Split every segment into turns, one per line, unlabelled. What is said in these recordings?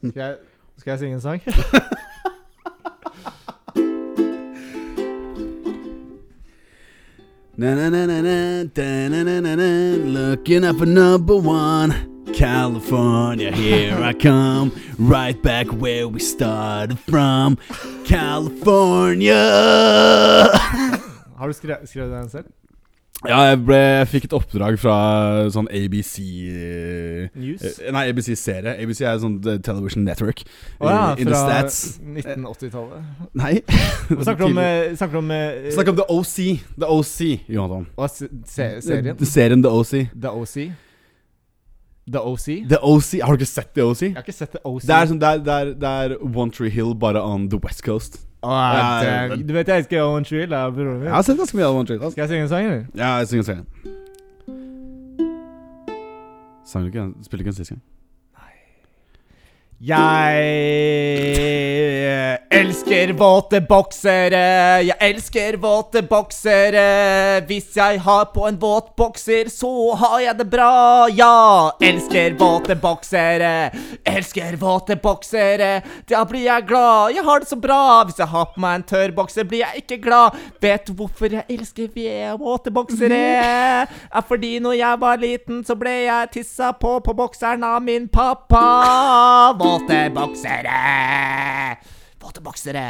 Skal jeg, skal jeg synge en sang?
Na-na-na-na-na, da-na-na-na-na, looking up for number one. California, here I come, right back where we started from. California!
Har du skrevet, skrevet den selv?
Ja, jeg, ble, jeg fikk et oppdrag fra sånn ABC eh,
News?
Nei, ABC-serie. ABC er sånn eh, television network.
Å ja,
eh, in the
fra
stats.
1980-tallet.
Nei.
Vi snakker om, eh, snakker om eh,
Snakk om The OC. The OC, Jonathan.
hva se- se- Eh, serien.
Serien The OC.
The OC. The OC?
The OC Har du ikke sett The OC?
Jeg har ikke sett The OC.
Det er sånn Det er, det er, det er One Tree Hill bare on the west coast.
Å,
Ja,
damn. Du vet jeg elsker Owen Trill, da, broren min.
Jeg har sett ganske mye av One Tree Hill. ass.
Skal jeg synge en sang, eller?
Ja, jeg synger serien. Sang du ikke den? Spilte ikke den sist gang?
Jeg elsker våte boksere, jeg elsker våte boksere. Hvis jeg har på en våt bokser, så har jeg det bra, ja. Elsker våte boksere, elsker våte boksere. Da blir jeg glad, jeg har det så bra. Hvis jeg har på meg en tørr bokser, blir jeg ikke glad. Vet du hvorfor jeg elsker ve- våte boksere? Er fordi når jeg var liten, så ble jeg tissa på på bokseren av min pappa. Våte boksere! Våte boksere.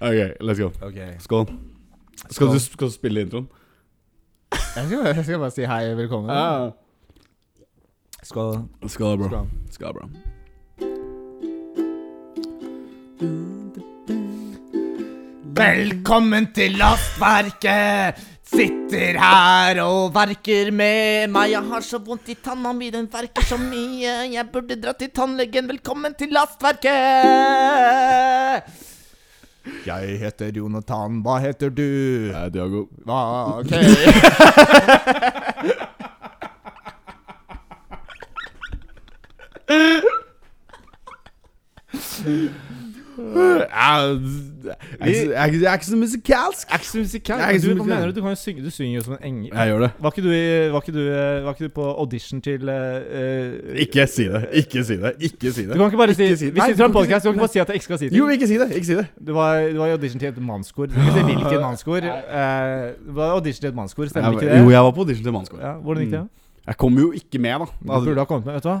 Ok, let's go. Skål. Skal du, skal du spille introen?
Jeg skal, bare, jeg skal bare si hei og velkommen. Skål.
Skål, bro.
Skål.
Skål, bro.
Velkommen til lastverket! Sitter her og verker med meg. Jeg har så vondt i tanna mi, den verker så mye. Jeg burde dra til tannlegen. Velkommen til lastverket! Jeg heter Jonathan. Hva heter du?
Jeg er Diago.
Hva OK.
Jeg, jeg, jeg, jeg, jeg er ikke så musikalsk.
Er ikke så musikal.
Jeg er ikke så
Du, hva
musikal.
mener du? Du kan jo synge. Du synger jo som en engel.
Jeg gjør det.
Var ikke du, i- var ikke du, eh, var ikke du på audition til eh, eh,
Ikke si det. Ikke si det. Ikke si
Du
det.
kan ikke bare si,
Ikke si-
Vi
Nei,
sitter på en
du kan ikke si-
podcast, du kan ikke bare si at jeg ikke skal si det.
Jo, ikke si det. Ikke si det.
Det var, det var i audition til et mannskor. Du kan ikke si hvilket mannskor. Eh, det var audition til et mannskor, stemmer ikke det?
Jo, jeg var på audition til Mannskog.
Ja, hvordan gikk det?
Jeg kom jo ikke med, da.
Du burde ha kommet med, vet du Mm. hva?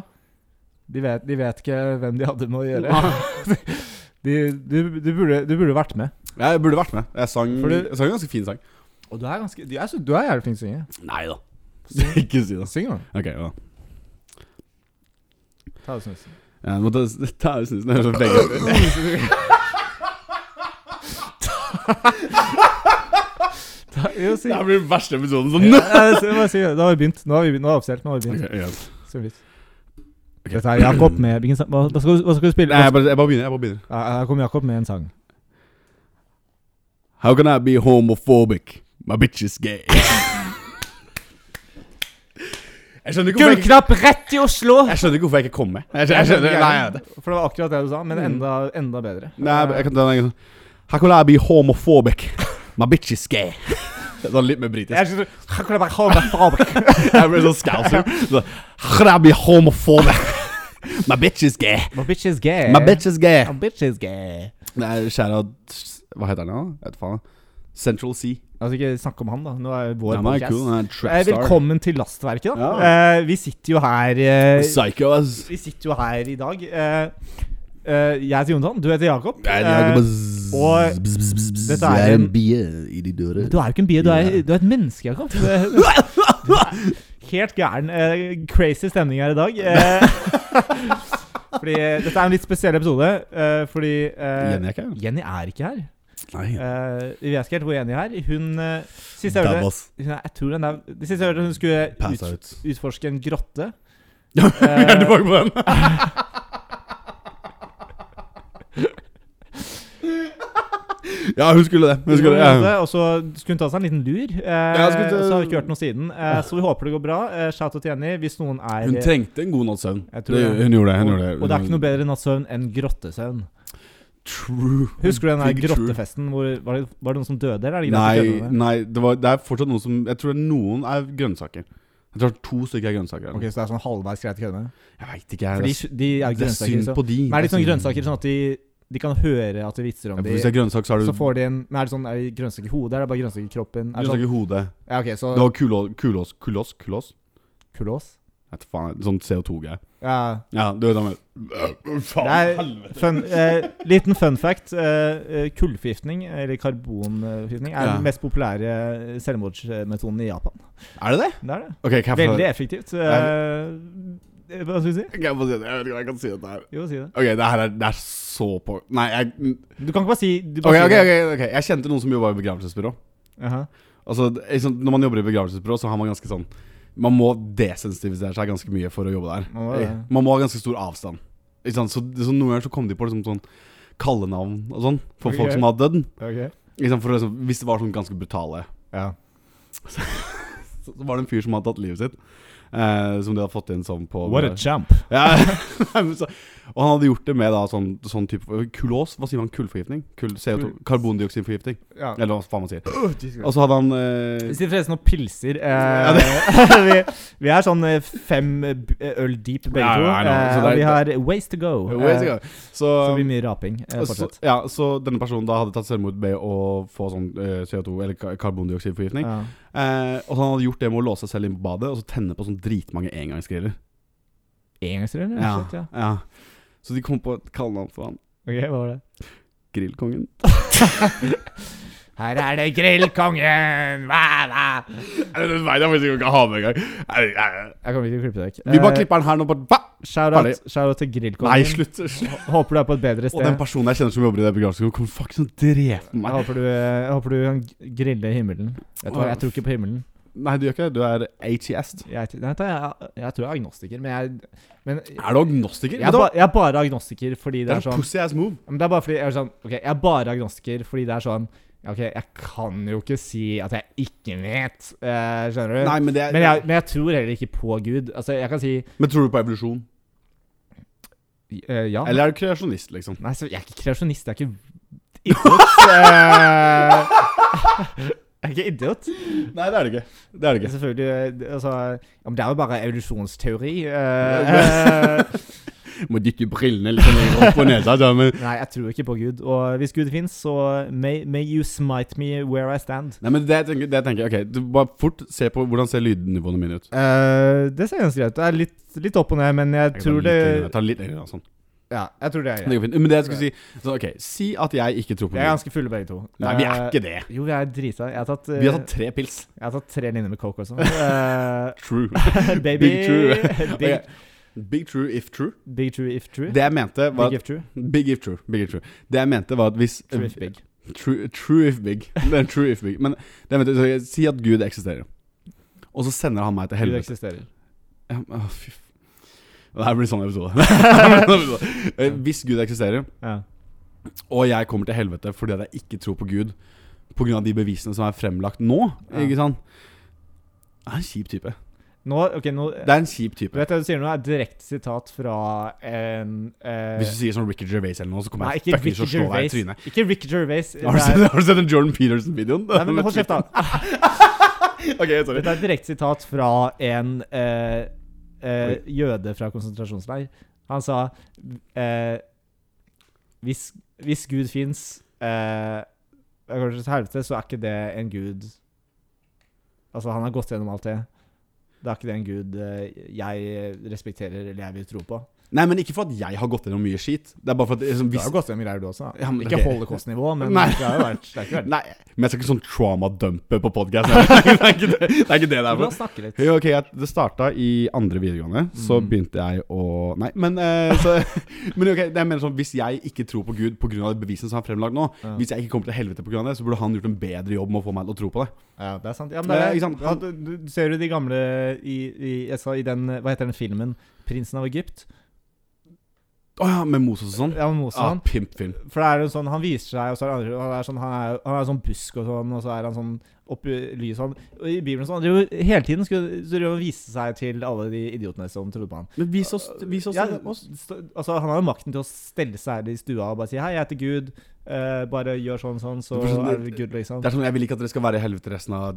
De vet, de vet ikke hvem de hadde med å gjøre. De, du, du, burde, du burde vært med.
Jeg burde vært med. Jeg sang,
For du-
jeg sang en ganske fin sang.
Og du er ganske Du er, så, du er jævlig flink til å synge.
Nei da. ikke si det.
Syng, da.
Ok, ja.
Ta det snusen.
Jeg måtte ta ut snusen. Jeg hører så begge
Ta- Jo, syng.
Det
Ja,
her blir den verste episoden sånn. som
ja, så- bare syng. Da har vi begynt. Nå har vi begynt. Nå har vi offisielt. Nå har vi
Ok,
begynt.
ja.
Syng litt.
Ok.
Dette er Jakob med hvilken sang- Hva hva skal du, hva skal du spille?
Nei, jeg bare, jeg bare begynner. jeg bare begynner
Ja, Her kommer Jakob med en sang.
How can I be homophobic? My bitch is gay. jeg skjønner ikke hvorfor jeg,
Gullknapp rett i Oslo!
jeg skjønner ikke hvorfor jeg ikke kom med. Jeg skjønner, jeg skjønner, nei, jeg vet det.
For det var akkurat det du sa, men enda, enda bedre.
nei, jeg kan ta den en gang sånn. How can I be homophobic? My bitch is gay. Sånn litt mer britisk.
Jeg synes, Her kan jeg bare ha meg fabrik.
Jeg ble sånn scouser. Så, How can I be homophobic? My bitch is gay.
My bitch is gay.
My bitch is gay.
My bitch is gay.
Eh. Det er skjæra Hva heter den, da? Jeg vet faen. Central Sea.
Altså, ikke snakk om han, da. Nå er vår
Den er
podcast.
cool. Den er
Eh,
trapstar.
Velkommen til Lastverket, da. Eh, vi sitter jo her eh,
Psycho, ass.
Vi sitter jo her i dag. Eh, eh, jeg heter Jonathan, du heter Jakob.
Jeg er Jakob,
Eh,
ass.
og
Bzz, bzz, bzz, bzz.
dette er
Jeg
en-
bie i de dører.
du er jo ikke en bie, du er, du er et menneske, Jakob. Du er- du er Helt gæren. Eh, crazy stemning her i dag. Eh, fordi eh, Dette er en litt spesiell episode, eh, fordi eh,
Jenny er ikke her.
Jenny er ikke her.
Nei.
Eh, vi vet ikke helt hvor Jenny er. Hun eh, sist jeg hørte
Davos.
hun er, jeg tror den er, Det siste jeg hørte, hun skulle
Pass
ut,
out.
utforske en grotte.
Vi er tilbake på den. Ja, hun skulle
Eh,
det. Hun skulle det, ja.
Og så skulle hun ta seg en liten lur. Eh,
jeg skulle ta-
Så har vi ikke hørt noe siden. Eh, så vi håper det går bra. Eh, shout out til Jenny hvis noen er
Hun trengte en god natts søvn.
Jeg tror
Det-
det.
Hun gjorde det. Hun
og,
gjorde det.
og det er ikke noe bedre nattssøvn enn grottesøvn.
True.
Husker du den der
Big true.
grottefesten? Hvor, var, det, var det noen som døde, eller er det greit å
Nei,
kødde med det?
nei det, var, det er fortsatt noen som Jeg tror det er noen er grønnsaker. Jeg tror det er to stykker er grønnsaker.
Ok, Så det er sånn halvveis greit å kødde med?
Jeg veit ikke, jeg.
For de,
Det
de er
er-
jo
det er
grønnsaker.
synd
Så.
på de.
Men er det
Det er
sånn
synd.
grønnsaker sånn at de, de kan høre at vi vitser
Ja,
om
for
de
hvis det er grønnsak, så er
Så
det
får de en men Er det sånn Er det grønnsaker i hodet, eller er det bare grønnsaker i kroppen? Er det sånn,
grønnsaker i hodet.
ja, ok, så
Det var kulås Kulås? Kulås? kulås.
Kulås?
Jeg vet faen, sånn CO2-greie.
Ja.
Ja, du vet hva jeg mener. Faen,
Det er
helvete.
fun, eh, liten fun fact. Eh, eh, kullforgiftning, eller karbonforgiftning, er
Ja.
den mest populære eh, selvmordsmetoden i Japan.
Er det det?
Det er det.
Ok, kan jeg få
Veldig effektivt. Eh, hva skal vi si?
Kan jeg få si det? Jeg vet ikke om jeg kan si dette her.
Jo, si det.
Ok, det her er, det er så på Nei, jeg
Du kan ikke bare si du
Ok,
bare
ok,
sier
ok, ok Jeg kjente noen som jobba i begravelsesbyrå.
det. Aha.
Altså, det- ikke sant, Når man jobber i begravelsesbyrå, så har man ganske sånn Man må desensitisere seg ganske mye for å jobbe der.
Man må det.
Eh, Man må ha ganske stor avstand. Ikke sant? Så, så Noen ganger så kom de på liksom sånn kallenavn og sånn for
Ok.
folk som hadde dødd.
Ok.
Ikke sant, for å liksom, Hvis det var sånn ganske brutale
Ja.
Så, så var det en fyr som hadde tatt livet sitt. Eh, som de hadde fått inn sånn på
champ.
Ja, nei, men så, og han hadde gjort det med da, sånn, sånn type Kulås? Hva sier man? Kullforgiftning? Kull, CO2, karbondioksidforgiftning?
Ja.
Eller hva faen man sier.
Oh, Jesus Christ.
Og så hadde han eh,
Vi sitter forresten og pilser. Eh,
Ja,
vi, vi er sånn eh, fem eh, b- eh, øl deep, begge
Ja,
to.
ja, I know.
Eh,
Så
og
det
vi
er-
har ways to go.
jo, jeg
Eh,
sier det. Så, um,
så det blir mye raping. Eh,
så,
fortsett.
ja, så denne personen da hadde tatt selvmord med å få sånn eh, CO2, eller ka- karbondioksidforgiftning.
Ja.
Eh, og så han hadde gjort det med å låse seg selv inn på badet og så tenne på sånn dritmange engangsgriller.
Engangsrør, eller?
Ja,
Shit, ja.
ja. Så de kom på et kallenavn for han.
Ok, hva var det?
Grillkongen.
Her er det grillkongen! Hva, hva?
Jeg vet faktisk ikke om jeg kan ha med engang.
Jeg kommer ikke til å klippe det vekk.
Vi bare
Eh,
klipper den her nå. Bare, bah! ferdig.
Shout-out shout-out til grillkongen.
Nei, slutt. slutt.
Håper du er på et bedre
Og den
sted.
personen jeg kjenner som jobber i det begravelseskolen, kommer faktisk til å drepe
Jeg
meg.
håper, du, eh, jeg håper du kan g- grille himmelen. Vet du hva, jeg tror ikke på himmelen.
Nei, du gjør ikke det. Du er atheist.
Jeg, nei, jeg, jeg, jeg tror jeg er agnostiker, men jeg men,
Er du agnostiker?
Jeg er, ba, jeg er bare agnostiker fordi det
det
er
er en
sånn
pussy ass move.
Men det er bare fordi jeg er sånn Ok, jeg er bare agnostiker fordi det er sånn ja, Ok, jeg kan jo ikke si at jeg ikke vet. eh, skjønner du?
Nei, men det er
Men, jeg, men jeg tror heller ikke på Gud. Altså, jeg kan si
Men tror du på evolusjon?
eh, ja.
Eller er du kreasjonist, liksom?
Nei, så jeg er ikke kreasjonist. Jeg er ikke idiot. eh, jeg er ikke idiot.
Nei, det er det ikke. Det er det ikke.
Selvfølgelig. eh, Altså, ja, men det er jo bare evolusjonsteori. eh, eh,
Må dytte brillene litt lenger opp på nesa. Så, sånn, men...
nei, jeg tror ikke på Gud. Og hvis Gud fins, så may, may you smite me where I stand.
Nei, men det jeg tenker, det jeg tenker Ok, du bare fort se på hvordan ser lydnivåene mine ut.
Eh, det ser ganske greit ut. Det er litt, litt opp og ned, men jeg,
Jeg
tror
tar litt
det
lenger, jeg tar litt lenger, sånn.
Ja, jeg tror det er
Det
greit.
går fint. Men det jeg skulle si så, Ok, si at jeg ikke tror på
Vi er
Gud.
ganske fulle begge to.
Nei, vi er ikke det.
Eh, Jo, vi er drita. Jeg har tatt, eh,
Vi har tatt tre pils.
jeg har tatt tre linjer med coke også. Eh,
True.
baby
Big true.
big,
Ok. Big true if true.
big true if true.
Det jeg mente var
Big if true.
Big if true. Big if true. Det jeg mente var at hvis
True if big.
True, true if big. Det er true if big. Men det jeg mente, så jeg, si at Gud eksisterer. Og så sender han meg til
Gud
helvete.
eksisterer.
Ja, men, Å, fy f- Det her blir sånn episode. Det her blir sånn episode. Eh, Hvis Gud eksisterer,
Ja.
og jeg kommer til helvete fordi at jeg ikke tror på Gud pga. de bevisene som er fremlagt nå,
Ja.
ikke sant Det er en kjip type.
Nå, ok, nå
Det er en kjip
Du
type.
vet det du sier nå, er et direkte sitat fra en eh,
Hvis du sier sånn Ricky Gervais eller noe, så kommer
Nei,
jeg
ikke
fucking
Ricky
til å slå deg i
Gervais.
trynet.
Ikke Ricky Gervais.
Har du
det er-
sett, har du sett den Jordan Peterson-videoen?
Nei, men hold kjeft, da.
Ok, sorry.
Dette er et direkte sitat fra en eh, eh, jøde fra konsentrasjonsleir. Han sa eh, hvis, hvis Gud fins eh, Kanskje til helvete, så er ikke det en gud Altså, han har gått gjennom alt det. Det er ikke det en gud eh, jeg respekterer eller jeg vil tro på.
Nei, men ikke for at jeg har gått gjennom mye skit. Det er bare for at liksom, hvis,
gått gjennom greier, du også.
Ja, men
ikke
ok.
holocaust-nivå, men
Nei.
det har jo vært det er ikke vært-
Nei, men jeg skal ikke sånn trauma-dumpe på podkast. Det, er ikke det det er ikke det det
Du
er
må
for.
snakke litt.
Jo, ok, jeg, Det starta i andre videregående. Så
Mm.
begynte jeg å Nei, men eh, så, Men ok, det er mer sånn hvis jeg ikke tror på Gud pga. bevisene som er fremlagt nå,
Ja.
hvis jeg ikke kommer til helvete pga. det, så burde han gjort en bedre jobb med å få meg til å tro på det.
Ja, det er sant. Ja, men
Det
det
er
er,
ikke sant.
ja, du, du ser jo de gamle i, i, jeg sa, i den Hva heter den filmen? 'Prinsen av Egypt'?
Å ja, med Moses og sånn?
Ja, men
Ja,
Mosemann.
pimpfilm.
For det er jo sånn, han viser seg, og så er det andre, han er sånn, han er, han er sånn busk og sånn, og så er han sånn oppi lys og sånn. Og i Bibelen og sånn, det er jo hele tiden skulle så det jo vise seg til alle de idiotene som trodde på han.
Men vis oss, vis oss
Ja,
det.
s- altså, han har jo makten til å stelle seg her i stua og bare si, hei, jeg heter Gud, eh, bare gjør sånn sånn, så
Det er sånn-
er det Gud, liksom.
Det er sånn, Jeg vil ikke at dere skal være i helvete resten av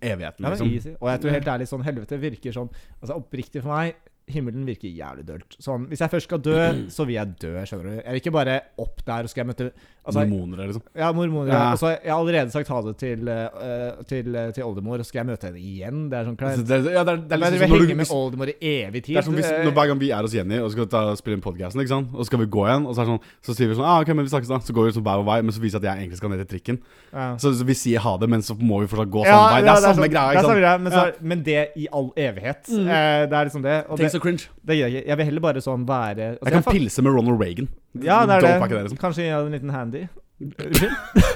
evigheten.
Ja, men
liksom.
easy. Og jeg tror helt ærlig, sånn helvete virker sånn, altså oppriktig for meg, himmelen virker jævlig dølt. Sånn, hvis jeg først skal dø, så vil jeg dø, skjønner du. Jeg vil ikke bare opp der, og skal jeg møte... Altså,
Mormoner, liksom.
Ja, mormoner.
Ja.
Ja. Altså, jeg har allerede sagt ha det til, eh, til, eh, til oldemor, og skal jeg møte henne igjen? Det er sånn
Altså,
kleint.
det, er- ja, det, er, det er
Jeg
liksom
vil
som når du,
henge med
hvis,
oldemor i evig tid.
det er som hvis,
Eh,
når Hver gang vi er hos Jenny og skal ta, spille inn podcasten, ikke sant? og så skal vi gå igjen, og så, er det sånn, så sier vi sånn ah, ok, men vi snakkes da. Så går vi sånn hver vår vei, men så viser det at jeg egentlig skal ned til trikken.
ja.
Så, så vi sier ha det, men så må vi fortsatt gå
Ja,
samme vei. Det
ja,
er samme
sånn-
greia.
det er
ikke
samme
sant? Mm.
greia, men, så, er- men det i all evighet. Eh, det er liksom det. Og det,
Tenk så cringe.
det gir jeg ikke. Jeg vil heller bare sånn være altså,
Jeg kan
fa-
pilse med Ronald Reagan.
Ja, det er
Dope
det.
ikke det, liksom.
Kanskje gi en liten handy.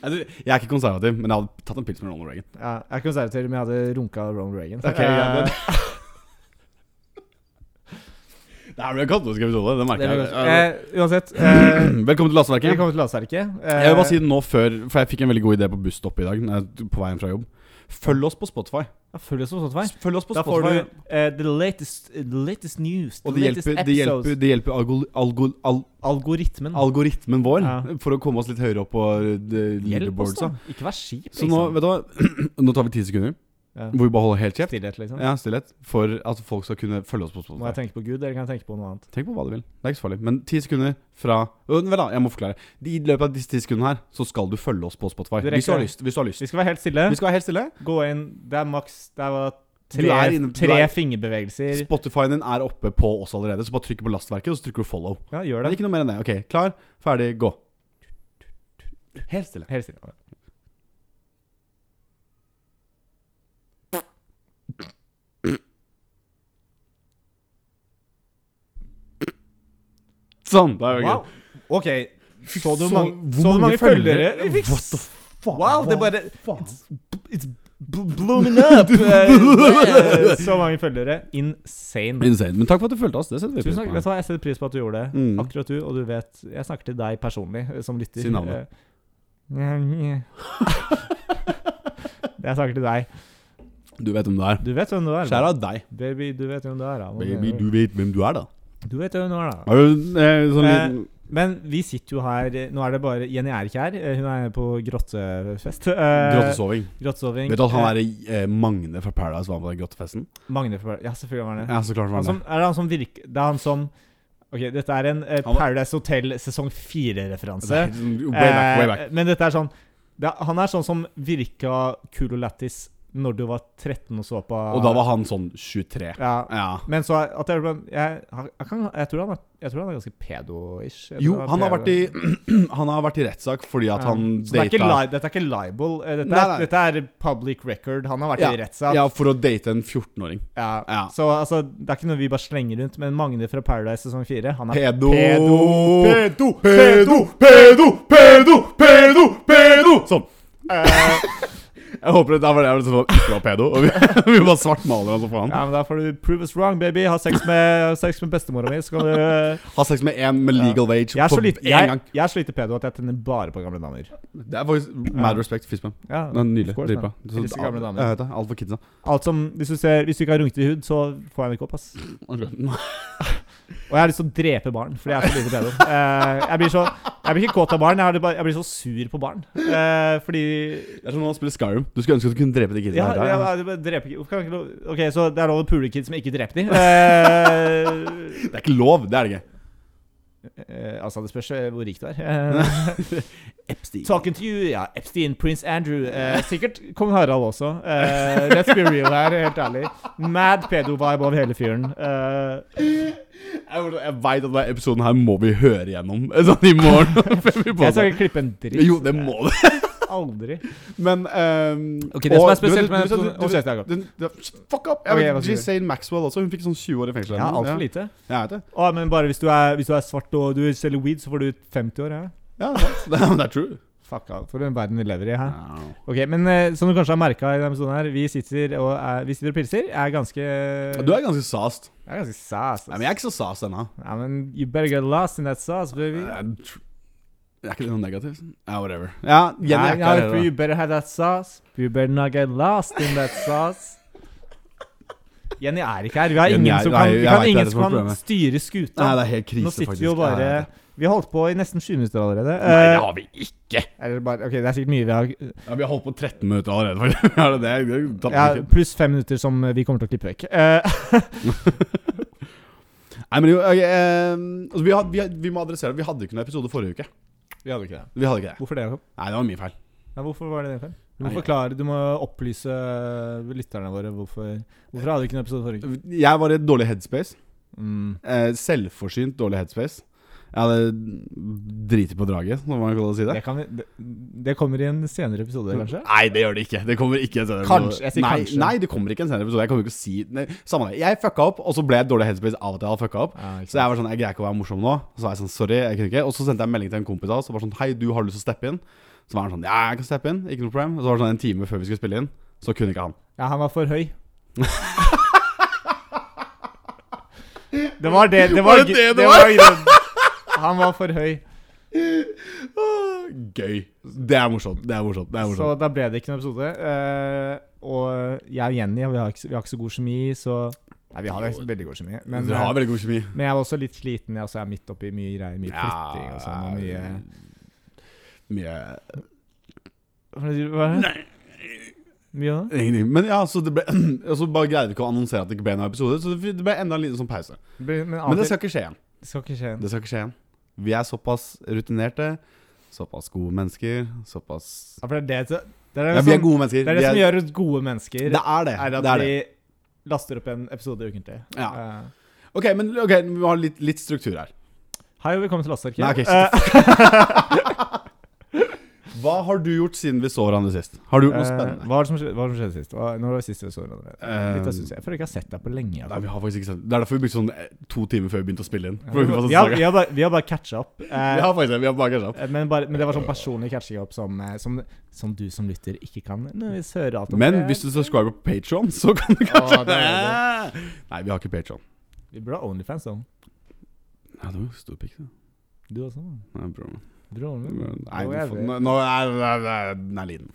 Altså, Jeg er ikke konservativ, men jeg hadde tatt en pils med Ronald Reagan.
Ja, jeg er konservativ, men jeg hadde runka Ronald Reagan.
Ok, ja,
Eh,
det- Det her blir en katolsk episode, det
det
merker
blir
jeg.
godt. Eh, uansett, eh,
Velkommen til Lasteverket.
velkommen til Lasteverket. Eh,
Jeg vil bare si det nå før, for jeg fikk en veldig god idé på busstoppet i dag. Når jeg, på veien fra jobb Følg oss på Spotify.
ja, Eh, Følg oss på Spotify.
Følg oss på
Da får du
Spotify
eh, the, latest, the latest news.
Og
the
det
latest
hjelper, det hjelper,
episodes.
det hjelper algol, algol, al,
Algoritmen.
algoritmen vår
Mm. Ja.
for å komme oss litt høyere opp på eh,
Hjelp oss,
leaderboards.
da.
da.
Ikke vær kjip.
Så nå, vet du hva Nå tar vi ti sekunder
ja.
hvor vi bare holder helt kjeft.
Stillhet, liksom.
Ja, stillhet. For at folk skal kunne følge oss på
Må jeg
Spotify.
tenke på Gud, eller kan jeg tenke på noe annet?
Tenk på hva du vil. Det er ikke så farlig. Men ti sekunder fra Å, Vent, da. Jeg må forklare. I løpet av disse ti sekundene her så skal du følge oss på Spotify.
Du rekker
Hvis du har
det.
lyst. Hvis du har lyst.
Vi skal være helt stille.
Vi skal være helt stille.
Gå inn. Det er maks Det er bare
Du
tre,
er inne- du
tre
er-
fingerbevegelser.
Spotifyen din er oppe på oss allerede, så bare trykk på lastverket, og så trykker du follow.
Ja, gjør
Det er
det.
ikke noe mer enn det. Ok, klar, ferdig, gå. Helt stille.
Helt stille.
Sånn. Da er vi
Wow.
good.
OK. Så du
Så-
mange, så
hvor
du
mange
mange følgere?
følgere?
Vi fikk
What the
s- Wow, det bare
faen?
It's, it's bl- blooming up! Eh, så mange følgere. Insane.
Insane. Men takk for at du fulgte oss. Det setter vi
Tusen takk. Vet
pris på.
du hva, Jeg setter pris på at du gjorde det.
Mm.
Akkurat du, og du vet Jeg snakker til deg personlig, eh, som lytter.
Si navnet.
Eh, jeg snakker til deg.
Du vet hvem du er.
Du vet hvem du er.
Skjær av deg.
Baby, du vet hvem du er. Da. eh,
Baby, du vet hvem du er, da.
Du vet hvem du er, da.
Har du eh, sånn
Eh,
liten
Men vi sitter jo her eh, Nå er det bare Jenny er ikke her. eh, Hun er på grottefest. Eh,
grottesoving?
Grottesoving.
Vet du at han er eh, Magne fra Paradise var på den grottefesten?
Eh, Magne fra Ja, Altså, selvfølgelig var han det.
Ja, så klart var
Han
han det.
som, er det han som virker Det er han som Ok, dette er en eh,
Han var-
Paradise Hotel sesong 4-referanse.
Nei, sånn Way back, way back.
Eh, men dette er sånn det, er- Han er sånn som virka kul og lættis når du var 13 og så på
Og da var han sånn 23.
Eh, ja.
Ja.
Men så er- at jeg, jeg, jeg, kan, jeg, tror han er, jeg tror han er ganske pedo-ish. Jeg
Jo,
tror
han har
pedo.
vært i Han har vært i rettssak fordi at
Ja.
han
Så det er ikke
data
li, Dette er ikke libel. eh, Dette er,
Nei, nei.
Dette er public record. Han har vært i rettssak.
Ja, for å date en 14-åring.
Ja.
Ja.
Så altså, det er ikke noe vi bare slenger rundt, men Magne fra Paradise sesong 4 Han er
Pedo.
Pedo!
Pedo, pedo, pedo, pedo, Eh. pedo! Sånn. Jeg håper det der var det jeg var sånn, ikke var pedo. Og vi, vi bare svartmaler han som faen.
Ja, men Da får du prove us wrong, baby. Ha sex med, sex med bestemora mi, så kan du
Ha sex med en med legal age
Jeg er så
på
lite,
én
jeg,
gang.
jeg er så lite pedo at jeg tenner bare på gamle damer.
Det er faktisk mad respect. Fistbump.
Ja,
Det er Nydelig.
of course,
Dritbra.
man.
Så-
Elsker gamle damer.
Jeg vet det. Alt for kidsa.
Alt som, hvis du, ser, hvis du ikke har runkete hud, så får jeg den ikke opp. ass Og jeg har lyst til å drepe barn, fordi jeg er så lite pedo. Eh, jeg, blir så, jeg blir ikke kåt av barn, jeg, er bare, jeg blir så sur på barn. Eh, fordi
Det er som når han spiller Skyrim. Du skulle ønske at du kunne drepe de kidsa.
ja,
her,
jeg,
ja.
jeg, bare dreper ikke Hvorfor kan jeg ikke lov Ok, så det er lov å pule kids som ikke dreper de. Eh,
Det er ikke lov. Det er det ikke.
eh, altså, det spørs eh, hvor rik du er. Eh,
Epstein.
Talking to you, ja. Epstein, Prince Andrew. Eh, sikkert kong Harald også. Eh, let's be real her, helt ærlig. Mad pedo-vibe over hele fyren. Eh,
Jeg, bare- jeg veit at denne episoden her må vi høre gjennom sånn i morgen. før
jeg
vi
skal
podder.
ikke klippe en dritt. Eh,
jo, det må du.
Aldri.
Men ehm,
Ok, det som
og
er spesielt
du vet-
med
du vet-
episoden-
du vet-
Å, sorry,
den- den- Fuck up! Jeg
Ok,
vet,
hva sier du?
Giselle Maxwell også. Hun fikk sånn 20 år i fengsel.
Ja, altfor lite.
Jeg vet det.
Å, men bare hvis du, er, hvis du er svart og du selger weed, så får du ut 50 år. Ja.
Ja, det er sant. Det er true.
Fucka, for en verden vi lever i. Hæ?
Wow.
Ok, men eh, som du kanskje har merka i denne episoden her, vi sitter og, er, vi sitter og pilser. Jeg er ganske
Ja, Du er ganske sast.
Jeg er ganske sass.
Nei, men jeg er ikke så sast ennå.
Nei, men you better get lost in that sauce, baby.
Jeg er tr- jeg er ikke noe negativt. Ja, whatever. Ja, Jenny er ikke her.
for you
heller.
better have that sauce. You better not get lost in that sauce. Jenny er ikke her. Vi har
Jenny
ingen
er-
som
nei,
kan,
jeg
vi kan,
vet det, det
ingen
er
som kan
problemet.
styre
Nei,
skuta.
det er helt krise,
Nå sitter
faktisk.
vi jo bare
Ja,
Vi har holdt på i nesten 20 minutter allerede.
Nei,
Eh,
det har vi ikke.
eller bare, ok, Det er sikkert mye vi har
Ja, vi har holdt på 13 minutter allerede. faktisk. Ja, det er det? er tatt
ja,
ikke.
Pluss fem minutter som vi kommer til å klippe vekk. Eh,
Nei, men jo, ok, eh, altså, vi, had, vi, had, vi må adressere det. Vi hadde ikke noen episode forrige uke.
vi hadde ikke det.
Vi hadde ikke det.
Hvorfor det, Jakob?
Nei, det var min feil.
Ja, hvorfor var det det? feil? Du må
Nei,
forklare, du må opplyse lytterne våre hvorfor Hvorfor hadde vi ikke en episode forrige uke?
Jeg var i et dårlig headspace.
Mm.
Eh, selvforsynt dårlig headspace. Jeg hadde driti på draget, om man kan si det.
Det, kan vi, det, det kommer i en senere episode, kanskje?
Nei, det gjør det ikke. Det kommer ikke en senere
Kanskje, jeg sier
nei,
kanskje.
Nei, det kommer ikke en senere episode. Jeg kommer ikke å si nei, Samme det. Jeg fucka opp, og så ble jeg et dårlig headspace av at jeg hadde fucka opp.
Ja, ikke
Så jeg var sånn, jeg greier ikke å være morsom nå. Så var jeg sånn, sorry, jeg kunne ikke. Og så sendte jeg en melding til en kompis av oss og var sånn, hei, du har lyst til å steppe inn? Så var han sånn, ja, jeg kan steppe inn, ikke noe problem. Og så var det sånn en time før vi skulle spille inn, så kunne ikke han.
Ja, han var for høy. det var det det var,
Var det
gr-
det det
var grunnen. Han var for høy,
Ah, Gøy. Det er morsomt. Det er morsomt. Det er
så
morsomt.
da ble det ikke noen episode. Eh, og jeg og Jenny vi har, ikke, vi har ikke så god kjemi, så Nei, vi har jo veldig god kjemi, men, eh,
Dere har veldig god kjemi.
men jeg var også litt sliten. Jeg også er midt oppi mye greier. Mye flytting og sånn. Og mye
Mye
Hva er det du- hva er det? Mye da?
Ingenting. Men ja, så det ble Og så bare greide vi ikke å annonsere at det ikke ble noen episode, så det ble enda en liten sånn pause.
Men, av og
Men det
til-
skal ikke skje igjen.
det skal ikke skje.
Det skal ikke skje igjen. Vi er såpass rutinerte, såpass gode mennesker, såpass
Ja, for det er det, det, er det,
Ja, vi er
som,
gode mennesker.
det, er det
Vi
som gjør oss gode mennesker.
Det er det.
er at
det er det.
vi laster opp en episode ukentlig.
Ja.
Eh,
Ok, men ok, vi har litt, litt struktur her.
hei og velkommen til Lastearkiv.
Nei, ok, shit.
Eh,
Hva har du gjort siden vi så hverandre sist? Har du gjort noe
eh,
spennende?
hva var det som skjedde, hva var det som skjedde sist? Hva, når var det sist vi så hverandre?
Eh,
Litt av syns jeg. Jeg føler ikke jeg har sett deg på lenge.
Nei,
da.
vi har faktisk ikke sett Det er derfor vi brukte sånn eh, to timer før vi begynte å spille inn. For vi,
vi,
var så
har,
svake.
vi, har bare, vi har bare catcha opp. eh,
vi har faktisk det. Vi har bare catch up.
eh, men, bare, men det var sånn personlig catching up som, eh, som, som du som lytter ikke kan nødvendigvis høre alt om.
Men hvis du subscriber på Patreon, så kan du kanskje
det er
Nei, vi har ikke Patreon.
Vi burde ha Onlyfans da.
Ja, det var jo stor pikk, det.
Du også. da.
Nei, bro.
Burde ha Onlyfans.
Nei,
Jo,
du
jeg
får-
vet.
nå, nå er er- er- Den er liten.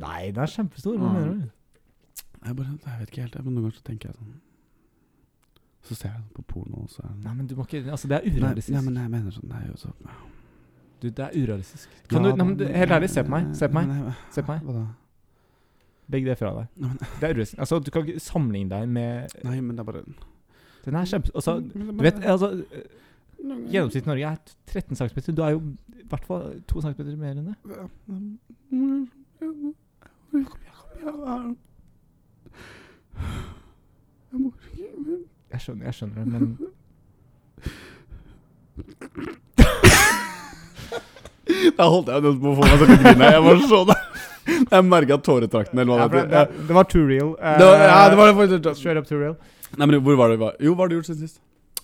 Nei, den er kjempestor. Hva
Mm.
mener du?
Jeg, bare, jeg vet ikke helt, jeg, men noen ganger så tenker jeg sånn Så ser jeg på porno, og så er
Nei, men du må ikke Altså, det er
Nei,
urealistisk.
nei, men jeg mener sånn Det er jo så
Du, det er urealistisk. Kan du, nei, men, du- helt ærlig, se på meg. Se på meg. Se på meg.
Hva da?
Begg det fra deg.
Nei, men-
Det er urealistisk. Altså, du kan ikke sammenligne deg med
Nei, men det er bare
Den er kjempe... Altså, du vet, altså Gjennomsnittet i Norge er 13 cm. Du er jo i hvert fall 2 cm mer enn det. Jeg skjønner, jeg skjønner det, men
Da holdt jeg jo nesten på å få meg sånn grine. Jeg var sånn Jeg merka tåretraktene, eller hva det heter. Ja.
var too real.
Det var- Ja, det var det faktisk.
Straight up too real.
Nei, men hvor var det? Jo, hva har du gjort siden sist?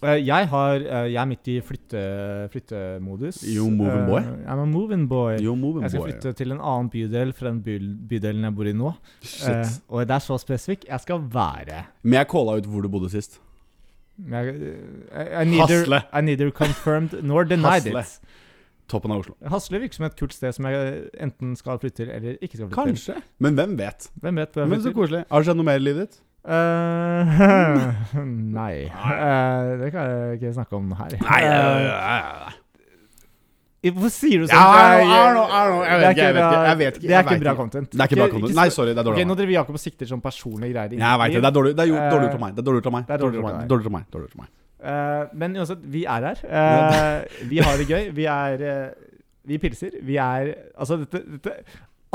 Eh, jeg, har, eh, jeg er midt i flytte, flyttemodus.
You moving boy?
Eh, I'm a moving boy.
Jo, Moving
Jeg skal flytte til en annen bydel fra den by- bydelen jeg bor i nå. Eh,
Shit.
og det er så spesifikt. Jeg skal være
Men jeg calla ut hvor du bodde sist.
jeg, eh, I, I, neither,
Hasle.
I neither confirmed nor denied
Hasle.
it.
Toppen av Oslo.
Hasle virker som et kult sted som jeg enten skal flytte til eller ikke skal flytte
Kanskje. Men hvem vet?
til. Hvem vet hvor jeg
Men så
flytter?
koselig. Har det skjedd noe mer i livet ditt?
Eh, nei. Eh, det kan jeg ikke snakke om her. Eh, Hvorfor sier du sånn?
Ja, I don't know, I don't know, I don't know.
Det
Jeg
er
vet ikke, jeg vet
bra-
ikke, jeg vet ikke,
Det er
jeg
ikke
vet
bra
ikke.
content.
Det er ikke bra content. Nei, sorry, det er
Ok,
dårlig.
Nå
av meg.
driver Jakob og sikter sånn personlige greier. inn i mitt
Jeg vet det. Det er dårlig, det er jo,
Eh,
dårlig gjort av meg. Det er dårlig gjort av meg. Det er dårlig gjort av meg. Dårlig gjort av meg. Dårlig gjort av meg.
Eh, men uansett, vi er her. Eh, vi har det gøy. Vi er eh, Vi pilser. Vi er Altså, dette, dette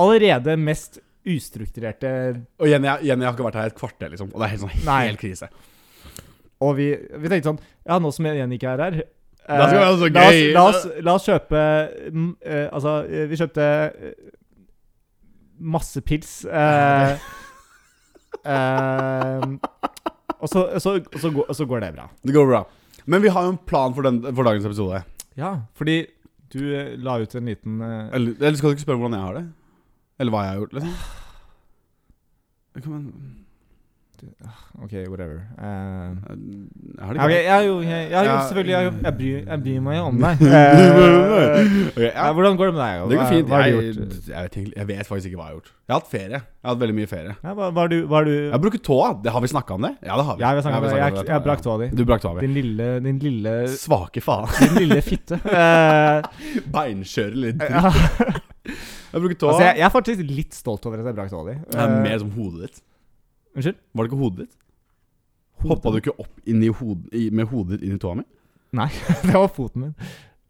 Allerede mest ustrukturerte
Og Jenny, jeg, Jenny, jeg har ikke vært her i et kvarter, liksom. Og det er helt sånn
Nei.
helt krise.
Og vi, vi tenkte sånn Ja, nå som Jenny ikke er her eh,
Da skal vi ha det så
la oss,
gøy.
la, oss, la oss kjøpe mm, eh, Altså, eh, vi kjøpte eh, masse pils. eh, eh, og, så, og, så, og, så går, og så går det bra.
Det går bra. Men vi har jo en plan for, den, for dagens episode.
Ja, fordi Du eh, la ut en liten eh,
Eller, eller skal du ikke spørre hvordan jeg har det? Eller hva jeg har gjort, liksom? Det kan man-
OK, whatever. Eh,
Jeg har
ja, ok,
det
eh,
greit.
jeg, har jo- jeg, jeg, har jo
Ja.
selvfølgelig jeg, har jo- jeg, bryr, jeg bryr meg jo om deg.
Ok,
Eh, ja,
ja.
hvordan går det med deg? og
Det går
hva-
fint.
Hva har
Jeg,
du
jeg,
gjort?
vet egentlig- jeg vet faktisk ikke hva jeg har gjort. Jeg har hatt ferie. Jeg har hatt veldig mye ferie.
Ja, hva, hva har du, hva har du
Jeg har brukt tåa. Det har vi snakka om det? Ja, det har vi.
Ja, jeg vil snakke
Ja,
om
vi
det.
snakket
Jeg,
om det.
jeg brakk tåa Eh, di.
Du brakk tåa mi.
Din lille Din lille,
Svake faen.
din lille fitte. Eh,
Beinkjører litt.
ja.
dritt. Jeg bruker tåa.
altså, jeg, jeg er faktisk litt stolt over at jeg brakk tåa di.
Det er
Eh,
mer som hodet ditt.
Unnskyld?
Var det ikke hodet ditt? Hoppa du ikke opp inn i hod- i, med hodet ditt inn i tåa mi?
Nei, det var foten min.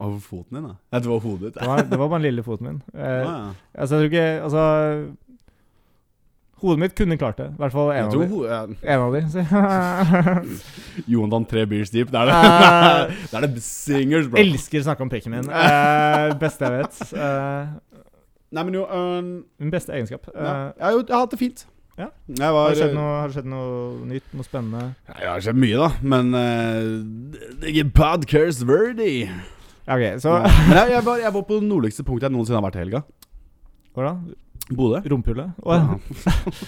Over foten din, da? Nei, det var hodet ditt.
Det var, det var bare den lille foten min. Eh,
Ah, ja.
Altså, jeg tror ikke Altså Hodet mitt kunne klart det. I hvert fall en
Jeg
av
tror
de.
ho eh,
En av de. så-
Johan tre beers deep. Det er det.
Eh,
det er det singers, bro.
Elsker å snakke om pikken min. Eh, beste jeg vet. Eh,
Nei, men jo eh,
min beste egenskap. Eh,
ja. jeg, har jo, jeg har hatt det fint.
Ja.
Jeg
har,
var
det skjedd noe, har det skjedd noe nytt? Noe spennende?
Ja, Det har skjedd mye, da. Men eh, det er ikke podcast worthy.
Ja, OK,
Ja.
så
Men jeg, jeg, var, jeg var på det nordligste punktet jeg noensinne har vært i helga.
Hvordan?
Bodø.
Rumpehullet? Å,
Ja.
ja.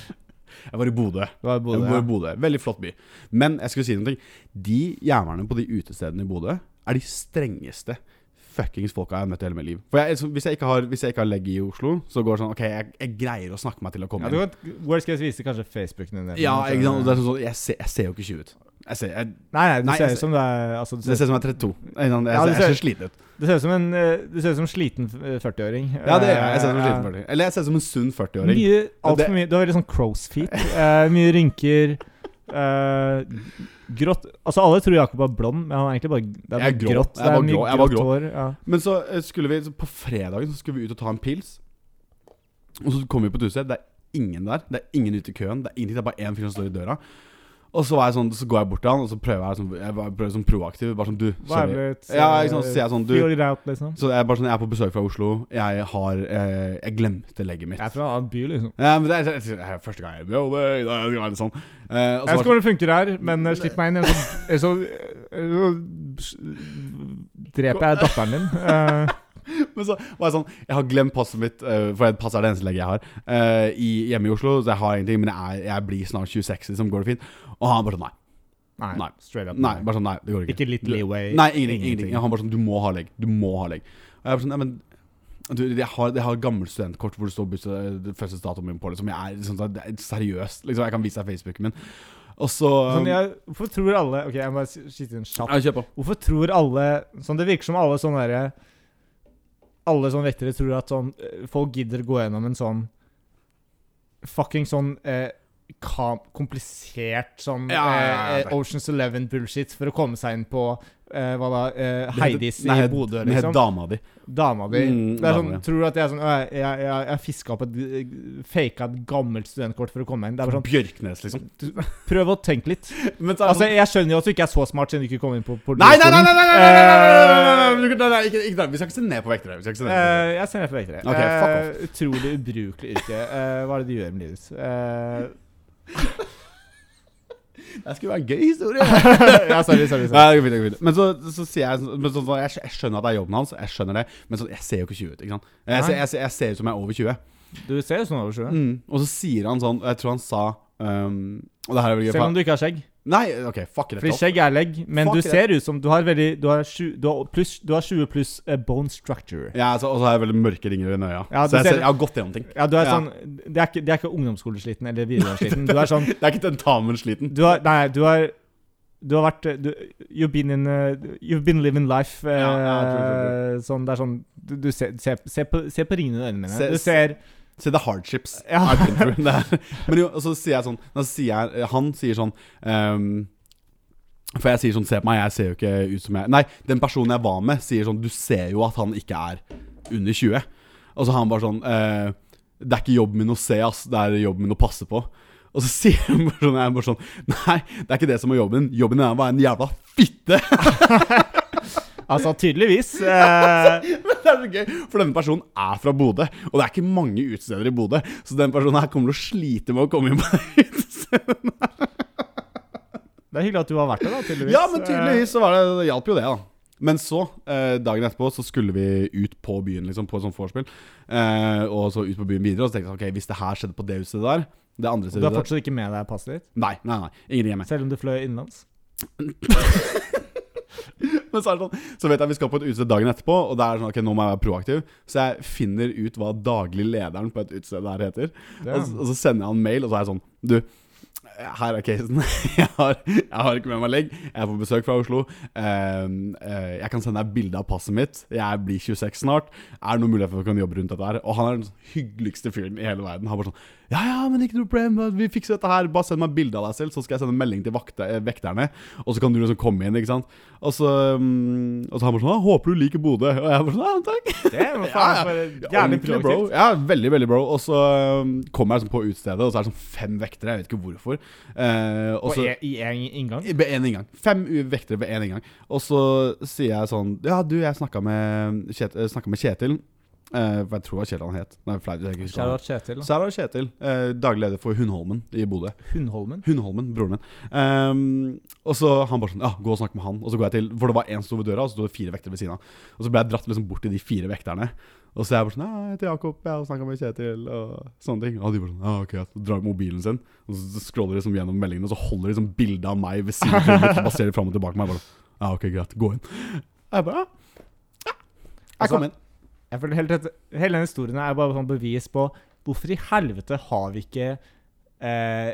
jeg var i Bodø.
Det var i
Jeg
Bodø.
bor
Ja.
i Bodø. Veldig flott by. Men jeg skulle si noe. De jævlene på de utestedene i Bodø er de strengeste fuckings folka jeg har møtt i hele mitt liv. For jeg, så hvis, jeg ikke har, hvis jeg ikke har legg i Oslo, så går det sånn OK, jeg, jeg greier å snakke meg til å komme
Ja,
inn.
du kan, worst case viser kanskje Facebooken din.
Ja, ikke sant? Og Det er sånn, sånn, jeg, ser, jeg ser jo ikke 20 ut. Jeg ser, jeg,
Nei, nei, du
Nei,
ser
jeg
ut som du er altså, du,
jeg
ser,
ser ut som jeg er 32.
Ja,
Jeg, jeg, jeg,
du
jeg ser
ser-
sliten ut.
du ser ut som en eh, Du ser ut som en sliten eh, 40-åring.
Ja, det gjør jeg. Jeg ser ut som en
Eh,
sliten 40. Eller jeg ser ut som en sunn 40-åring.
Mye, alt
Det-
for mye. Du har veldig sånn crow's feet. eh, mye rynker. eh, grått Altså, alle tror Jakob er blond, men han er egentlig bare det er
Jeg er
bare
grå.
grått.
Jeg
Det
var
er
grå.
mye
Jeg var
grått
grå.
hår. Ja.
Men så eh, skulle vi så På fredagen så skulle vi ut og ta en pils. Og så kom vi på et utested. Det er ingen der. Det er ingen ute i køen. Det er ingenting. Det er bare én fyr som står i døra. Og så, var jeg sånn, så går jeg bort til han, og så prøver jeg sånn, jeg bare prøver sånn proaktiv. Bare sånn Du,
Hva er
sorry.
det, et,
Ja, ikke sant, så sier
eh,
jeg sånn Du
Feel it out, liksom.
Så jeg er bare sånn Jeg er på besøk fra Oslo. Jeg har eh, Jeg glemte legget mitt.
Jeg er fra en annen by, liksom.
Ja, men det er, det er første gang jeg er i dag, det er litt sånn. Eh, og
Jeg vet ikke
så var
hvordan det funker her, men eh, slipp meg inn. Ellers så, ellers så, ellers så dreper jeg datteren din. Eh,
det- men så var jeg sånn Jeg har glemt passet mitt, eh, for passet er det eneste legget jeg har, eh, i, hjemme i Oslo. Så jeg har ingenting, men jeg, er, jeg blir snart 26, liksom. Går det fint? Og han bare sånn nei.
nei,
Nei.
straight up.
Nei, bare sånn, nei, det går ikke.
Ikke litt leeway.
Nei, ingenting. ingenting. Han bare sånn Du må ha legg. Du må ha legg. Og jeg bare sånn Nei, men du, jeg har, jeg har gammelt studentkort hvor det står busse- fødselsdatoen min på. Liksom. Jeg er liksom, det er seriøst. Liksom, jeg kan vise deg Facebooken min. Og så
Sånn, jeg, hvorfor tror alle Ok, jeg må bare skyte inn kjapt.
Ja, kjør på.
Hvorfor tror alle sånn Det virker som alle sånne derre Alle sånne vektere tror at sånn eh, Folk gidder gå gjennom en sånn Fucking sånn eh, kam, komplisert sånn
Ja, ja, ja,
eh,
ja.
eh, Oceans Eleven-bullshit for å komme seg inn på eh, Hva da? Eh,
Det heter-
Heidis
nei,
i Bodø,
Den het
liksom.
Dama di.
Dama di.
Mm,
det er
dama
sånn,
di.
Tror du at jeg er sånn «Å, Jeg, jeg, jeg, jeg fiska opp et eh, faka et gammelt studentkort for å komme inn. Det er bare sånn
Bjørknes, liksom.
Prøv å tenke litt.
Men så er det
Altså,
sånn-
Jeg skjønner jo at du ikke er så smart siden du ikke kom inn på politiskolen.
Nei, nei, nei, nei, nei, nei, nei, nei, nei, nei, nei, nei, nei, nei, nei, nei, ikke, ikke der. Vi skal ikke se ned på vektere. Vi skal ikke se ned på vektere.
Eh, jeg ser ned på vektere.
Ok, fuck
Eh, utrolig ubrukelig yrke. Eh, hva er det du gjør med livet ditt? Eh,
Det skulle være en gøy historie.
ja, sorry, sorry. sorry.
Nei, det går fint, det går fint. Men så, så sier jeg sånn- men sånn, sånn, jeg, skj- jeg skjønner at det er jobben hans, jeg skjønner det, men sånn, jeg ser jo ikke 20 ut. ikke sant? Jeg, ser-
Nei.
jeg, ser- jeg ser ut som jeg er over 20.
Du ser jo sånn over sjøen.
Mm. Og så sier han sånn, og jeg tror han sa um, Og det her er vel gøy
Selv om
for
du ikke har skjegg.
Nei, OK, fuck it.
Fordi
Rett opp.
skjegg er legg, men
Fuck
du
det.
ser ut som du har veldig Du har, sju, du har, pluss, du har 20 pluss eh, bone structure.
Ja, altså, og så har jeg veldig mørke ringer under øya.
Ja, du
så jeg,
ser-
ser, jeg har gått gjennom ting.
Ja, du er
Ja.
sånn Det er ikke, det er ikke ungdomsskolesliten eller videregåendesliten. Du er sånn
Det er ikke tentamensliten.
Du har Nei, du har du har vært eh, du, You've been in eh, You've been living life. eh,
Ja, ja, true, true,
Sånn, det er sånn Du, du ser, se, se, på, se på ringene i øynene mine.
Se-
du ser
Se, det er hardships.
Ja.
I've been through det. Men jo, og så sier jeg sånn da sier jeg, Han sier sånn ehm, For jeg sier sånn Se på meg, jeg ser jo ikke ut som jeg Nei, den personen jeg var med, sier sånn Du ser jo at han ikke er under 20. Og så har han bare sånn eh, Det er ikke jobben min å se, ass. Det er jobben min å passe på. Og så sier han bare sånn, jeg er bare sånn Nei, det er ikke det som er jobben. Jobben din er å være en jævla fitte.
Altså, tydeligvis. Eh,
Men det er så gøy, for denne personen er fra Bodø, og det er ikke mange utesteder i Bodø, så den personen her kommer til å slite med å komme inn på det utestedet.
det er hyggelig at du har vært der, da, tydeligvis.
Ja, men tydeligvis så var det, det hjalp jo det, da. Men så, eh, dagen etterpå, så skulle vi ut på byen, liksom, på et sånt vorspiel. Eh, og så ut på byen videre, og så tenkte jeg sånn, ok, hvis det her skjedde på det huset der Det andre
Og Eh, du
stedet
har
der
fortsatt ikke med deg passet ditt?
Nei, nei, nei. Ingenting hjemme.
Selv om du fløy innenlands?
Men så er det sånn Så vet jeg vi skal på et utested dagen etterpå, og det er sånn ok, nå må jeg være proaktiv. Så jeg finner ut hva daglig lederen på et utested der heter.
Det,
Og, så- og så sender jeg han mail, og så er jeg sånn Du, her er casen. Jeg har, jeg har ikke med meg legg. Jeg er på besøk fra Oslo. Ehm, eh, jeg kan sende deg bilde av passet mitt. Jeg blir 26 snart. Er det noen mulighet for at vi kan jobbe rundt dette her? Og han er den hyggeligste fyren i hele verden. Han bare sånn Ja, ja, men ikke noe problem. Vi fikser dette her. Bare send meg bilde av deg selv, så skal jeg sende en melding til vakte, eh, vekterne. Og så kan du liksom komme inn, ikke sant. Og så, mm, og så han bare sånn «Ja, Håper du liker Bodø. Og jeg bare sånn Ja, takk.
det er jo faen for jævlig
Ordentlig, bro.
proaktivt.
Ja, veldig, veldig bro. Og så um, kommer jeg liksom på utestedet, og så er det sånn fem vektere. Jeg vet ikke hvorfor. Eh, og
Og
så
i én inngang?
ved én inngang. Fem u- vektere ved én inngang. Og så sier jeg sånn Ja, du, jeg snakka med, Kjet, eh, snakket med Kjetil. Eh, for jeg tror det var Kjetil han het. Nei, flaut. jeg husker ikke hva han het.
Shout-out Kjetil.
Så her er det Kjetil. eh, daglig leder for Hundholmen i Bodø.
Hundholmen.
Hundholmen, broren min. Ehm, og så han bare sånn Ja, gå og snakk med han. Og så går jeg til For det var én som sto ved døra, og så sto det fire vektere ved siden av. Og så ble jeg dratt liksom bort til de fire vekterne. Og så er jeg bare sånn Ja, jeg heter Jakob, jeg har snakka med Kjetil, og sånne ting. Og de bare sånn Ja, ok, greit. Så drar de mobilen sin, og så scroller de liksom gjennom meldingene, og så holder de liksom bilde av meg ved siden av meg, og passerer fram og tilbake meg. Jeg bare sånn Ja, ok, greit. Gå inn. Jeg bare Ja. ja. Jeg kom inn.
Jeg føler helt rett, Hele denne historien er bare sånn bevis på hvorfor i helvete har vi ikke eh,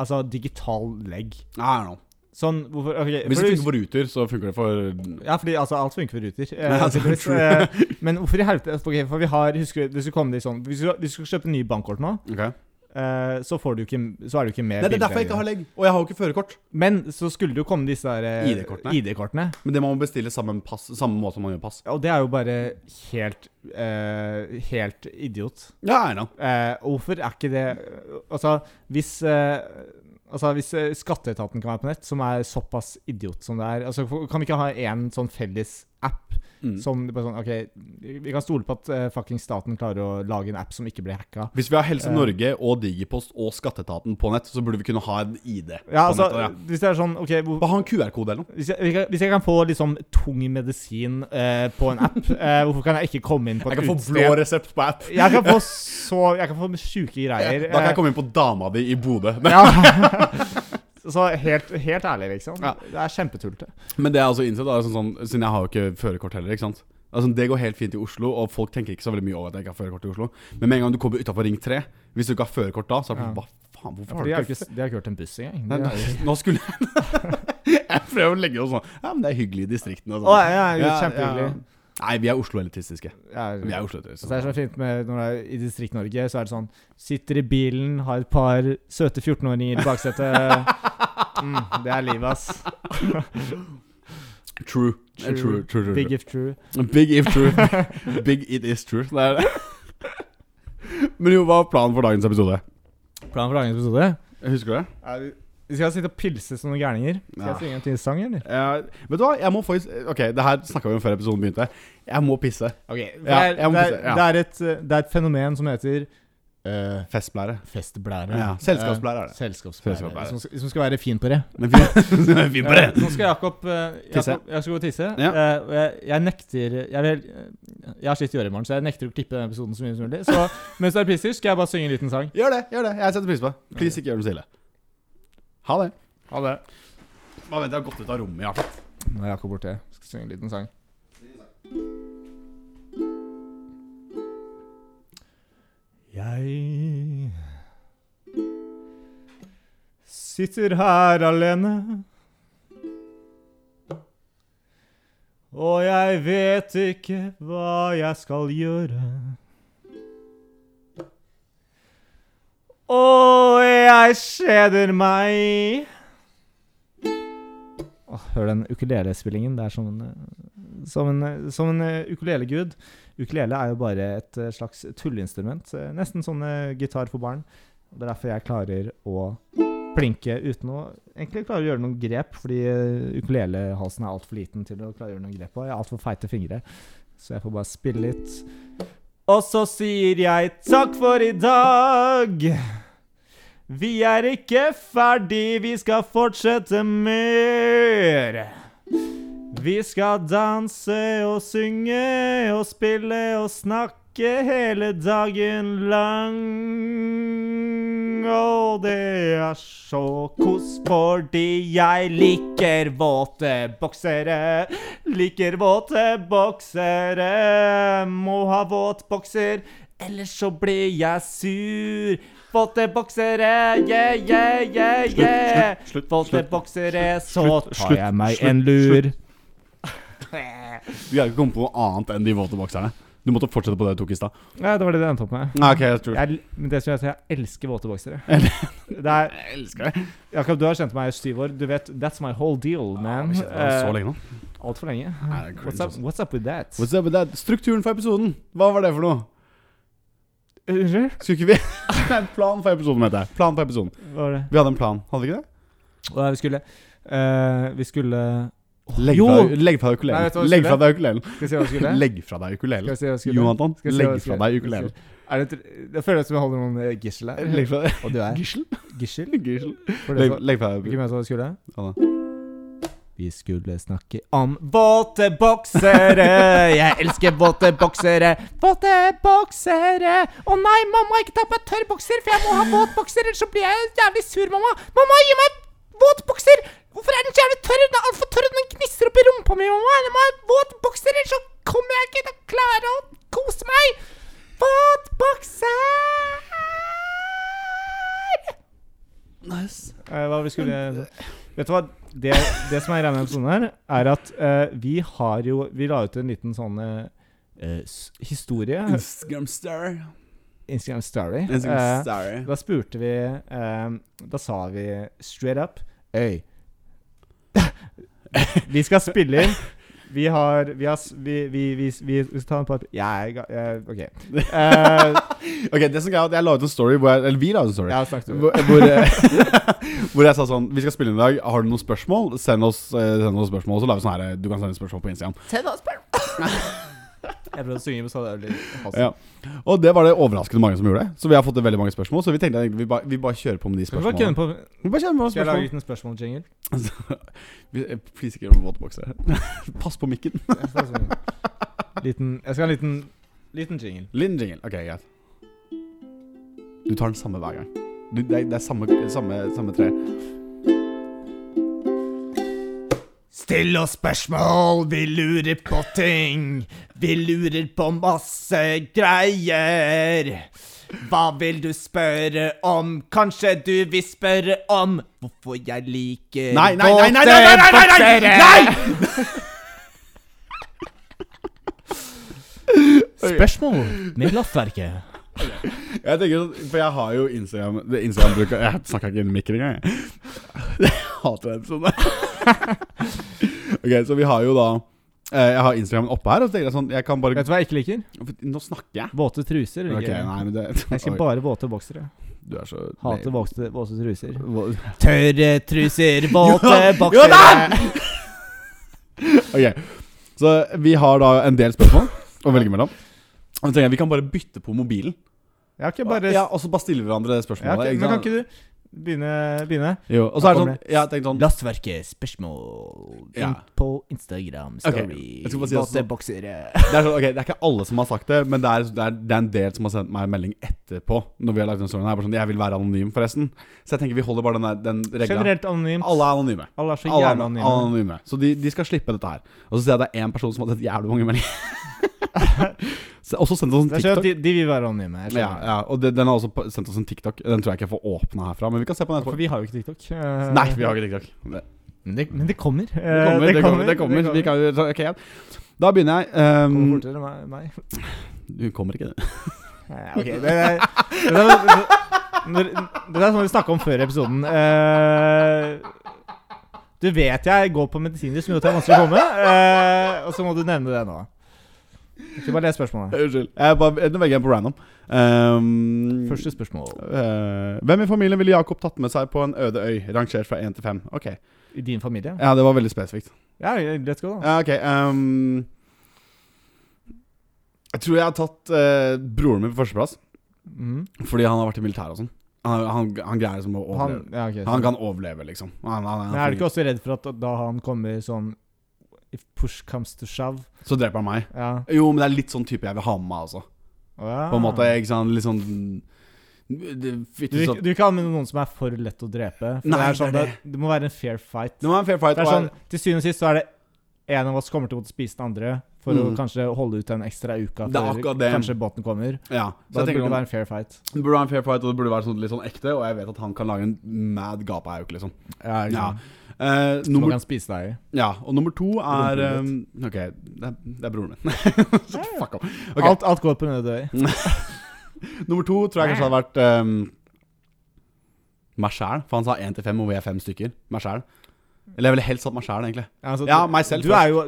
Altså digital legg?
I don't know.
Sånn hvorfor ok,
Hvis
for du-
det funker på Ruter, så funker det for
Ja, fordi altså, alt funker for ruter. Eh,
Ja, det er
tydeligvis.
true.
Eh, men hvorfor i helvete ok, For vi har Husker du, du skulle komme dit sånn Hvis du, hvis du skal kjøpe nye bankkort nå,
Ok.
eh, så, får du ikke, så er du ikke med
Nei, det er derfor jeg ikke har legg. Og jeg har jo ikke førerkort.
Men så skulle det jo komme disse der, eh,
ID-kortene.
ID-kortene.
Men det må man bestille samme, pass, samme måte som man gjør pass.
Ja, og det er jo bare helt eh, Helt idiot.
Ja, I know.
Eh, og hvorfor er ikke det Altså, hvis eh, Altså, Hvis eh, Skatteetaten kan være på nett, som er såpass idiot som det er altså, for- Kan vi ikke ha én sånn felles app
Mm.
Som det bare sånn, ok, Vi kan stole på at uh, fucking staten klarer å lage en app som ikke blir hacka.
Hvis vi har Helse
Eh.
Norge og Digipost og Skatteetaten på nett, så burde vi kunne ha en ID.
Ja,
på
altså,
nettet, ja.
Hvis det er sånn ok, hvor,
Bare ha en QR-kode eller noe.
hvis, jeg, hvis jeg kan få liksom tung medisin eh, på en app, eh, hvorfor kan jeg ikke komme inn på et
Jeg kan få blå
utested?
resept på app.
Jeg kan få så Jeg kan få sjuke greier.
Da kan
eh,
jeg komme inn på dama di i Bodø. Men-
ja. Så helt, helt ærlig, liksom.
Ja.
Det er kjempetullete.
Men det jeg også innsett, er sånn, sånn, siden jeg har jo ikke førerkort heller, ikke sant. Altså, det går helt fint i Oslo, og folk tenker ikke så veldig mye over at jeg ikke har førerkort i Oslo. Men med en gang du kommer utafor Ring 3, hvis du ikke har førerkort da, så er det
Ja.
sånn Hva faen,
Ja,
hvorfor
for De
har
har
du
jo
ikke
ikke, de har ikke hørt en buss engang.
Nei,
De
nei,
har-
Nå skulle Jeg prøver å legge det sånn Ja, men det er hyggelig i distriktene
Å,
og sånn.
ja, ja,
Ja,
kjempehyggelig.
ja. Nei, vi er Oslo-elitistiske.
Ja,
Vi er Oslo-elitistiske.
Så det er så fint med når det er i Distrikt-Norge, så er det sånn Sitter i bilen, har et par søte 14-åringer i baksetet. Mm, det er livet, ass.
True. True. True, true, true.
Big if true.
Big if true. Big it is true. Det er det. Men jo, hva var planen for dagens episode?
Planen for dagens episode?
Husker du det?
Er vi vi skal sitte og pilse som noen gærninger. Skal jeg
Ja.
synge en til sang, eller?
Eh, vet du hva, jeg må faktisk Ok, det her snakka vi om før episoden begynte. Jeg må pisse.
Ok,
Ja,
det, er,
jeg må
det, er,
pisse, ja.
det, er et, eh, det er et fenomen som heter eh,
Festblære.
festblære.
Ja, selskapsblære er det.
Eh, Selskapsblære.
Selskapsblære.
Hvis man skal- Hvis man skal være fin på det.
Men vi, vi på
Eh,
det.
Nå skal Jakob eh,
Tisse.
Jakob- Jeg skal gå og tisse.
Ja.
Eh, og jeg, jeg nekter jeg, vil, jeg har skitt i øret i morgen, så jeg nekter å klippe denne episoden så mye som mulig. Så mens du er pisser, skal jeg bare synge en liten sang.
Gjør det. gjør det Jeg setter pris på det. Please, ikke gjør det så ille. Ha det.
Ha det.
Bare vent, jeg har gått ut av rommet. Ja.
Nå er Jakob borte. Skal synge en liten sang. Jeg sitter her alene. Og jeg vet ikke hva jeg skal gjøre. Og jeg kjeder meg. Åh, hør den ukulelespillingen. Det er som en, eh, som en, eh, som en eh, ukulelegud. Ukulele er jo bare et eh, slags tulleinstrument. eh, Nesten sånn eh, gitar for barn. Og Det er derfor jeg klarer å plinke uten å egentlig klare å gjøre noen grep, fordi eh, ukulelehalsen er altfor liten til å klare å gjøre noen grep på. Jeg har altfor feite fingre, så jeg får bare spille litt. Og så sier jeg takk for i dag. Vi er ikke ferdig, vi skal fortsette mer. Vi skal danse og synge og spille og snakke hele dagen lang. Og det er så kos fordi jeg liker våte boksere. Liker våte boksere. Må ha våt bokser, ellers så blir jeg sur. Våte boksere, yeah, yeah, yeah, yeah.
slutt, slutt,
Våte
slutt,
boksere, så
slutt,
tar
slutt,
jeg meg
slutt,
en lur.
Vi har ikke kommet på noe annet enn de våte bokserne. Du måtte fortsette på det du tok i stad.
Nei, det var det det endte opp med.
Nei, ok, jeg tror
Jeg, men det som jeg sier, jeg elsker våte boksere.
Eller-
Det er,
Jeg elsker det.
Jakob, du har kjent meg i syv år. Du vet, That's my whole deal, man.
Vi kjenner oss så lenge nå.
Altfor lenge.
Nei, det er cringe,
Eh,
altså.
What's up,
ass.
what's up with that?
What's up with that? Strukturen for episoden, hva var det for noe?
Unnskyld?
Skulle ikke vi Nei, plan for episoden, heter det. Plan for episoden.
Hva var det?
Vi hadde en plan, hadde vi ikke det?
Hva er det vi skulle eh, Vi skulle
Legg
Jo!
fra, legg fra deg
Nei, vet du hva
ukulelen.
vi
Legg fra
skulle?
deg ukulelen.
Skal vi si hva vi skulle?
Legg fra deg
Skal
ukulelen.
vi si hva vi skulle?
Jonathan,
Skal vi si hva
legg
vi
fra
skulle?
deg
Skal vi si-
ukulelen.
Er det, det føles som jeg holder noen eh, gissel her.
Legg fra deg
Og du er
Gissel?
gissel?
Gissel.
For det
Legg,
som-
legg fra deg
Hvilken mente hva vi skulle?
Ja,
Vi skulle snakke om
Våte boksere, jeg elsker våte boksere. Våte boksere. Å nei, mamma, ikke ta på meg tørrbokser, for jeg må ha våt bokser, ellers så blir jeg jævlig sur, mamma. Mamma, gi meg våt bokser! Hvorfor er den så jævlig tørr? Den er altfor tørr, og den gnisser opp i rumpa mi, mamma. Jeg må ha våt bokser, ellers så kommer jeg ikke til å klare å kose meg. Våt bokser!
Nice.
Eh, Hva vi skulle Vet du hva? Det, det som er greia med episoden her, er at eh, vi har jo Vi la ut en liten sånn eh, s- historie.
Instagram star.
Instagram story.
Instagram
Eh,
star.
da spurte vi eh, Da sa vi straight up Øy. vi skal spille inn. Vi har Vi har s- Vi, vi, vi, vi, vi skal ta en par Jeg er ga- jeg- OK. Eh,
Ok, det som er at Jeg la ut en story hvor jeg, Eller vi la ut en story.
jeg har snakket om det.
Hvor, hvor, eh, hvor jeg sa sånn Vi skal spille inn i dag. Har du noen spørsmål? Send oss, eh, send oss spørsmål. Så la vi sånn her eh, Du kan sende spørsmål på Instagram.
Send oss spørsmål.
Jeg prøvde å synge, men så hadde jeg litt halsen.
Ja. Og det var det overraskende mange som gjorde. det. Så vi har fått veldig mange spørsmål. Så vi tenkte egentlig vi bare, vi bare kjører på med de
Skal vi bare kødde
spørsmålene.
på
Vi bare kjører på med
Skal jeg lage en
spørsmål.
liten spørsmål-jingle?
Vi- eh, Please ikke gjør noe våtbokse. Pass på mikken.
Jeg skal ha sånn- liten, jeg skal ha en liten, liten jingle.
Liten jingle. Ok, greit. Du tar den samme hver gang. Du, det, er, det er samme, samme, samme tre.
Still oss spørsmål, vi lurer på ting. Vi lurer på masse greier. Hva vil du spørre om? Kanskje du vil spørre om hvorfor jeg liker
Nei, nei, nei, nei, nei, nei, nei, nei, nei,
våte
nei!
boksere?
Spørsmål med Glassverket.
Jeg tenker sånn, For jeg har jo Instagram det Instagram bruker Jeg snakka ikke inn i mikken engang. Jeg Jeg hater den sånn. ok, så vi har jo da eh, Jeg har Instagram oppe her, og så tenker jeg sånn Jeg kan bare
Vet du hva jeg ikke liker?
Nå snakker jeg.
Våte truser. liker
Ok,
jeg.
nei, men det
jeg skal
Oi,
bare våte boksere.
Du er så
Hater våte, våte truser.
Hva-
Tørre truser, våte
Johan-
boksere.
Ok, så vi har da en del spørsmål å velge mellom. Og så tenker jeg Vi kan bare bytte på mobilen.
Jeg har ikke bare
Ja, Og så bare stille hverandre det
jeg har
spørsmålet.
ikke,
ikke
Men kan
sant?
ikke du begynne? begynne?
Jo, Og så er det sånn
Kommer
Jeg har tenkt sånn
Lastverket spørsmål
Ja.
inn på Instagram
Ok,
story.
jeg skal bare si at
våte
så-
boksere.
Det er, sånn, ok, det er ikke alle som har sagt det, men det er, det er, det er en del som har sendt meg en melding etterpå. Når vi har lagt den storyen her bare sånn, Jeg vil være anonym, forresten. Så jeg tenker vi holder bare den, der- den regla.
Generelt anonymt.
Alle er anonyme.
Alle er så
Alle er
jævla
anonyme.
anonyme.
Så de, de skal slippe dette her. Og så ser jeg at det er én person som har sett jævlig mange meldinger. Så- også sendt oss en
Jeg skjønner sånn at de,
TikTok.
de vil være anonyme. Jeg
Ja,
skjønner.
ja, og det, den har også på- sendt oss en TikTok. Den tror jeg ikke jeg får åpna herfra, men vi kan se på den
For
etterpå.
vi har jo ikke TikTok. Eh,
Nei, vi har ikke TikTok. Det
Men det, men det kommer. Eh,
det kommer, det kommer. Det kommer. Vi kan, jo- ok, ja. Da begynner jeg.
Det
ehm,
kommer fortere enn meg. meg.
du kommer ikke, det.
Ja, Eh, ok, det, er- det, er- det, det, det er sånn vi snakka om før i episoden. Eh, du vet jeg går på medisiner som gjør at det er vanskelig å komme, eh, og så må du nevne det nå. Ikke bare les spørsmålet.
Unnskyld. Jeg bare, nå velger jeg på random. Ehm,
Første spørsmål.
Eh, hvem i familien ville Jakob tatt med seg på en øde øy, rangert fra 1 til 5? Ok.
I din familie?
Ja, det var veldig spesifikt.
Ja, let's go, da.
Ja, ok. ehm, jeg tror jeg har tatt eh, broren min på førsteplass,
Mhm.
fordi han har vært i militæret og sånn. Han, han, han greier liksom å
Han,
overleve.
ja, ok,
Han,
så-
kan overleve, liksom. Han, han, han,
Men er du ikke også redd for at da han kommer sånn If push comes to shove.
Så dreper han meg.
Ja.
Jo, men det er litt sånn type jeg vil ha med meg, altså.
Å, ja.
På en måte, ikke sant? Litt sånn det-
Ah. Du,
Fytti sånn.
du kan anvende noen som er for lett å drepe. For
Nei,
det, er sånn,
det er
det, det må være en fair fight.
Det var en fair fight.
Det er
og jeg-
sånn, Til syvende og sist så er det en av oss kommer til å måtte spise den andre for å
Mm.
kanskje holde ut en ekstra uke
Det er
før
akkurat det.
kanskje båten kommer.
Ja.
Da
Så jeg
burde
tenker
det
sånn,
være en fair fight.
det burde være en fair fight, og det burde være sånn, litt sånn ekte, og jeg vet at han kan lage en mad gapahauk, liksom.
Ja,
Ja. Eh,
sånn? Nummer...
nummer,
kan spise deg i.
ja, og nummer to er
Broren
eh, Ok, det er, det er broren min. Fuck off. Ok.
Alt, alt går på en øde øy.
Nummer to tror jeg kanskje hadde vært um, meg sjæl. For han sa én til fem, og vi er fem stykker. Meg sjæl. Eller jeg ville helst hatt meg sjæl, egentlig.
Altså,
Ja,
du-
meg selv
Du er jo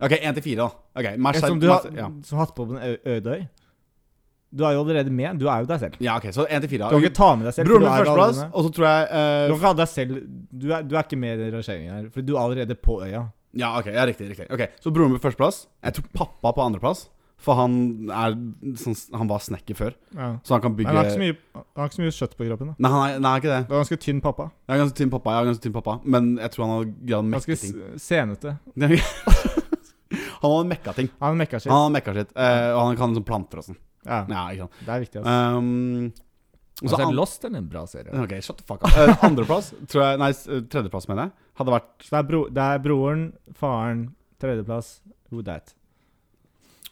Ok, én til fire, da. Ok, meg
Som
selv
du har
meg- ja.
som hatt på på en ø- øde øy. Du er jo allerede med. Du er jo deg selv.
ja, ok, så én til fire.
Du kan ikke ta med deg selv. for
Broren
du
min
er jo
førsteplass,
allerede-
og så tror jeg
Du
eh,
kan ikke ha deg selv Du er, du er ikke med i den rangeringen her, for du er allerede på øya.
Ja, ok, ja, riktig. riktig Ok, Så broren min førsteplass. Jeg tror pappa på andreplass. For han er sånn, Han var snekker før,
Ja.
så han kan bygge
Men han har, ikke så mye, han har ikke så mye kjøtt på kroppen. da
Nei, han er, nei, ikke det.
Du er ganske tynn pappa.
Jeg er ganske tynn pappa, jeg er ganske tynn pappa men jeg tror han har greid å mekke
Ganske
ting.
s- senete.
han har mekka ting.
Han mekka sitt.
Han har mekka sitt. eh, og han kan sånn planter og sånn.
Ja,
Ja, ikke sant.
det er viktig. Altså.
Um, og så an-
Lost Altså, er en bra serie.
Ok, shut the fuck up. Eh, andreplass, tror jeg Nei, s- eh, tredjeplass, mener jeg. Hadde vært
Så det er, bro, det er broren, faren, tredjeplass, who that?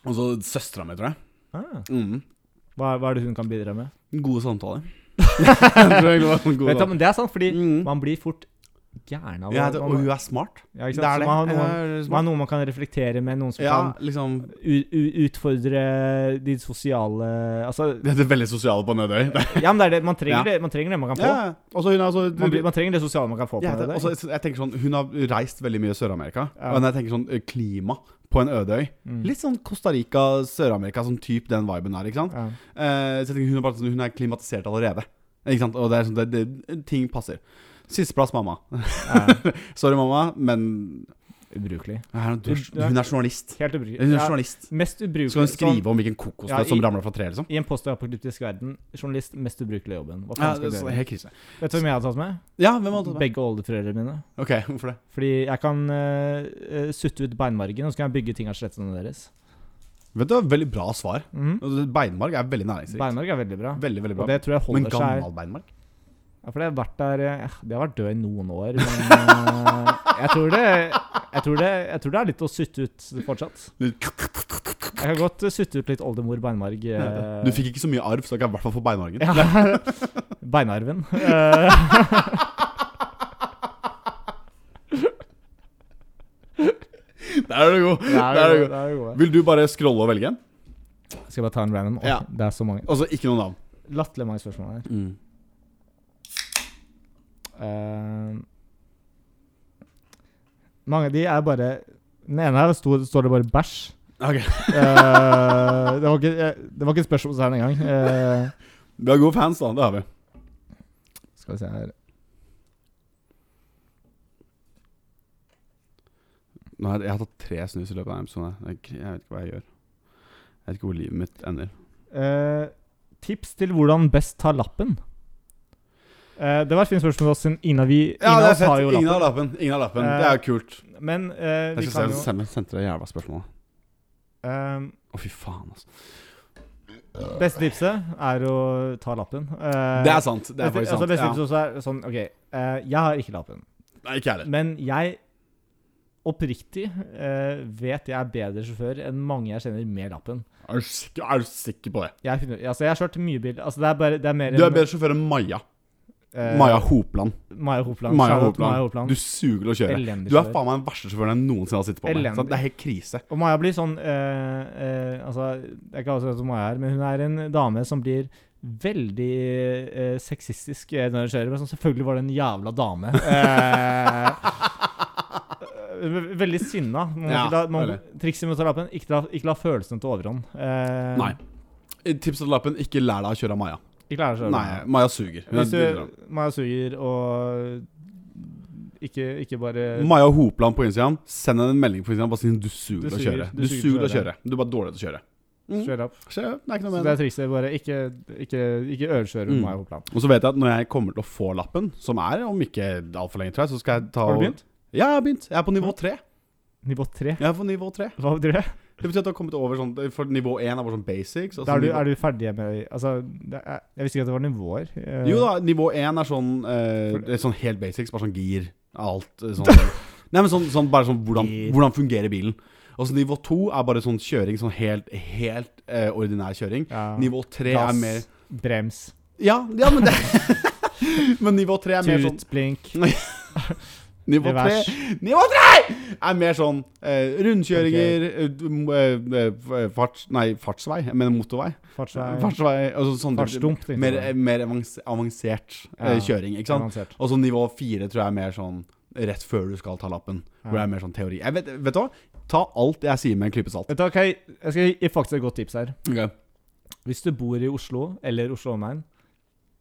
Og
Altså,
så søstera mi, tror jeg.
Ah.
Mm.
Hva, hva er det hun kan bidra med?
Gode samtaler. tror jeg det var en god
Vet du,
dag.
men Det er sant, fordi
Mm.
man blir fort gæren av
ja,
å-
det,
man-
Og hun er smart.
ja, ikke sant? Så Man har noen,
Hun er
man har
smart.
noen man kan reflektere med, noen som
Ja,
kan
liksom
u, u, utfordre de sosiale Altså,
Det er veldig sosiale på Nødøy.
ja, men det er det. Man trenger,
Ja.
det, man trenger det man kan få.
Ja, og så hun er så
Man, blir, man trenger det sosiale man kan få på
Ja,
det.
det, også, jeg tenker sånn, Hun har reist veldig mye i Sør-Amerika.
Ja.
Og når jeg tenker sånn eh, klima på en øde øy
Mm.
Litt sånn Costa Rica, Sør-Amerika, sånn type den viben her. ikke sant?
Ja.
Eh, så jeg tenker hun er, bare, sånn- hun er klimatisert allerede. Ikke sant? Og det er sånn, det, det, ting passer. Sisteplass mamma.
Ja.
Sorry, mamma, men
Ubrukelig.
er hun, dusj-
Ja.
hun er journalist.
Helt ubrukelig.
Hun er
Ja,
journalist.
mest ubrukelig
Skal hun
sånn-
skrive om hvilken kokosnøtt
Ja, i-
som ramler fra treet, liksom?
I en postapokalyptisk verden, journalist mest ubrukelige jobben. Hva
Ja,
faen
det
skal
er
du
sånn
gjøre?
helt krise.
Vet du hvem jeg har tatt med?
Ja, hvem hadde det?
Begge oldeforeldrene mine.
Ok, hvorfor det?
Fordi jeg kan eh, eh, sutte ut beinmargen, og så kan jeg bygge ting av skjelettene deres.
Vet du, Veldig bra svar.
Mhm.
Beinmarg er veldig næringsrikt.
Beinmarg er veldig bra.
Veldig, veldig
Og
bra.
det tror jeg
Men
holder seg
gammel beinmarg?
ja, For det har vært der eh, Det har vært død i noen år, men eh, jeg, tror det, jeg, tror det, jeg tror det er litt å sutte ut fortsatt. Eh, Jeg kan godt eh, sutte ut litt oldemor beinmarg. eh,
Du fikk ikke så mye arv, så da kan jeg i hvert fall få beinmargen.
Ja. Beinarven. Eh,
Der er du god. Der er du god.
der Eh, er du god.
Vil du bare scrolle og velge en?
Skal jeg bare ta en random? Åh,
Ja.
Det er så mange.
Altså ikke noe navn.
Latterlig mange spørsmål her. Eh, mange av de er bare Den ene her sto, står det bare 'bæsj'.
Ok,
Eh, det, var ikke, eh, det var ikke et spørsmål her engang. Uh,
Vi har gode fans, da. Det har vi.
skal vi se her
Nå har jeg, jeg har tatt tre snus i løpet av denne episoden. her. Jeg, jeg vet ikke hva jeg gjør. Jeg vet ikke hvor livet mitt ender.
Eh, Tips til hvordan best ta lappen. Eh, det var et fint spørsmål til oss, siden Ina, vi, Ina oss har jo
Ingen har
lappen.
lappen. Ingen har lappen.
Eh,
det er jo kult.
Men eh, vi
Jeg
kan
skal
jo
se om jeg sendte deg jævla spørsmål. da.
eh,
Å, fy faen, altså.
Beste tipset er å ta lappen. Eh,
Det er sant. Det er
beste-
faktisk
altså,
sant.
beste
Ja.
tipset også er sånn OK, eh, jeg har ikke lappen.
Nei, ikke jeg heller.
Men jeg oppriktig eh, vet jeg er bedre sjåfør enn mange jeg kjenner med lappen.
Er du sikker- Er du sikker på det?
Jeg, er hundre- altså, jeg har kjørt mye bil. Altså, det er bare det er mer
Du er
enn,
bedre sjåfør enn Maja.
eh,
Maja Hopland.
Maja Hopland.
Maja
Shout out til
Hopland.
Maja Hopland.
Du suger til å kjøre.
Elendig
Du er
sjåfør.
faen meg den verste sjåføren jeg noensinne har sittet på med.
Elendig.
Så det er helt krise.
Og Maja blir sånn eh, eh, Altså, jeg kan også si at Maja er men hun er en dame som blir veldig eh, sexistisk eh, når hun kjører. Men sånn, selvfølgelig var det en jævla dame. Eh, eh, veldig sinna. Man må
Ja,
ikke la- man-
veldig.
Trikset med å ta lappen ikke la, ikke la følelsene til overhånd. Eh,
Nei. Tips til lappen, ikke lær deg å kjøre av Maja.
Ikke lære seg å
Nei,
kjøre.
Maja suger. Hun er
Hvis
dritrøm.
du Maja suger og ikke, ikke bare
Maja Hopland på Instagram, send henne en melding på Instagram. Bare si du suger
Du
til å
suger-
kjøre.
du
Du
suger
suger til å
til å
kjøre. Du er bare dårlig til å kjøre. Mm.
kjører opp.
Så det er ikke
Så
noe
det er
med det.
trikset. Bare ikke, ikke, ikke ølkjøre med
Mm.
Maja Hopland.
Og så vet jeg at når jeg kommer til å få lappen, som er om ikke altfor lenge, tror jeg, så skal jeg ta
Har du
og-
begynt?
Ja, jeg har begynt. Jeg er på nivå tre.
Nivå 3?
Jeg er på nivå tre.
Hva betyr det?
Det betyr at du har kommet over sånn For nivå én er bare sånn basics. og
Da
så
er du,
nivå-
er du ferdig med Altså, det er, jeg visste ikke at det var nivåer. Eh,
Jo da, nivå 1 er sånn eh, det er Sånn helt basics, bare sånn gir Alt eh, sånn Nei, men sånn, sånn bare sånn hvordan,
Gir.
hvordan fungerer bilen Og så nivå 2 er bare sånn kjøring Sånn helt, helt eh, ordinær kjøring
Ja.
Nivå 3
Gass,
er mer
brems,
Ja, ja men det Men nivå 3 er mer sånn
tut, blink,
Nivå 3
revers.
Nivå 3 er mer sånn eh, Rundkjøringer eh, eh, eh, farts, Nei, fartsvei Jeg mener motorvei
Fartsvei.
Fartsvei altså, sånn,
Fartsdump, tenkte
Mer,
jeg.
mer avans- avansert eh,
Ja.
kjøring, ikke sant?
Avansert.
Og så nivå fire tror jeg er mer sånn rett før du skal ta lappen. Hvor det er mer sånn teori. Jeg vet, vet du hva? Ta alt jeg sier med en klype salt.
Vet du hva, Kai? Jeg skal gi faktisk et godt tips her.
Ja,
Hvis du bor i Oslo, eller Oslo omegn,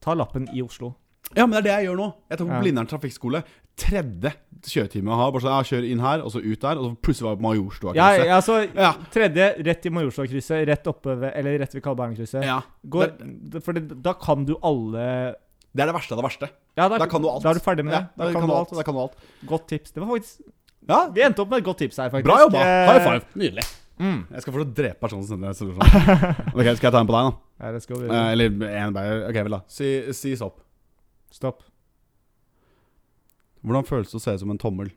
ta lappen i Oslo.
men det er det jeg gjør nå. Jeg tar på
Ja.
Blindern trafikkskole. Tredje kjøretime jeg har. Bare sånn, ja, kjør inn her, og så ut der. Og så plutselig var jeg på Majorstua.
Ja, ja, altså,
Ja.
tredje, rett i Majorstadkrysset, rett oppe ved Eller rett ved Kalbergkrysset.
ja.
Går, d- for det, da kan du alle
Det er det verste av det verste.
Ja,
Da kan du alt.
Da er du ferdig med det.
Ja, da, kan du alt. da kan du alt.
Godt tips. Det var faktisk
Ja,
Vi endte opp med et godt tips her, faktisk.
bra jobba.
Eh,
High five. Nydelig.
Mm.
Jeg skal fortsatt drepe personen som sender deg sånn. Ok, skal jeg ta en på deg, da?
Ja, det skal vi
Eh, eller en bare. Ok, vel, da. Si, si sopp.
Stopp.
Hvordan føles det å se ut som en tommel?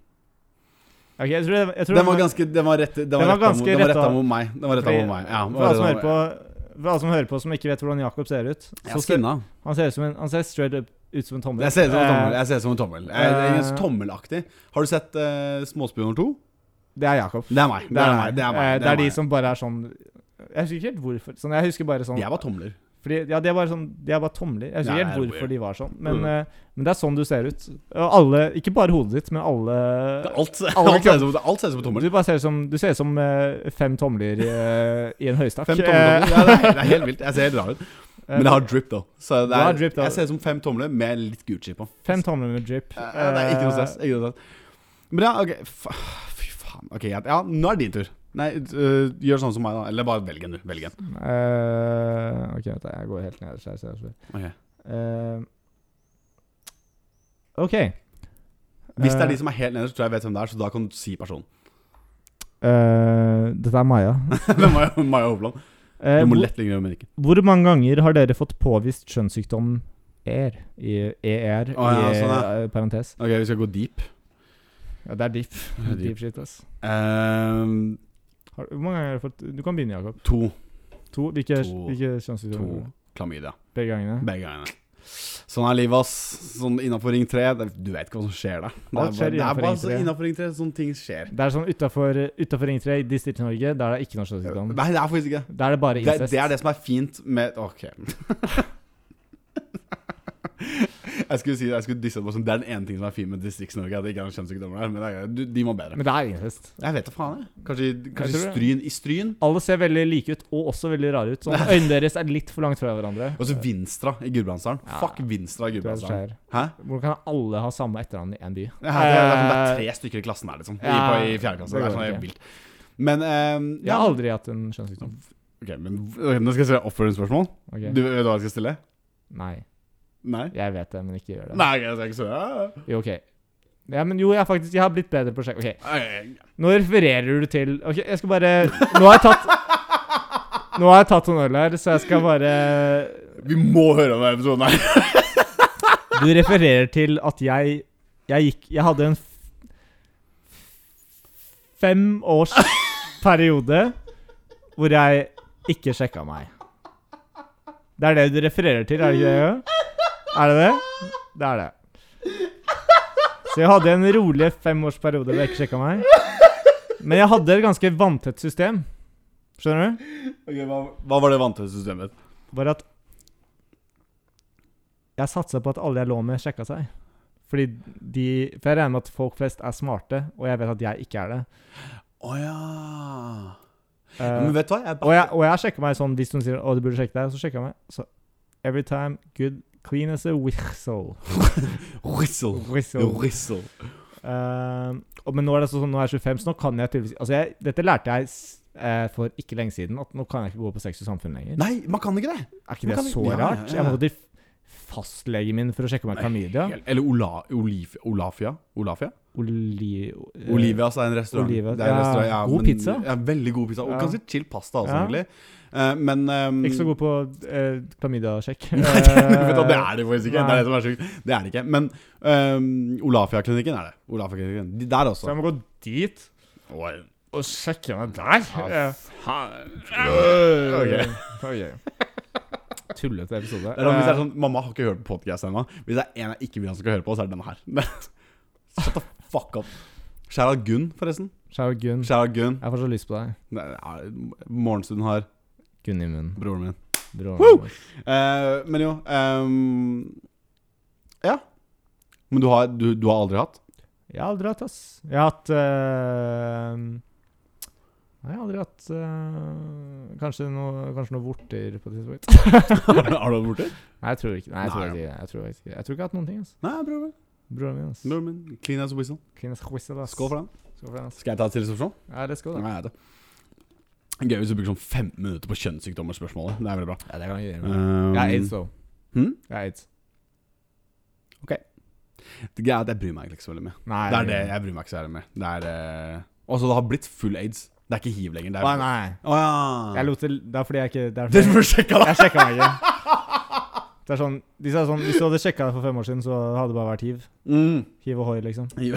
Ok, jeg tror det, jeg tror
Den var
det-
ganske Den var rett- den var
Den var
retta mot-
ganske
den var
retta.
retta mot meg. Den var retta
Fordi-
mot meg. Ja, den
For
var
alle som
rettet
hører
mot
på For alle som hører på som ikke vet hvordan Jakob ser ut
meg.
så
Jeg
ser-
skinna.
Han ser ut som en Han ser straight up ut som en tommel.
Jeg ser ut som en tommel.
Eh,
Jeg ser ut som en tommel. Jeg, jeg er
eh,
tommelaktig. Har du sett uh, Småspy nummer to?
det er Jakob.
Det er meg. Det er meg. Det er, meg.
Eh, Det er de
meg.
som bare er sånn Jeg husker ikke helt hvorfor. Sånn, jeg husker bare sånn
Jeg var tomler.
fordi, Ja, det var sånn De er bare tomler. Jeg husker
Nei,
ikke
det
helt
er
hvorfor
weird.
de var sånn, men,
Mm.
eh, men det er sånn du ser ut. Og alle Ikke bare hodet ditt, men alle
Alt,
alle
alt, ser ut som, alt ser ut som en tommel.
Du bare ser ut som Du ser ut som eh, fem tomler eh, i en høystakk.
Fem tomler. Ja, det, er, det er helt vilt. Jeg ser helt rar ut.
Eh,
Men jeg har drip, da. Så
Du
det
har
er,
drip, da.
jeg ser ut som fem tomler med litt Gucci på.
Fem tomler med drip.
Eh, det er ikke noe stress.
Eh,
Ikke noe stress. Men ja, OK. Fa- Fy faen. Ok, ja, ja, nå er det din tur. Nei, øh, gjør sånn som meg, da. Eller bare velg en, du. Velg en.
eh, ok, vent, da, jeg går helt nederst her. så jeg ser.
Ok.
Eh, OK.
Hvis det er
Eh,
de som er helt nederst, tror jeg jeg vet hvem det er, så da kan du si personen.
eh, Dette er Maja.
Hvem er jo- Maja Hovland?
Eh,
Du må
hvor-
lett ligge med ikke.
Hvor mange ganger har dere fått påvist kjønnssykdom ER? I ER,
Å ja,
i
sånn, ja.
eh, parentes.
Ok, vi skal gå deep.
Ja, det er deep.
Det er deep.
deep shit, ass.
Ehm,
Har, hvor mange ganger har du fått Du kan begynne, Jakob.
to.
To? Hvilke,
To.
hvilke kjønnssykdommer?
To. Klamydia.
Begge gangene?
Begge gangene. Sånn er livet, ass. Sånn innenfor ring 3 det, Du vet ikke hva som skjer der. Det
Alt
er bare,
skjer
det er
innenfor
bare
ring
så
tre.
innenfor ring 3 sånne ting skjer.
Det er sånn utafor Ring 3 i Distrikt-Norge, der er det ikke noe kjønnssykdom.
Nei, det er faktisk ikke
Der er det bare
det.
incest.
Det er det som er fint med Ok. Jeg skulle si jeg skulle disse det på som det er den ene ting som er fint med Distrikts-Norge, at det ikke er noen kjønnssykdommer der, men det er, greit. du, de må bedre.
Men det er incest.
Jeg vet da faen, jeg. Kanskje, kanskje
tror det.
Stryn i Stryn?
Alle ser veldig like ut, og også veldig rare ut. Sånn, øynene deres er litt for langt fra hverandre.
Og så Vinstra i Gudbrandsdalen.
Ja.
Fuck
Tror
Vinstra i
jeg det
Gudbrandsdalen.
skjer.
Hæ?
Hvordan kan alle ha samme etternavn i én by? Eh,
Ja, det, er, sånn, det, er, det er tre stykker i klassen her, liksom. I,
Ja,
på, i fjerde klasse.
det
Det er
går
sånn
ikke.
helt vilt. Men ehm,
Jeg har aldri hatt en kjønnssykdom.
Ok, men ok, Nå skal jeg stille oppfølgingsspørsmål.
Ok.
Du vet hva jeg skal stille?
Nei.
Nei?
Jeg vet det, men ikke gjør det.
Nei, ok, jeg skal ikke spørre.
Jo, ok. Ja, men jo, jeg, har faktisk, jeg har blitt bedre på å sjekke. Ok,
Ja, ja, ja.
Nå refererer du til Ok, jeg skal bare Nå har jeg tatt Nå har jeg tatt en øl her, så jeg skal bare
Vi må høre om denne episoden her.
Du refererer til at jeg Jeg gikk Jeg hadde en f- fem års periode hvor jeg ikke sjekka meg. Det er det du refererer til, er det ikke det? Er det det? Det er det. Så jeg hadde en rolig femårsperiode hvor jeg ikke sjekka meg. Men jeg hadde et ganske vanntett system. Skjønner du?
Ok, hva, hva var det vantette systemet?
Bare at Jeg satsa på at alle jeg lå med, sjekka seg. Fordi de For jeg regner med at folk flest er smarte, og jeg vet at jeg ikke er det.
Å ja.
Eh,
Men vet du hva? Jeg
og, jeg, og jeg sjekker meg sånn hvis noen sier Å, du burde sjekke deg, så sjekker jeg meg. Så every time good clean as a whistle.
Whistle.
whistle.
Whistle.
Eh, og, men nå er det sånn, nå er jeg 25, så nå kan jeg tydeligvis Altså, jeg, dette lærte jeg s- eh, for ikke lenge siden, at nå kan jeg ikke gå på Sex og samfunn lenger.
Nei, man kan ikke det.
Er ikke det
Nå kan vi-
så
ja, ja,
rart?
ja.
Jeg må til f- fastlegen min for å sjekke om jeg er klamydia.
Eller Ola, Olif, Olafia? Olafia?
Oli... eh,
Olivias er en restaurant.
Olivia-
Det er en
ja,
restaurant
god
men-
pizza.
Ja, veldig god pizza. Og
Ja.
ganske chill pasta, altså,
Ja.
egentlig. Eh, men ehm,
Ikke så god på eh, klamydiasjekk.
Nei, det, vet du, hva, det er det faktisk ikke. Det
Nei.
er det som er sjukt. Det er det ikke. Men ehm, Olafia-klinikken er det. Olafia-klinikken. De Der
Så
også.
jeg må gå dit
Oi.
og sjekke meg der.
Ja,
Eh,
faen.
øh, ok. Tullete episode. Eh,
Det er sånn, hvis det er sånn, Mamma har ikke hørt på podcast ennå. Hvis det er en jeg ikke vil han skal høre på, så er det denne her. Shut the fuck up. Skjæra Gunn, forresten.
Shout out Gunn.
Skjæra Gunn.
Jeg har fortsatt lyst på deg.
Nei, ja, Morgenstund har
Gunn i munnen.
broren min.
Broren
Woo!
vår.
Eh, men jo ehm, Ja. Men du har, du, du har aldri hatt?
Jeg har aldri hatt, ass. Jeg har hatt eh, Nei, jeg har aldri hatt eh, kanskje, noe, kanskje noe vorter på det tidspunkt.
har du hatt borti?
Nei, jeg tror ikke Nei, jeg tror
Nei.
ikke, jeg tror ikke, jeg tror ikke jeg har hatt noen ting, ass.
Nei, broren min.
Broren min, ass.
Broren min. Clean as a whistle.
Clean as a whistle, ass.
Skål for den.
Skål for den, ass.
Skal jeg ta et til spørsmål?
Ja, det skal du.
Nei, jeg vet det. Gøy hvis du bruker sånn fem minutter på kjønnssykdommer-spørsmålet. Det er veldig bra.
Ja, det kan jeg gjøre.
Um,
Jeg er aids, though.
Hm?
Jeg er aids.
Det greia er at jeg bryr meg egentlig ikke så veldig mye.
Nei,
Det er det jeg bryr meg ikke så veldig mye. Det er eh, Altså, det har blitt full aids. Det er ikke hiv lenger. Det er
Nei, nei.
Å
Jeg
ja.
lot det Det er fordi jeg ikke Det er
Dere
fordi
burde sjekke det!
jeg sjekka meg ikke. Det er sånn, de sa sånn Hvis du hadde sjekka deg for fem år siden, så hadde det bare vært hiv.
Mm.
Hiv og hoi, liksom.
Det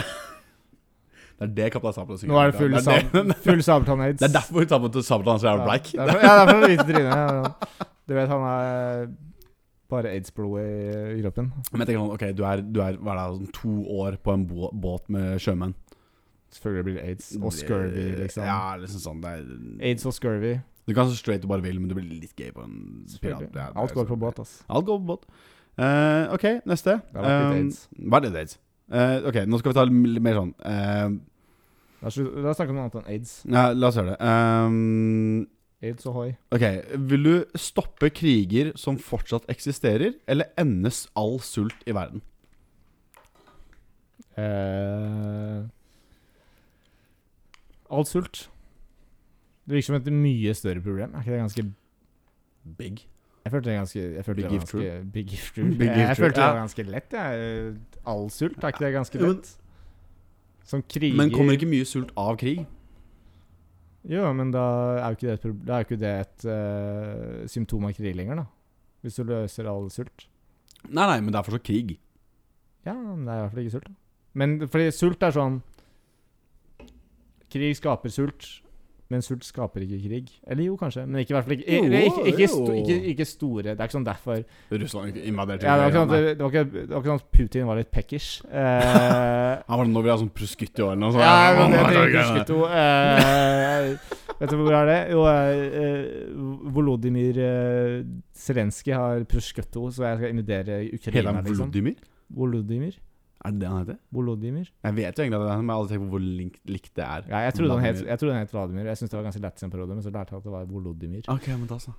er det Kaptein Sabeltann synger.
Nå er det full,
det, er det,
sab full sabeltann-aids.
det er derfor Sabeltann Sabeltann er så jævla bleik.
Ja, derfor- ja, derfor er det hvite trynet. ja. Du vet, han er eh, bare aids-blodet i- i kroppen.
Men jeg tenker sånn, ok, du er, du er hva er det, sånn to år på en bå- båt med sjømenn.
Selvfølgelig blir det aids og scurvy, liksom.
Ja, liksom sånn det er,
Aids og scurvy.
Du kan så straight du bare vil, men du blir litt gay på en pirat.
Selvfølgelig.
Ja, det er
Alt går
sånn.
på båt, ass.
Alt går på båt. Eh, ok, neste.
Det har vært litt
Um,
aids.
Hva er litt aids? Eh, ok, nå skal vi ta litt mer sånn eh,
La oss la oss snakke om noe annet enn aids.
ja, La oss gjøre det. Um,
Aids og hoi.
ok, Vil du stoppe kriger som fortsatt eksisterer, eller endes all sult i verden?
Eh, all sult. Det virker som et mye større problem. Er ikke det ganske
Big.
Jeg følte det ganske jeg følte
Big
det var
gift
ganske- Big gift rule.
Big
jeg, jeg
gift rule,
følte det
ja.
var ganske lett, jeg. All sult, er ikke det ganske
Jo, men-
lett? Som kriger
Men kommer ikke mye sult av krig?
Jo, men da er jo ikke det et, prob- da er jo ikke det et eh, symptom av krig lenger, da. Hvis du løser all sult.
Nei, nei, men det er fortsatt krig.
Ja, men det er i hvert fall ikke sult. da. Men fordi sult er sånn Krig skaper sult, men sult skaper ikke krig. Eller jo, kanskje, men ikke i hvert fall ikke
Jo,
Ikke, ikke, ikke,
jo.
sto- ikke, ikke store Det er ikke sånn derfor
Russland invaderte
ja, det, var ikke
Ukraina.
sånn, at- det, var ikke, det var ikke sånn at Putin var litt peckish. Eh,
Han var sånn, nå vil jeg ha sånn proskutt i årene. og så-
ja, men det trenger
Åh, det
ikke
er gøy, det.
huske to. Eh, vet du hvor er det? Jo, eh, Volodymyr eh, Zelenskyj har prosjekto, så jeg skal invitere
Heter
Ukraina,
han
liksom.
Vladimir?
Volodymyr?
Er det det han heter?
Volodymyr?
Jeg vet jo egentlig at det er han, men jeg har aldri tenkt på hvor link- likt det er.
Ja, jeg trodde han het,
Vladimir.
jeg trodde han het Vladimir. Jeg syntes det var ganske lett i en periode, men så lærte jeg at det var Volodymyr.
Ok, men da så.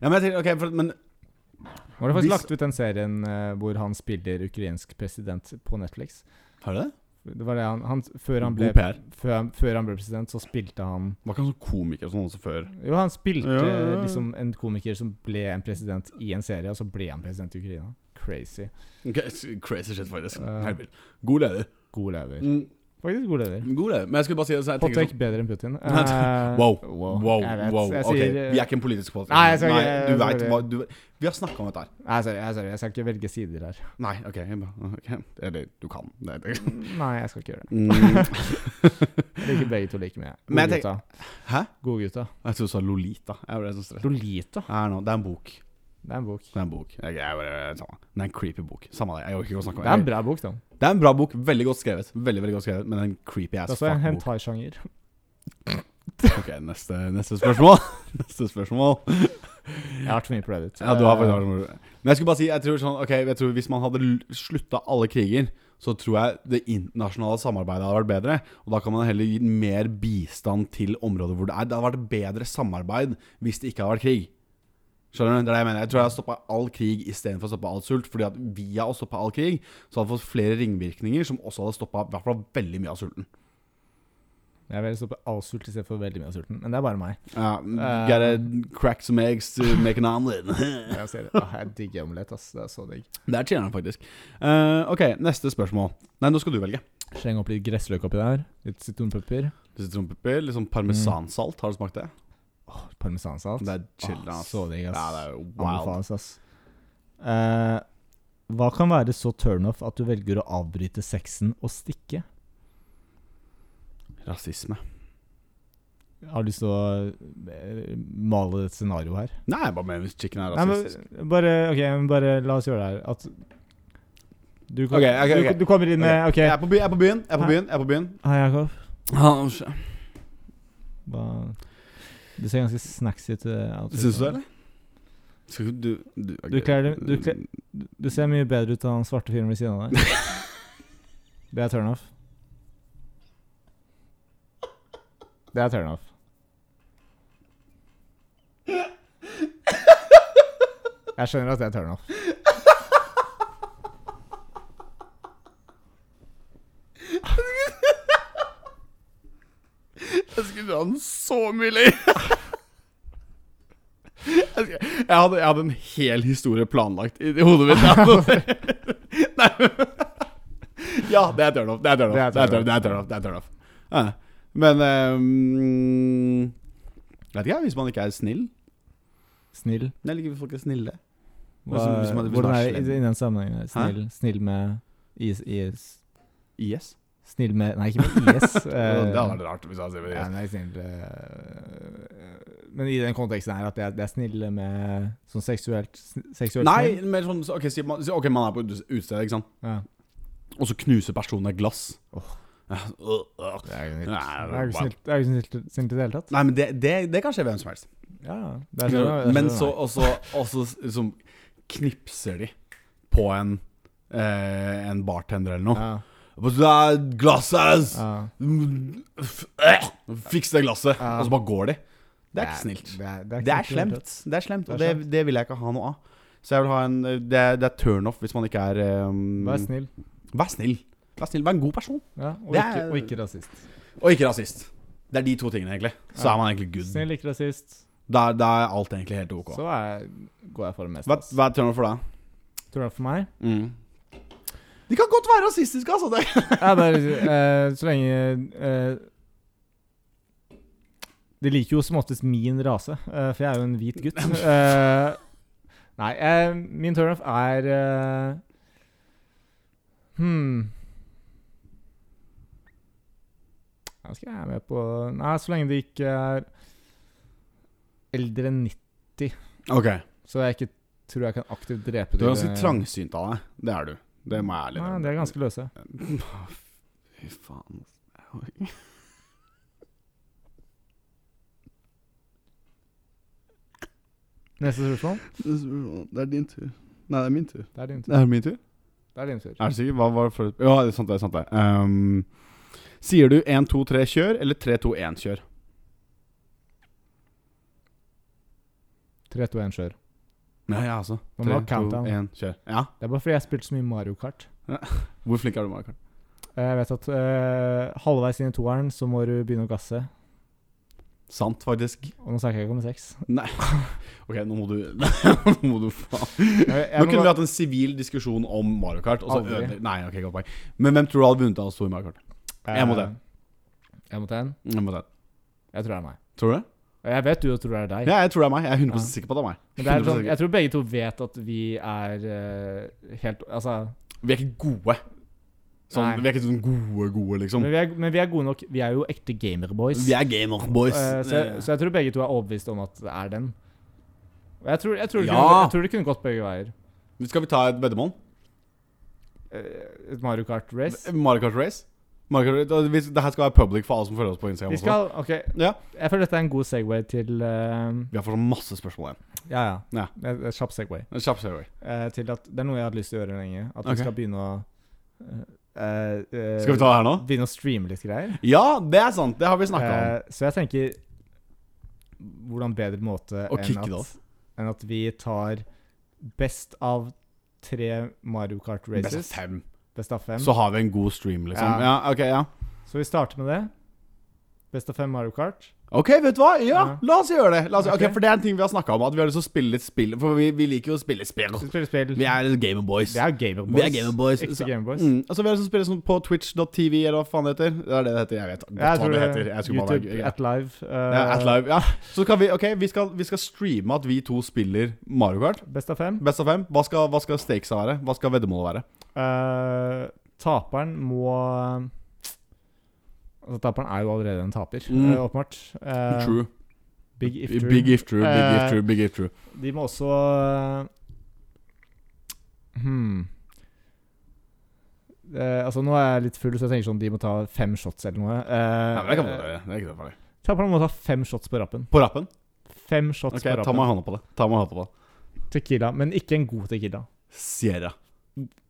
Ja, men jeg tenker, ok, for, men
Nå har de faktisk
Hvis-
lagt ut den serien eh, hvor han spiller ukrainsk president på Netflix.
Har du det?
Det var det han, han før, han
God
ble,
PR.
før, han, før han ble president, så spilte han
Var ikke han sånn komiker og sånn også før?
Jo, han spilte
Ja, ja, ja.
liksom en komiker som ble en president i en serie, og så ble han president i Ukraina. Crazy.
Ok, s- Crazy shit, faktisk.
Ja.
Helt vilt. God leder.
God leder.
Mm,
Faktisk god leder.
god leder. Men jeg skulle bare si det, så jeg
Hot
tenker
take
sånn
bedre enn Putin. Eh,
Wow,
wow.
wow,
Jeg vet.
wow.
Jeg
Ok,
sier, eh,
vi er ikke en politisk podcast.
Nei, jeg skal ikke-
Nei, du
jeg-
vet hva du, Vi har snakket om dette her.
Nei, sorry, jeg, sorry, jeg skal ikke velge sider her.
Nei, ok. jeg bare- ok. Eller, du kan. Det, det.
Nei, jeg skal ikke gjøre det.
Mm.
Jeg liker begge to like mye.
Men
Gode
jeg
gutta.
Hæ?
Gode gutta.
Jeg tror du sa Lolita. Jeg ble så stresset.
Lolita.
Her nå, det er en bok.
Det er en bok.
Det er en bok. Jeg, jeg, jeg, samme. det er en creepy bok. Samme det. Jeg orker ikke å snakke om
Det er en bra bok, da.
Det er en bra bok, veldig godt skrevet. Veldig, veldig godt skrevet, Men en creepy
Det er
ass
også Altså, en
fuck-bok.
hentai-sjanger.
Ok, neste, neste spørsmål. neste spørsmål.
Jeg har vært for mye på Reddit.
Ja, du har
Eh,
faktisk Men jeg skulle bare si, jeg tror sånn Ok, jeg tror hvis man hadde l- slutta alle kriger, så tror jeg det internasjonale samarbeidet hadde vært bedre. Og da kan man heller gi mer bistand til områder hvor det er. Det hadde vært bedre samarbeid hvis det ikke hadde vært krig. Skjønner du? Det er det jeg mener. Jeg tror jeg hadde stoppa all krig istedenfor å stoppe all sult. Fordi at via å stoppe all krig, så hadde vi fått flere ringvirkninger som også hadde stoppa i hvert fall veldig mye av sulten.
Eh, Jeg vil stoppe all sult istedenfor veldig mye av sulten. Men det er bare meg.
Ja, gotta crack some eggs to make an omelet.
Jeg, ser det. Ah, jeg digger omelett, ass. Det er så digg.
Der tjener han faktisk. Eh, ok, neste spørsmål. Nei, nå skal du velge.
Sleng opp litt gressløk oppi der. Litt sitronpepper.
Litt Sitronpepper, litt sånn parmesansalt. Har du smakt det?
Åh, Parmesansalt.
Det er chill,
Åh,
ass.
Ah, Så digg, ass.
Ja, det er jo wild.
Anbefales, ass. Eh, hva kan være så turnoff at du velger å avbryte sexen og stikke?
Rasisme.
Jeg har lyst til å eh, male et scenario her.
Nei, jeg bare mener hvis chicken er
Nei,
rasistisk.
men bare, ok, men bare la oss gjøre det her. At du, kom,
Ok, ok, ok.
Du, du kommer inn med OK.
Jeg er på by- jeg er på byen, jeg er på byen. Jeg er på byen.
Hei, Jakob.
Ah,
Hva- Du ser ganske snacksy ut. eh, outfit.
Syns du det, eller? Skal ikke du Du,
Du kler det- du kler- Du ser mye bedre ut enn den svarte fyren ved siden av deg. Det er turnoff. Det er turnoff. Jeg skjønner at det er turnoff.
Jeg skulle dra den så mye lenger. Jeg, skulle- jeg, hadde, jeg hadde en hel historie planlagt i i hodet mitt. Jeg hadde- Nei. Ja, det er turnoff. Det er turnoff. Det er turnoff. Det er turnoff. Det er turnoff. Ja. Men ehm, Vet ikke jeg, hvis man ikke er snill.
Snill.
Jeg liker hvis folk er snille.
Hva,
Hvis- hvis man- hvis
hvordan
man er
er det i,
slem.
i den sammenhengen? her? Snill, snill med IS, IS
IS.
Snill med Nei, ikke med IS. eh,
det hadde vært rart hvis han sier det.
ja,
IS.
nei, snill, eh, men i den konteksten her, at det er, det er snille med sånn seksuelt sn- Seksuelt
Nei,
snill?
mer sånn Ok, si man, si- ok, man er på ute- utestedet, ikke sant.
Ja.
Og så knuser personen et glass.
Åh.
Ja, øh, øh.
Det er jo snilt.
Nei,
Det
det er
er jo ikke
bare-
snilt- det er jo ikke snilt snilt i det hele tatt.
Nei, men det, det, det kan skje hvem som helst.
Ja, ja. Det er sånn, det er
men
sånn,
så
nei.
også, også liksom knipser de på en eh, En bartender eller noe.
ja,
Og så er Glasset hans!
ja.
Fiks det glasset!
Ja.
Og så bare går de. Det er ikke snilt.
Det er,
Det er
ikke snilt i det hele
slemt. Det er slemt,
Det er
og det, det vil jeg ikke ha noe av. Så jeg vil ha en Det er, det er turnoff hvis man ikke er
tatt.
ehm,
Vær snill.
Vær snill. Vær snill. Vær en god person.
Ja, og,
Det
ikke,
er-
og ikke rasist.
Og ikke rasist. Det er de to tingene, egentlig. Så
Ja.
er man egentlig good.
Snill, ikke rasist.
Da, da er alt egentlig helt ok.
Så er, går jeg for det meste.
Hva,
ass.
hva er turnoff for deg?
Tror du det er for meg?
Mm. De kan godt være rasistiske, altså. Det.
Jeg bare eh, Så lenge eh, De liker jo som oftest min rase, eh, for jeg er jo en hvit gutt. Eh, nei, eh, min turnoff er eh, Hmm Hva skal jeg være med på Nei, så lenge de ikke er eldre enn 90,
Ok,
så jeg ikke tror jeg kan aktivt drepe
Du er
dem.
ganske trangsynt av deg. Det er du. Det må jeg ærlig
Nei, de er ganske løse.
Fy faen.
Neste spørsmål.
Det er din tur. Nei, det er min tur.
Det er din tur.
Det er min tur?
Det er din tur.
Er du sikker? Hva var det for Ja, det er sant det. er sant det Ehm, Sier du 1, 2, 3, kjør, eller 3, 2, 1, kjør?
3, 2, 1, kjør.
Ja, ja, altså.
Man må ha
3, 2,
countdown.
1, kjør. Ja.
Det er bare fordi jeg har spilt så mye Mario Kart.
Hvor flink er du, Markard?
Eh, Jeg vet at eh, halvveis inn i toeren så må du begynne å gasse.
Sant, faktisk.
Og nå snakker jeg ikke om sex.
Ok, nå må du Nå må du faen
Jeg, jeg
Nå
må
kunne vi
bare-
hatt en sivil diskusjon om Mario Kart. Og så
Aldri.
ødele- Nei, ok, godt poeng. Men hvem tror du hadde vunnet av oss to i Mario Kart? en mot
Eh,
en.
En mot en?
Jeg må ta den.
Jeg tror det er meg.
Tror du det?
Og Jeg vet du tror det er deg.
Ja, jeg tror det er meg. Jeg er 100
Ja.
sikker på at det er meg.
Men det er
100%
sånn, jeg tror begge to vet at vi er eh, helt Altså
sikker. Vi er ikke gode. Sånn,
Nei.
vi er ikke sånn gode, gode, liksom.
men vi, er, men vi er gode nok. Vi er jo ekte gamerboys.
Vi er gamer boys.
Eh, så, jeg- så jeg tror begge to er overbevist om at det er den. Og jeg tror, jeg tror, det,
Ja.
kunne, jeg tror det kunne gått begge veier.
Skal vi ta et veddemål?
Eh, Et Mario Kart-race.
Mario Kart Race? Mario Kart, da- hvis- det her skal være public for alle som følger oss på Instagram.
Vi
også.
skal OK.
Ja.
Jeg føler dette er en god segway til eh,
Vi har fortsatt masse spørsmål igjen.
Ja,
Ja.
ja. Det er- det er Kjapp segway.
En Kjapp segway.
Eh, til at det er noe jeg har hatt lyst til å gjøre lenge. At vi
Ok.
skal begynne å eh, eh,
Skal vi ta det her nå?
Begynne å streame litt greier.
Ja, det er sant. Det har vi snakka om.
Eh, så jeg tenker Hvordan bedre måte
Å
enn
kicke
at,
det off.
enn at vi tar best av tre Mario Kart
Best
races.
av fem.
Best av fem.
Så har vi en god stream,
Ja.
liksom. Ja, ok, ja.
så vi starter med det. Best of fem Mario Kart.
Ok, vet du hva? Ja,
Ja.
la oss gjøre det. La oss, ok,
Ok.
For det er en ting vi har snakka om. At vi har lyst til å spille litt spill. For vi, vi liker jo å spille spill.
Vi spiller spill.
Vi er Gamerboys.
Vi er Gamer Boys.
Vi er Gamer Boys, så-
Ekte Gamer Boys.
Mm. Altså, vi har lyst til å spille sånn på twitch.tv, eller hva faen det heter. Det er det det heter. Jeg vet godt
Jeg
hva
tror
det
det
heter. Jeg skulle bare
YouTube
være
at live. eh,
ja, At live, ja. Så kan vi, ok, vi skal, vi skal streame at vi to spiller Mario Kart.
Best av fem.
Best av fem. Hva skal, hva skal stakesa være? Hva skal veddemålet være?
Eh, taperen må Altså, taperen er jo allerede en taper,
Mm.
eh, åpenbart. Eh,
True.
Big if true.
Big if true, big
Eh,
if true, big if true.
De må også eh, hmm. Eh, altså Nå er jeg litt full, så jeg tenker sånn de må ta fem shots eller noe. Eh,
Nei, men det kan være, det er ikke så farlig.
Taperen må ta fem shots på rappen.
På rappen?
Fem shots
Ok,
på
ta
rappen.
meg hånda på det. Ta meg hånda på det.
Tequila, men ikke en god tequila.
Sierra.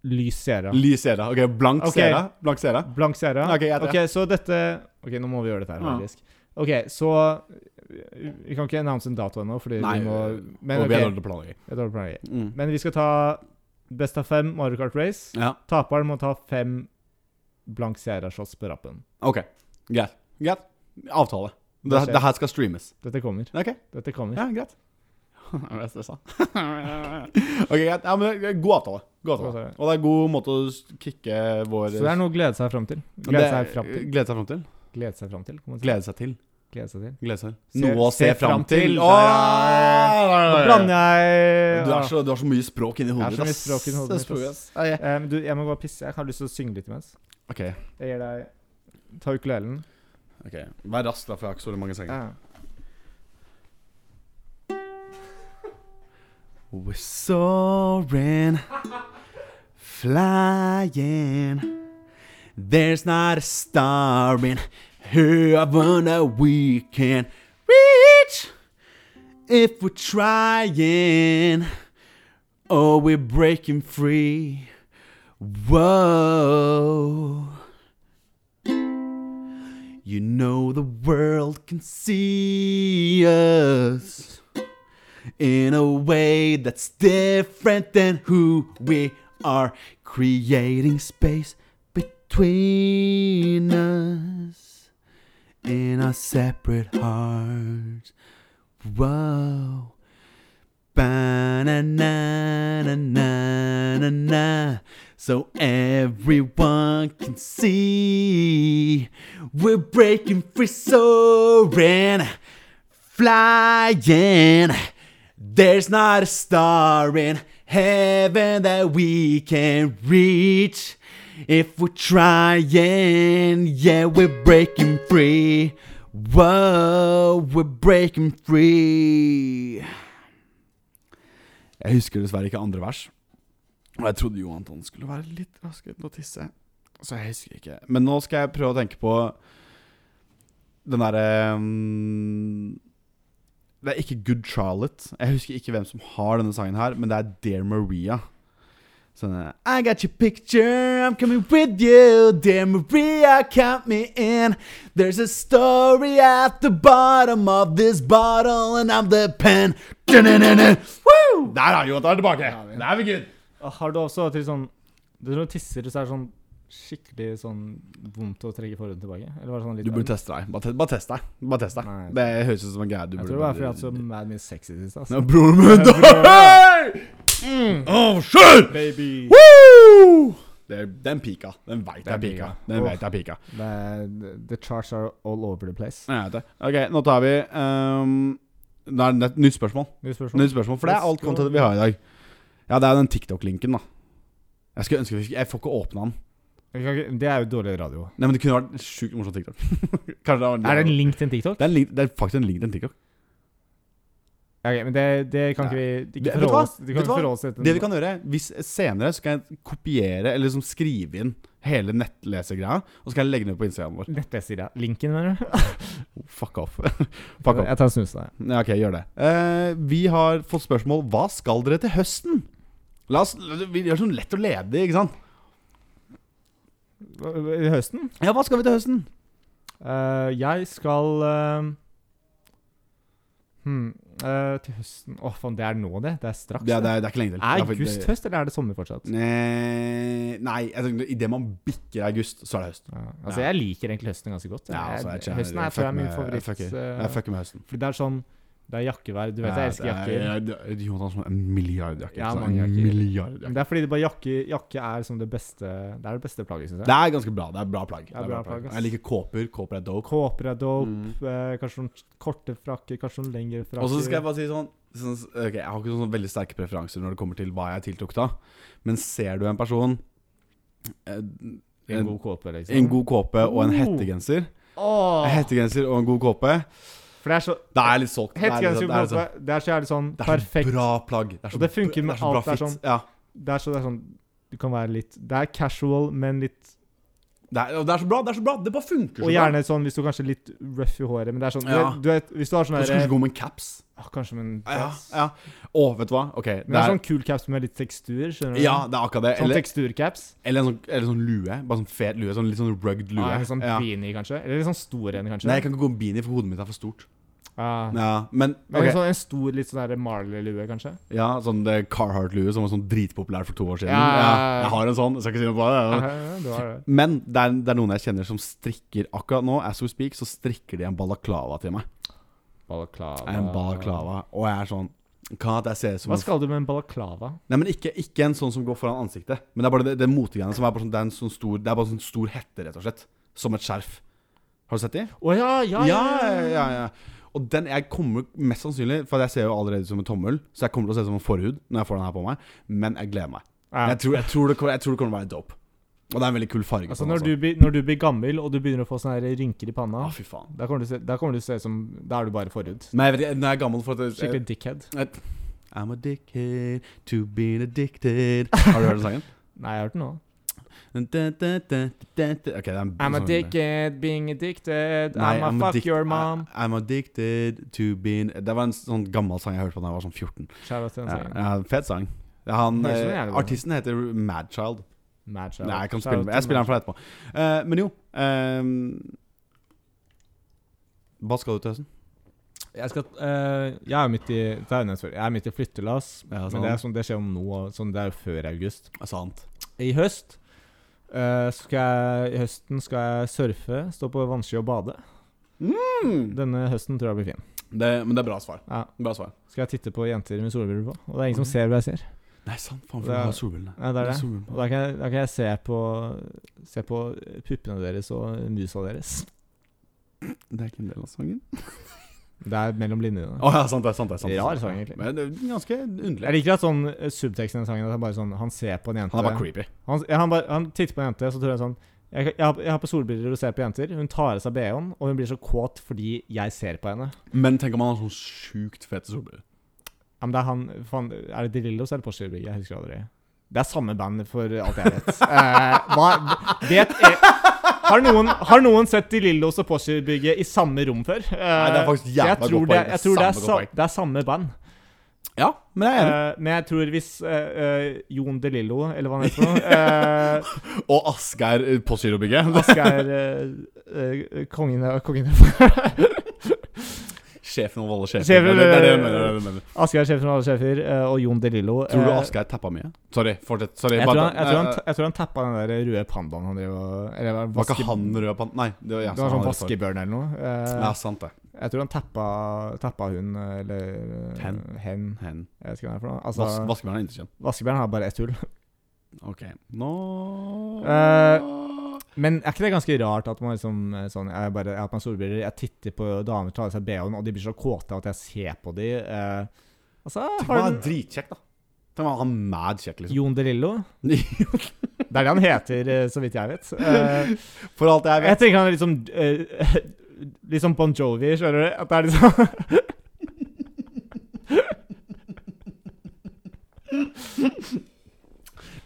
Lys Sierra.
Lys Sierra. Ok, blank
Ok.
Sierra. Blank Sierra.
Blank Sierra.
Ok, jeg tar
ok, så dette Ok, nå må vi gjøre dette her,
Ja.
faktisk. Ok, så Vi kan ikke announce en dato ennå, fordi
Nei,
vi må Men
og vi er
ok,
dårlige til å
jeg
planlegge.
tar det på meg.
Mm.
Men vi skal ta best av fem Mario Kart Race.
Ja.
Taperen må ta fem blank Sierra-shots på rappen.
Ok, greit. Greit. Avtale. Det,
skjer.
det her skal streames.
Dette kommer.
Ok,
Dette kommer.
ja, greit. Jeg ble stressa. ok, greit. Ja, men det er god avtale. God
God
avtale.
avtale.
Og det er god måte å kicke vår
Så det er noe å glede seg fram til. Glede seg fram til.
Glede seg fram til.
Glede seg fram til. kan man si.
Glede seg til.
Glede seg til.
Glede seg.
Se-
Noe å se,
se
fram
fram
til.
til. Nå
Åh!
blander jeg
Du er, så, du har så mye språk inni hodet
Jeg har så mye språk inni hodet
ass.
mitt,
ass. Ja, ja.
Eh, men du, jeg må gå og pisse. Jeg har lyst til å synge litt imens.
Ok,
Jeg gir deg Ta ukulelen.
ok. Vær rask, da, for jeg har ikke så veldig mange senger.
Ja.
We're soaring, flying. There's not a star in heaven that we can reach if we're trying. Oh, we're breaking free. Whoa. You know the world can see us in a way that's different than who we are, creating space between us in our separate hearts. Whoa. Ba-na-na-na-na-na-na. So everyone can see we're breaking free, soaring, flying. There's not a star in heaven that we can reach. If we're trying, yeah, we're breaking free. Whoa, we're breaking free. Jeg husker dessverre ikke andre vers. Og jeg trodde jo Anton skulle være litt raskere til å tisse. Så jeg husker ikke. Men nå skal jeg prøve å tenke på den derre mm, Det er ikke Good Charlotte. Jeg husker ikke hvem som har denne sangen her, men det er Dear Maria. Sånn eh, I got your picture, I'm coming with you. Dear Maria, count me in. There's a story at the bottom of this bottle, and I'm the pen. Dun-dun-dun-dun. Woo! Der er Jonathan tilbake. Der er vi good.
Og Har du også til sånn Du når du tisser, så er det sånn skikkelig sånn vondt å trekke forhuden tilbake? Eller var det sånn litt
Du burde teste deg. Bare, te bare test deg. Bare test deg.
Nei.
Det høres ut som en greie du
Jeg
burde
tror det var fordi jeg hadde så mad mye sex i det siste.
Nå,
Altså.
Broren min
Broren
dør! Oh, shit!
Mm. Baby!
Woo! Det er, den pika. Den veit
Den
jeg pika.
pika.
Den
Åh.
vet jeg pika.
Det er, the charts are all over the place.
Jeg vet det. Ok, nå tar vi um, Det er et nytt spørsmål.
Nytt spørsmål?
Nytt spørsmål, For det er alt content vi har i dag. Ja, det er den TikTok-linken, da. Jeg skulle ønske vi fikk Jeg får ikke åpna den.
Vi kan ikke- Det er jo dårlig radio.
Nei, men det kunne vært en sjukt morsom TikTok. Kanskje det var
Er det en link til en TikTok?
Det er, en link, det er faktisk en link til en TikTok.
Ok, men det, det kan
Nei.
ikke vi
Det-
ikke
vet du
forholde
hva?
oss- vi kan
Vet du
ikke
hva?
forholde oss til
Det vi kan gjøre, hvis senere så skal jeg kopiere eller liksom skrive inn hele nettlesergreia, og så skal jeg legge den ut på Instagram vår.
Nettleser, ja. Linken, mener du? Oh,
Fuck off. Fuck off.
Jeg tar en snus til deg.
Ja, ok, gjør det. Eh, vi har fått spørsmål Hva skal dere til høsten? La oss, vi gjør sånn lett og ledig, ikke sant?
I høsten?
Ja, hva skal vi til høsten?
Eh, jeg skal eh, Hmm. eh, til høsten Åh, faen, det er nå, det. Det er straks.
Det, er- det, er- det er ikke lenge til.
Er
Det faktisk-
august høst, eller er det sommer fortsatt?
Nei, nei jeg tenker, i det man bikker august, så er det høst.
Ja, altså,
Ja.
jeg liker egentlig høsten ganske godt.
Ja, altså, jeg
høsten
kjenner-
er,
jeg
tror jeg er
fucker
min
med-
favoritt.
Jeg fucker,
eh,
jeg fucker med høsten.
fordi det er sånn Det er jakkevær. Du vet jeg elsker
Ja, det
jakker.
er- det er- Jonathan som er en milliardjakke.
Ja,
så
mange
en
jakker.
milliardjakke.
Men det er fordi det bare jakke, jakke er som det beste Det er det beste plagget, syns jeg.
Det er ganske bra. Det er bra plagg.
Det er bra plagg, ass.
Jeg liker kåper. Kåper er dope.
Kåper er dope.
Mm.
Eh, kanskje noen korte frakker, kanskje noen lengre frakker.
Og så skal jeg bare si sånn, sånn ok, Jeg har ikke sånn veldig sterke preferanser når det kommer til hva jeg tiltok da, men ser du en person eh,
En
en-
god kåpe, liksom.
en god kåpe og en
Oh.
hettegenser En
Åh!
Hettegenser og en god kåpe,
For det er så
da er jeg litt solgt. Da er jeg litt-
Hettegenser og
da er jeg litt sånn-
kåpe, det er så jævlig sånn
Det er så
perfekt.
bra plagg. Det, er så
Og det funker med
så bra
alt, det er
fit.
sånn-
ja.
Det er så det er sånn Du kan være litt Det er casual, men litt
det, er, og det er så bra, det er så bra! Det bare funker
Og
så bra.
gjerne sånn hvis du er kanskje litt røff i håret, men det er sånn
Ja.
du, du vet, Hvis du har sånn
Og så kanskje
derre
gå med en caps.
ah, Kanskje med en
Ja,
dress.
ja. Å, vet du hva? Ok, det
Men det er
er,
sånn kul caps med litt tekstur, skjønner du?
ja, det er akkurat det.
sånn
Eller,
teksturcaps.
eller, en sånn, eller sånn lue. Bare sånn fet lue. Sånn, litt sånn rugged lue.
Ah, en sånn
ja.
beanie, kanskje? Eller litt sånn stor en, kanskje?
Nei, jeg kan ikke gå med beanie, for hodet mitt er for stort.
Ah.
Ja, men
Men
ok.
en sånn, en stor, litt sånn der Marley-lue, kanskje?
ja, sånn det Carhartt-lue som var sånn dritpopulær for to år siden.
Ja, ja,
Ja,
ja.
jeg har en sånn, jeg skal ikke si noe på
Ja,
det.
ja, du har det.
Men det er, det er noen jeg kjenner som strikker akkurat nå, as we speak, så strikker de en balaklava til meg.
Balaklava.
En balaklava. Og jeg er sånn Kan at jeg ser ut som
Hva
en
skal du med en balaklava?
Nei, men ikke, ikke en sånn som går foran ansiktet. Men det er bare det, det motegreiene som er bare sånn, det er en sånn stor Det er bare sånn stor hette, rett og slett. Som et skjerf. Har du sett de?
Å ja, ja,
ja, ja, ja. Og den jeg kommer mest sannsynlig For jeg ser jo allerede ut som en tommel, så jeg kommer til å se ut som en forhud når jeg får den her på meg. Men jeg gleder meg.
Ja.
Jeg, tror, jeg, tror det, kommer- jeg tror det kommer til å være dope. Og det er en veldig kul farge.
Altså, Ah,
på den,
når du, blir- når du blir gammel, og du begynner å få sånne her rynker i panna,
Å, fy faen.
da kommer du se- da kommer du til å se ut som Da er du bare forhud.
Men jeg vet ikke, når jeg er gammel for at jeg-
Skikkelig dickhead.
jeg- I'm addicted to being addicted. Har du hørt den sangen?
Nei, jeg har hørt den nå.
Da, da, da, da, da. Ok, det er en
I'm
sånn-
addicted, being addicted,
Nei,
I'm a
I'm
fuck
addic-
your mom.
I, I'm addicted to being Det var en sånn gammel sang jeg hørte på da jeg var sånn 14.
Shout out til den
Ja,
sangen.
ja, fet sang. Han,
Høres som en
eh,
jævlig bra.
artisten heter Madchild.
Mad shout.
Nei, jeg kan
Shout
spille
out
Jeg
til
spiller
Mad-
den for deg etterpå. Eh, men jo ehm, Hva skal du til høsten?
Jeg skal eh, Jeg er midt i det har jeg nevnt før. Jeg er midt i flyttelass.
Ja,
men
sant.
det, er sånn, det skjer om nå. Sånn, det er jo før august.
Er sant.
I høst eh, skal jeg I høsten skal jeg surfe, stå på vannski og bade.
Mm.
Denne høsten tror jeg blir fin.
Det, men det er bra svar.
Ja.
Bra svar.
Skal jeg titte på jenter med solbriller på. Og det er
Mm.
ingen som ser hva jeg ser.
Nei, sant. Faen,
Det
for du
er-
har solbrillene.
Ja, det er
Du har
det.
solbrillene
Og
på.
da kan jeg, da kan jeg se på Se på puppene deres og musa deres.
Det er ikke en del av sangen.
Det er mellom linjene.
Å ja, sant det. sant det, sant det
Rar sang, egentlig.
Men det er ganske
Jeg
underlig.
liker at sånn eh, subteksten i den sangen At han bare sånn Han ser på en jente.
Han er bare creepy.
Han, ja, han, bare, han titter på en jente, så tror jeg sånn jeg, jeg, har, jeg har på solbriller og ser på jenter. Hun tar av seg BH-en, og hun blir så kåt fordi jeg ser på henne.
Men tenk om han har sånn sjukt fete solbriller.
Ja, men det er han faen, Er det Delillos eller Porsche? Jeg husker aldri. Det er samme band for alt jeg vet. Eh, hva, vet jeg, har, noen, har noen sett Delillos og Porsche-bygget i samme rom før? Eh,
Nei, det er faktisk
så
jævla
jeg
godt
tror
poeng.
det, jeg tror det, er
Samme
sa,
godt
det er samme band.
poeng. Ja, men jeg er enig.
Eh, men jeg tror hvis eh, eh, Jon DeLillo, eller hva han heter for noe eh,
Og Asgeir eh, på Syrobygget.
Asgeir eh, eh, kongen, av- kongen av-
Sjefen over alle sjefer.
Sjefer,
det, er- det, er det, jeg
eh,
mener, det, er det, jeg mener.
Asgeir er sjefen over alle sjefer, eh, og Jon DeLillo eh,
Tror du Asgeir tappa mye? Sorry, fortsett. Sorry,
jeg tror, han, jeg, tror han,
eh,
jeg tror han tappa den der røde pandaen han drev og Eller var,
Var
vaske-
ikke han rød på han? Nei, det var,
Det
ja,
var
han
sånn
hadde rekord.
vaskebjørn eller noe. Eh,
Ja, sant det.
Jeg tror han tappa, tappa hun, eh, eller eh,
Hen.
hen.
Hen.
Jeg vet ikke hva det er for noe. Altså,
Vas Vaskebjørn er intetkjønn.
vaskebjørn har bare ett hull.
Ok, nå
Eh, Men er ikke det ganske rart at man liksom eh, sånn Jeg, bare, jeg har på meg solbriller, jeg titter på damer tar av seg BH-en, og de blir så kåte av at jeg ser på de. eh, altså,
Tenk om
har
han er
den
dritkjekk, da. Tenk om han er mad kjekk, liksom.
Jon DeLillo? Det er det han heter, eh, så vidt jeg vet. Eh,
For alt jeg
jeg
vet.
tenker han er liksom eh, Liksom Bon Jovi, skjønner du? At det er liksom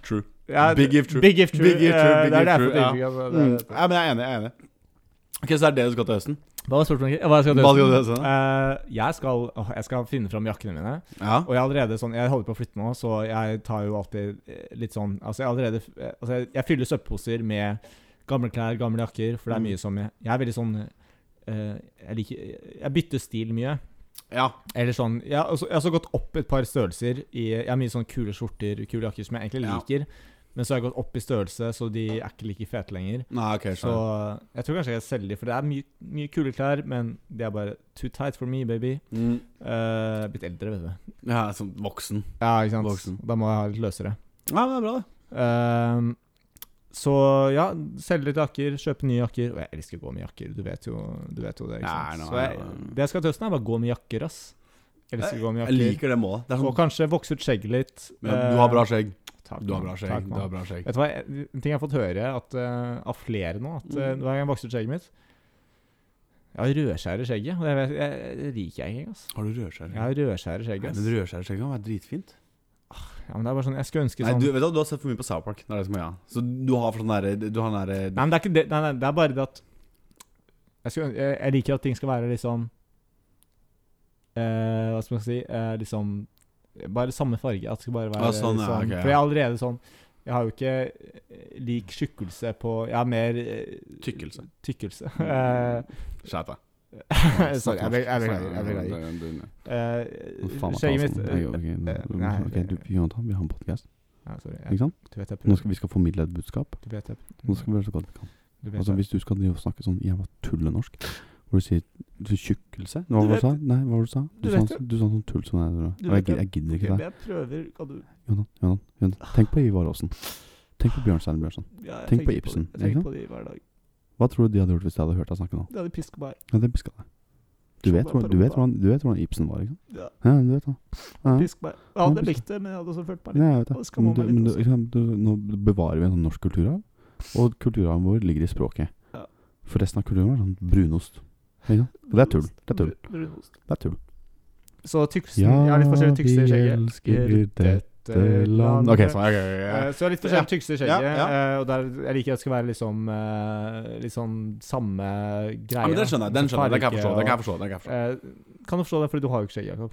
True.
ja,
Big if true.
Big if true.
Big if true,
eh,
big
det
if
er derfor
true, ja.
det er ikke- det er-
Mm. Ja, men jeg er enig. jeg er enig Ok, Så er det det du skal til høsten?
Hva var spørsmålet? Hva skal du
Hva skal du gjøre?
jeg, skal, åh, jeg skal finne fram jakkene mine.
Ja.
Og jeg er allerede sånn Jeg holder på å flytte nå, så jeg tar jo alltid eh, litt sånn Altså, jeg er allerede eh, altså, jeg, jeg fyller søppelposer med gamle klær, Mm. gamle jakker, for det er mye som Jeg, jeg er veldig sånn eh, jeg, liker, jeg bytter stil mye.
Ja.
Eller sånn Jeg har også, jeg har også gått opp et par størrelser. I, jeg har mye sånn kule skjorter, kule jakker, som jeg egentlig
Ja.
liker. Men så har jeg gått opp i størrelse, så de er ikke like fete lenger.
Nei, ok,
Så
skjønner.
jeg tror kanskje jeg selger de, for det er mye, mye kule klær, men de er bare too tight for me, baby.
Mm.
Eh, blitt eldre, vet du.
Ja, sånn voksen.
Ja, ikke sant.
Voksen.
Da må jeg ha litt løsere.
Ja, men det er bra, det.
Ehm, så ja, selge litt jakker, kjøpe nye jakker. Og jeg elsker å gå med jakker, du vet jo, du vet jo det. ikke
Nei,
sant? så
nå er
jeg,
det-
det jeg skal til høsten, er bare gå med jakker, ass. Jeg elsker å gå med
Jeg
jakker.
liker det målet. Det er
Og
sånn,
kanskje vokse ut skjegget litt.
men,
Eh,
du har bra skjegg.
takk,
Du har
mann.
bra
Takk,
skjegg. Du
mann.
har bra skjegg.
Vet du hva, jeg- en ting jeg har fått høre at, eh, av flere nå, at eh,
Mm.
hver gang jeg vokser ut skjegget mitt Jeg har rødskjær i skjegget, og det vet- jeg, jeg, det liker jeg ikke. ass
Har du rødskjegg?
Jeg har rødskjær i
Nei,
skjegget. ass.
Men rødskjæreskjegg kan være dritfint.
Ja, men det er bare sånn, jeg skulle ønske
Nei,
sånn
du, vet du, hva, du har sett for mye på South Park. Det er det som er ja. Så du har for sånn derre Du har den derre
Nei, men det er ikke det. Nei, nei, det er bare det at jeg, skulle, jeg, jeg liker at ting skal være liksom eh, Hva skal man si eh, Liksom Bare samme farge. At det skal bare være
Ja, sånn, ja,
liksom,
ok, ja.
For jeg er allerede sånn Jeg har jo ikke eh, lik skikkelse på Jeg har mer eh,
Tykkelse.
tykkelse. Eh,
Skjerp deg.
Sorry, jeg blir- jeg beklager. jeg beklager. Eh, Skjegget mitt
sånn.
eh, eh, nei, det-
Jonathan, vi har en podkast,
ja, Sorry. Jeg,
sant?
du vet jeg prøver.
vi skal formidle et budskap.
Du vet jeg
Nå skal vi gjøre så godt vi kan.
du vet
Altså
jeg-
Hvis du skal drive og snakke sånn jævla tullenorsk Hvor du sier du, tjukkelse Hva var det du sa? Nei, hva var det du sa? Du,
Du
sa,
vet
du sa sånn tull som det er.
Du
Og jeg,
vet
gid- jeg gidder
Ok,
ikke
men
det.
Jeg prøver Kan du
Jonan, Jonan, Jonan. Tenk på Ivar Aasen. Tenk på Bjørnstein Bjørnson.
ja, jeg
Tenk
tenker
på
det.
Ibsen,
Jeg
ikke
tenker på det hver dag.
Hva tror du de hadde gjort hvis de hadde hørt deg snakke nå?
Det hadde piska meg.
Ja, det piska deg. Du vet, hvordan, du, vet hvordan, du vet hvordan Ibsen var, ikke sant?
Ja.
Ja, du vet det. Ja.
Pisk meg. Jeg hadde
Ja, pisk.
likt det, men jeg hadde også følt meg litt
Ja, jeg vet det.
Og skamma
Men, du,
meg litt
men du,
også.
ikke sant, du, nå bevarer vi en sånn norsk kulturarv, og kulturarven vår ligger i språket.
Ja.
For resten av kulturen vår er sånn brunost. Ikke sant? Og det er tull. Det er tull.
sånn Brun- brunost.
Det er tull.
Så tykkelsen Jeg har litt forskjellig tykkelse i skjegget.
Ok, sånn.
Eh, Så jeg har litt forskjellig tykkelse i skjegget,
Ja, ja.
eh, og der, jeg liker at det skal være liksom eh, Litt sånn samme greie.
Ja, men Den skjønner jeg. Den skjønner jeg. Den kan jeg forstå. Den kan jeg forstå. Den kan jeg forstå.
forstå. Eh, Kan du forstå det, fordi du har jo ikke skjegg, Jakob.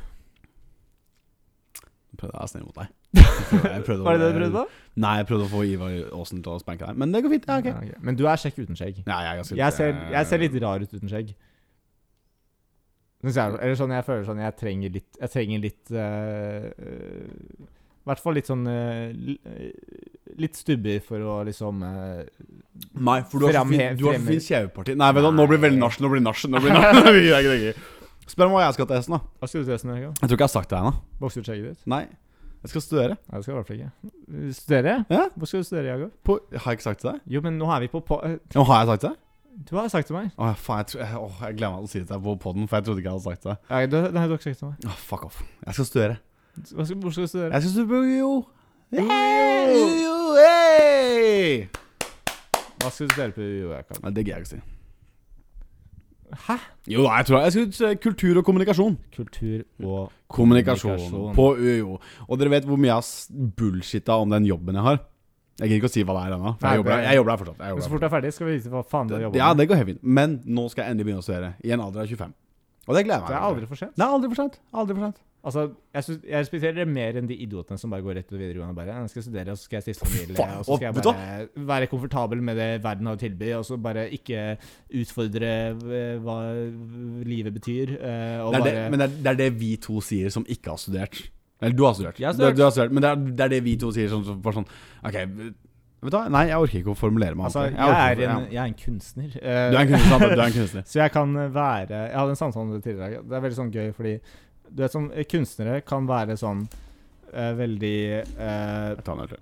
Jeg prøvde å være snill mot deg.
Var det det du prøvde på?
Nei, jeg prøvde å få Ivar Aasen til å spanke deg. Men det går fint. Ja, ok.
Ja, ok. Men du er kjekk uten skjegg.
Ja, jeg, er ganske-
Jeg ser, jeg ser litt rar ut uten skjegg. Synes Jeg, eller sånn, jeg føler sånn Jeg trenger litt Jeg trenger litt eh, I hvert fall litt sånn eh, li- eh, Litt stubber for å liksom eh,
Nei, for du har så
Fremhe-
fin, du har så
fremhe-
fin kjeveparti. Nei, vet du, hva, nå blir det veldig nach. Nå blir det nach. Nå blir det nach. Det gidder jeg ikke, det gidder jeg ikke. Spør om hva jeg skal til hesten, da.
Hva skal du til resten av uka?
Jeg tror ikke jeg har sagt det ennå.
Vokse ut skjegget ditt?
Nei. Jeg skal studere.
Nei, det skal du i hvert fall ikke. Studere?
Ja.
Hvor skal du studere, Jakob?
På, har jeg ikke sagt det til deg?
Jo, men nå er vi på po eh,
Jo, har jeg sagt det?
Du har sagt til meg.
Å, faen, jeg, tror- jeg, åh, jeg glemmer å si det til deg på poden, for jeg trodde ikke jeg hadde sagt det.
Nei, du, nei, du har ikke sagt til meg.
Åh, fuck off. Jeg skal studere.
Hva skal, hvor skal du studere?
Jeg skal studere på UiO.
Hey,
hey!
Hva skal du studere på UiO, Jakob?
Nei, det gidder jeg ikke å si. Hæ? Jo, nei, jeg tror jeg, jeg skal studere kultur og kommunikasjon.
Kultur og
Kommunikasjon,
Kommunikasjon.
på UiO. Og dere vet hvor mye jeg har s- bullshitta om den jobben jeg har. Jeg gidder ikke å si hva det er ennå. for
Nei,
Jeg jobber
det-
der- jeg jobber der fortsatt. Jeg
Men
jobber
Så
der
fort du er ferdig, skal vi vite hva faen du har jobba
Ja, det går helt fint. Men nå skal jeg endelig begynne å studere. I en alder av 25. Og det gleder jeg meg
Det er
til.
aldri for sent.
Det er aldri for sent. Aldri for sent.
Altså, jeg, synes, jeg respekterer det mer enn de idiotene som bare går rett til videregående. og Bare, jeg skal studere, og så skal jeg stifte familie,
faen,
og så skal
og
jeg
vet du
bare være komfortabel med det verden har å tilby, og så bare ikke utfordre eh, hva livet betyr. eh, Og
Det er det,
bare
men det er, det er det vi to sier som ikke har studert. Eller du har studert.
Jeg har
Du-
studert.
Du, har studert men det er, det er det vi to sier som som bare sånn OK, vet du hva? Nei, jeg orker ikke å formulere meg.
Altså,
ordentlig.
jeg
orker
er
ikke-
en,
ja.
jeg er en kunstner. eh,
Du er en kunstner. sant? Du er en kunstner.
Så jeg kan være Jeg hadde en samtale om det tidligere. i dag. Det er veldig sånn gøy, fordi du vet sånn eh, Kunstnere kan være sånn eh, veldig eh,
Jeg tar en øl til.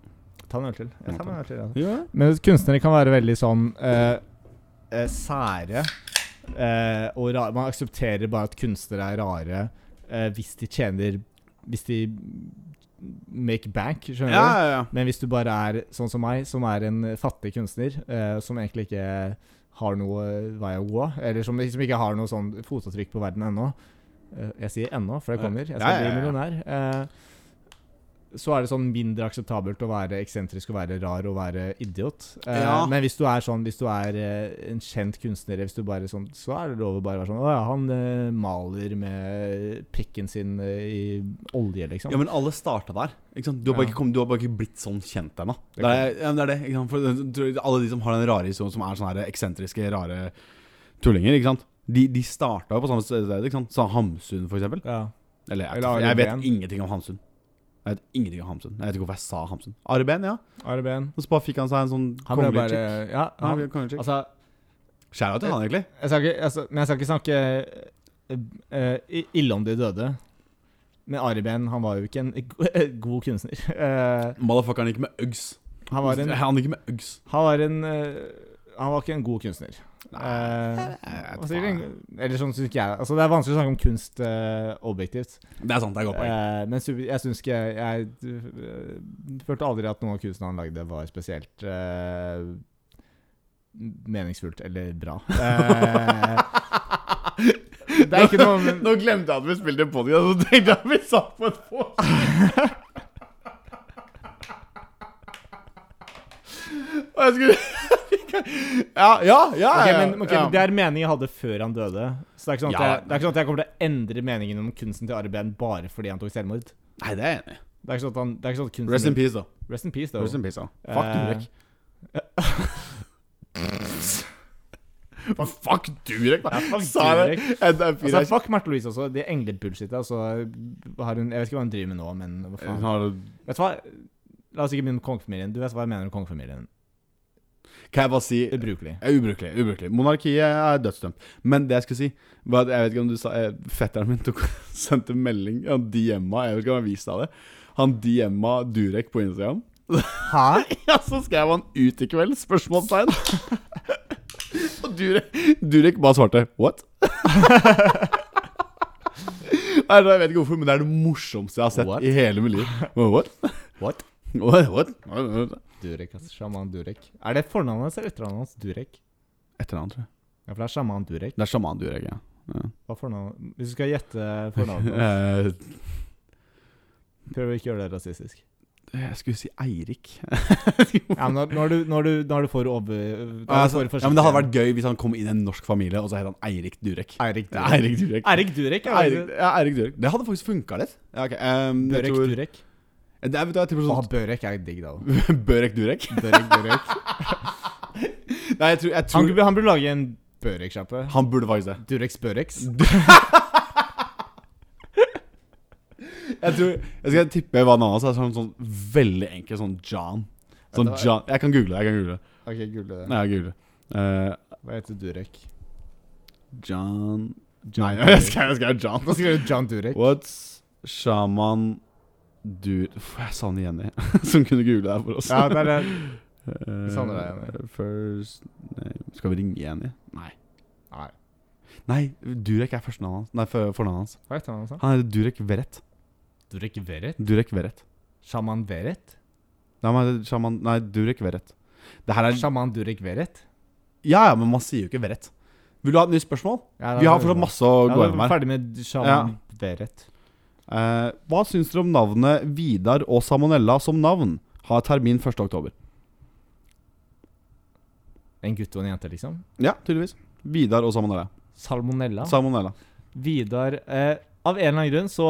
Ta en øl til. Jeg tar meg en øl til. Ja.
Ja.
Men kunstnere kan være veldig sånn eh, eh, sære eh, og rare. Man aksepterer bare at kunstnere er rare eh, hvis de tjener Hvis de make bank, skjønner
ja,
du?
ja, ja.
Men hvis du bare er sånn som meg, som er en fattig kunstner, eh, som egentlig ikke har noe vei å gå, eller som liksom ikke har noe sånn fotavtrykk på verden ennå eh, Jeg sier ennå, for jeg kommer. Jeg skal
Ja, ja, ja.
bli millionær. Eh, så er det sånn mindre akseptabelt å være eksentrisk og være rar og være idiot. Eh,
Ja.
Men hvis du er sånn Hvis du er eh, en kjent kunstner, hvis du bare sånn, så er det lov å bare være sånn Å ja, han eh, maler med pikken sin eh, i olje, liksom.
ja, men alle starta der. Ikke sant? Du, har bare
Ja.
ikke kommet, du har bare ikke blitt sånn kjent ennå.
Det
Det, er- ja, men det er det. Ikke sant? For, jeg tror alle de som har den rare historien, som er sånne her eksentriske, rare tullinger, ikke sant? De, de starta jo på samme sted, ikke sant? Sa Hamsun, for eksempel.
Ja.
Eller jeg,
Eller
jeg,
Ari
vet
Behn.
ingenting om Hamsun. Jeg vet ingenting om Hamsun. Jeg vet ikke hvorfor jeg sa Hamsun. Ari Behn, ja.
Ari Behn.
Og så bare fikk han seg en sånn
Han ble
kongelig
bare
chick.
Ja.
Han
Han,
ble kongelig chick.
altså,
Skjæra til han, egentlig.
jeg skal ikke, altså, men jeg skal ikke snakke eh, eh, i- ille om de døde. Men Ari Behn, han var jo ikke en go- god kunstner. Eh,
Motherfuckeren gikk med Uggs.
han var en
Han gikk med Uggs.
Han var en eh, Han var ikke en god kunstner. Eh,
Jeg
og
vet
sikkert
faen.
en- eller sånn synes ikke jeg Altså Det er vanskelig å snakke om kunst eh, objektivt.
Det er sant, det er et godt poeng.
Eh, men super, jeg syns ikke Jeg eh, følte aldri at noen av kunstene han lagde, var spesielt eh, meningsfullt eller bra. Eh, det er ikke noe men,
Nå glemte jeg at vi spilte en podcast, og så tenkte jeg at vi satt på et båt. Og jeg skulle Ja, ja, ja.
Ok,
ja,
men, ok,
ja.
men Det er meningen jeg hadde før han døde. Så det er ikke sånn at,
Ja.
jeg, det er ikke sånn at jeg kommer til å endre meningen om kunsten til Ari Behn bare fordi han tok selvmord.
Nei, det er jeg enig i.
Det er ikke sånn at han det er ikke sånn at kunsten
Rest in peace, da.
Rest in peace, though.
Rest in peace, da. Fuck Durek. Men fuck Durek, da.
fuck
Sa jeg det?
Durek.
Jeg- det er fyr
Altså,
jeg-
fuck Märtha Louise også. Det englebullshitet. Altså, har hun, jeg vet ikke hva hun driver med nå, men hva faen. Vet du hva? La oss ikke begynne med kongefamilien. Du vet hva jeg mener om kongefamilien.
Kan jeg bare si
Ubrukelig.
Eh, Ubrukelig. ubrukelig Monarkiet er dødsdømt. Men det jeg skulle si var at Jeg vet ikke om du sa eh, Fetteren min tok, sendte melding. Han DM-a Jeg vet ikke om jeg viste deg det. Han DM-a Durek på Instagram.
Hæ?
Ja, så skrev han 'ut i kveld?' spørsmålstegn. Og Durek, Durek bare svarte 'what?' Nei, Jeg vet ikke hvorfor, men det er det morsomste jeg har sett
What?
i hele mitt liv. What?
What?
What? What?
Durek, ass. Sjaman Durek. Er det fornavnet hans eller etternavnet hans? Durek?
Etternavn, tror jeg.
Ja, for det er sjaman Durek.
Det er sjaman Durek, ja.
Hva er fornavnet Hvis du skal gjette fornavnet hans,
Eh,
prøv å ikke gjøre det rasistisk.
Jeg skulle si Eirik.
Ja, men når, når, du, når, du, når du får over eh,
Ja, altså, ja, men Det hadde vært gøy hvis han kom inn i en norsk familie, og så het han Eirik Durek.
Eirik
Ja,
Durek. Eirik
Eirik Durek.
Durek? er
Eirik,
det-
ja, Eirik Durek. Det hadde faktisk funka litt. Ja, ok, ehm, jeg
Børek
tror-
Durek.
Det er, vet du, jeg tipper
Å,
sånn
Børek er digg, da.
Børek Durek.
Børek Durek.
Nei, jeg tror, jeg
Han,
tror
burde- han burde lage en Børek-sjappe.
Han burde faktisk det.
Durex Børex.
Jeg tror Jeg skal tippe hva navnet hans er. Sånn, sånn veldig enkel sånn John.
Vet du
Sånn
hva?
John Jeg kan google det. Jeg kan google det.
Ok, gule.
Nei, jeg googler det. Eh,
Hva heter Durek?
John
John
Nei, jeg skal, jeg skal John.
Nå skriver du John Durek.
What's Shaman Dur... Uff, Jeg savner Jenny, som kunne google det her for oss.
Ja, det er det.
Eh,
savner deg,
First name. Skal vi ringe Jenny? Nei.
Nei.
Nei, Durek er førstenavnet hans. Nei, for- fornavnet hans.
Hva heter han, altså?
Han heter Durek Verrett.
Durek Veret?
Durek Verrett.
Sjaman Veret?
Nei, men det er Shaman Nei, Durek Verrett. Det her er
Sjaman Durek Veret?
Ja, ja, men man sier jo ikke Verrett. Vil du ha et nytt spørsmål? Vi har fortsatt masse å gå gjennom her.
Ferdig med Sjaman Veret.
Eh, hva syns dere om navnet Vidar og Salmonella som navn? Har termin 1. oktober.
En gutt og en jente, liksom?
Ja, tydeligvis. Vidar og Salmonella.
Salmonella?
Salmonella.
Vidar eh, Av en eller annen grunn så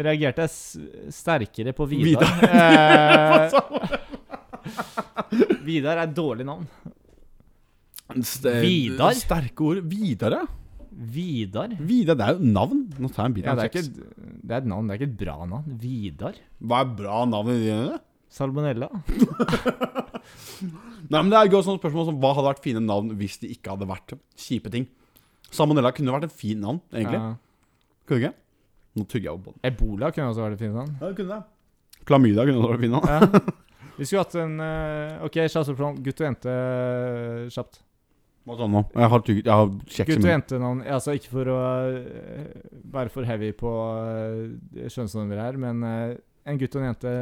reagerte jeg s sterkere på Vidar. Eh, Vidar er et dårlig navn.
St- eh,
Vidar?
Sterke ord. Vidar, ja.
Vidar?
Vidar, det er jo navn. Nå tar jeg en bit
Ja,
av
det, er
kjeks.
ikke, det er et navn, det er ikke et bra navn. Vidar?
Hva er bra navn i dine?
Salmonella?
Nei, men det er et godt sånt spørsmål som Hva hadde vært fine navn hvis de ikke hadde vært kjipe ting? Salmonella kunne vært en fin navn, egentlig.
Ja.
Kunne ikke? Nå tygger jeg på båten.
Ebola kunne også vært et fint navn.
Ja, det kunne det. Klamydia kunne også vært fin navn.
Ja. Vi skulle hatt en eh, OK, kjapt spørsmål. Gutt og jente eh, kjapt.
Hva sa du nå? Jeg har tygget Jeg har kjeks i
Gutt- og
munnen.
jentenavn Altså, ikke for å eh, være for heavy på uh, skjønnsnummer her, men eh, en gutt og en jente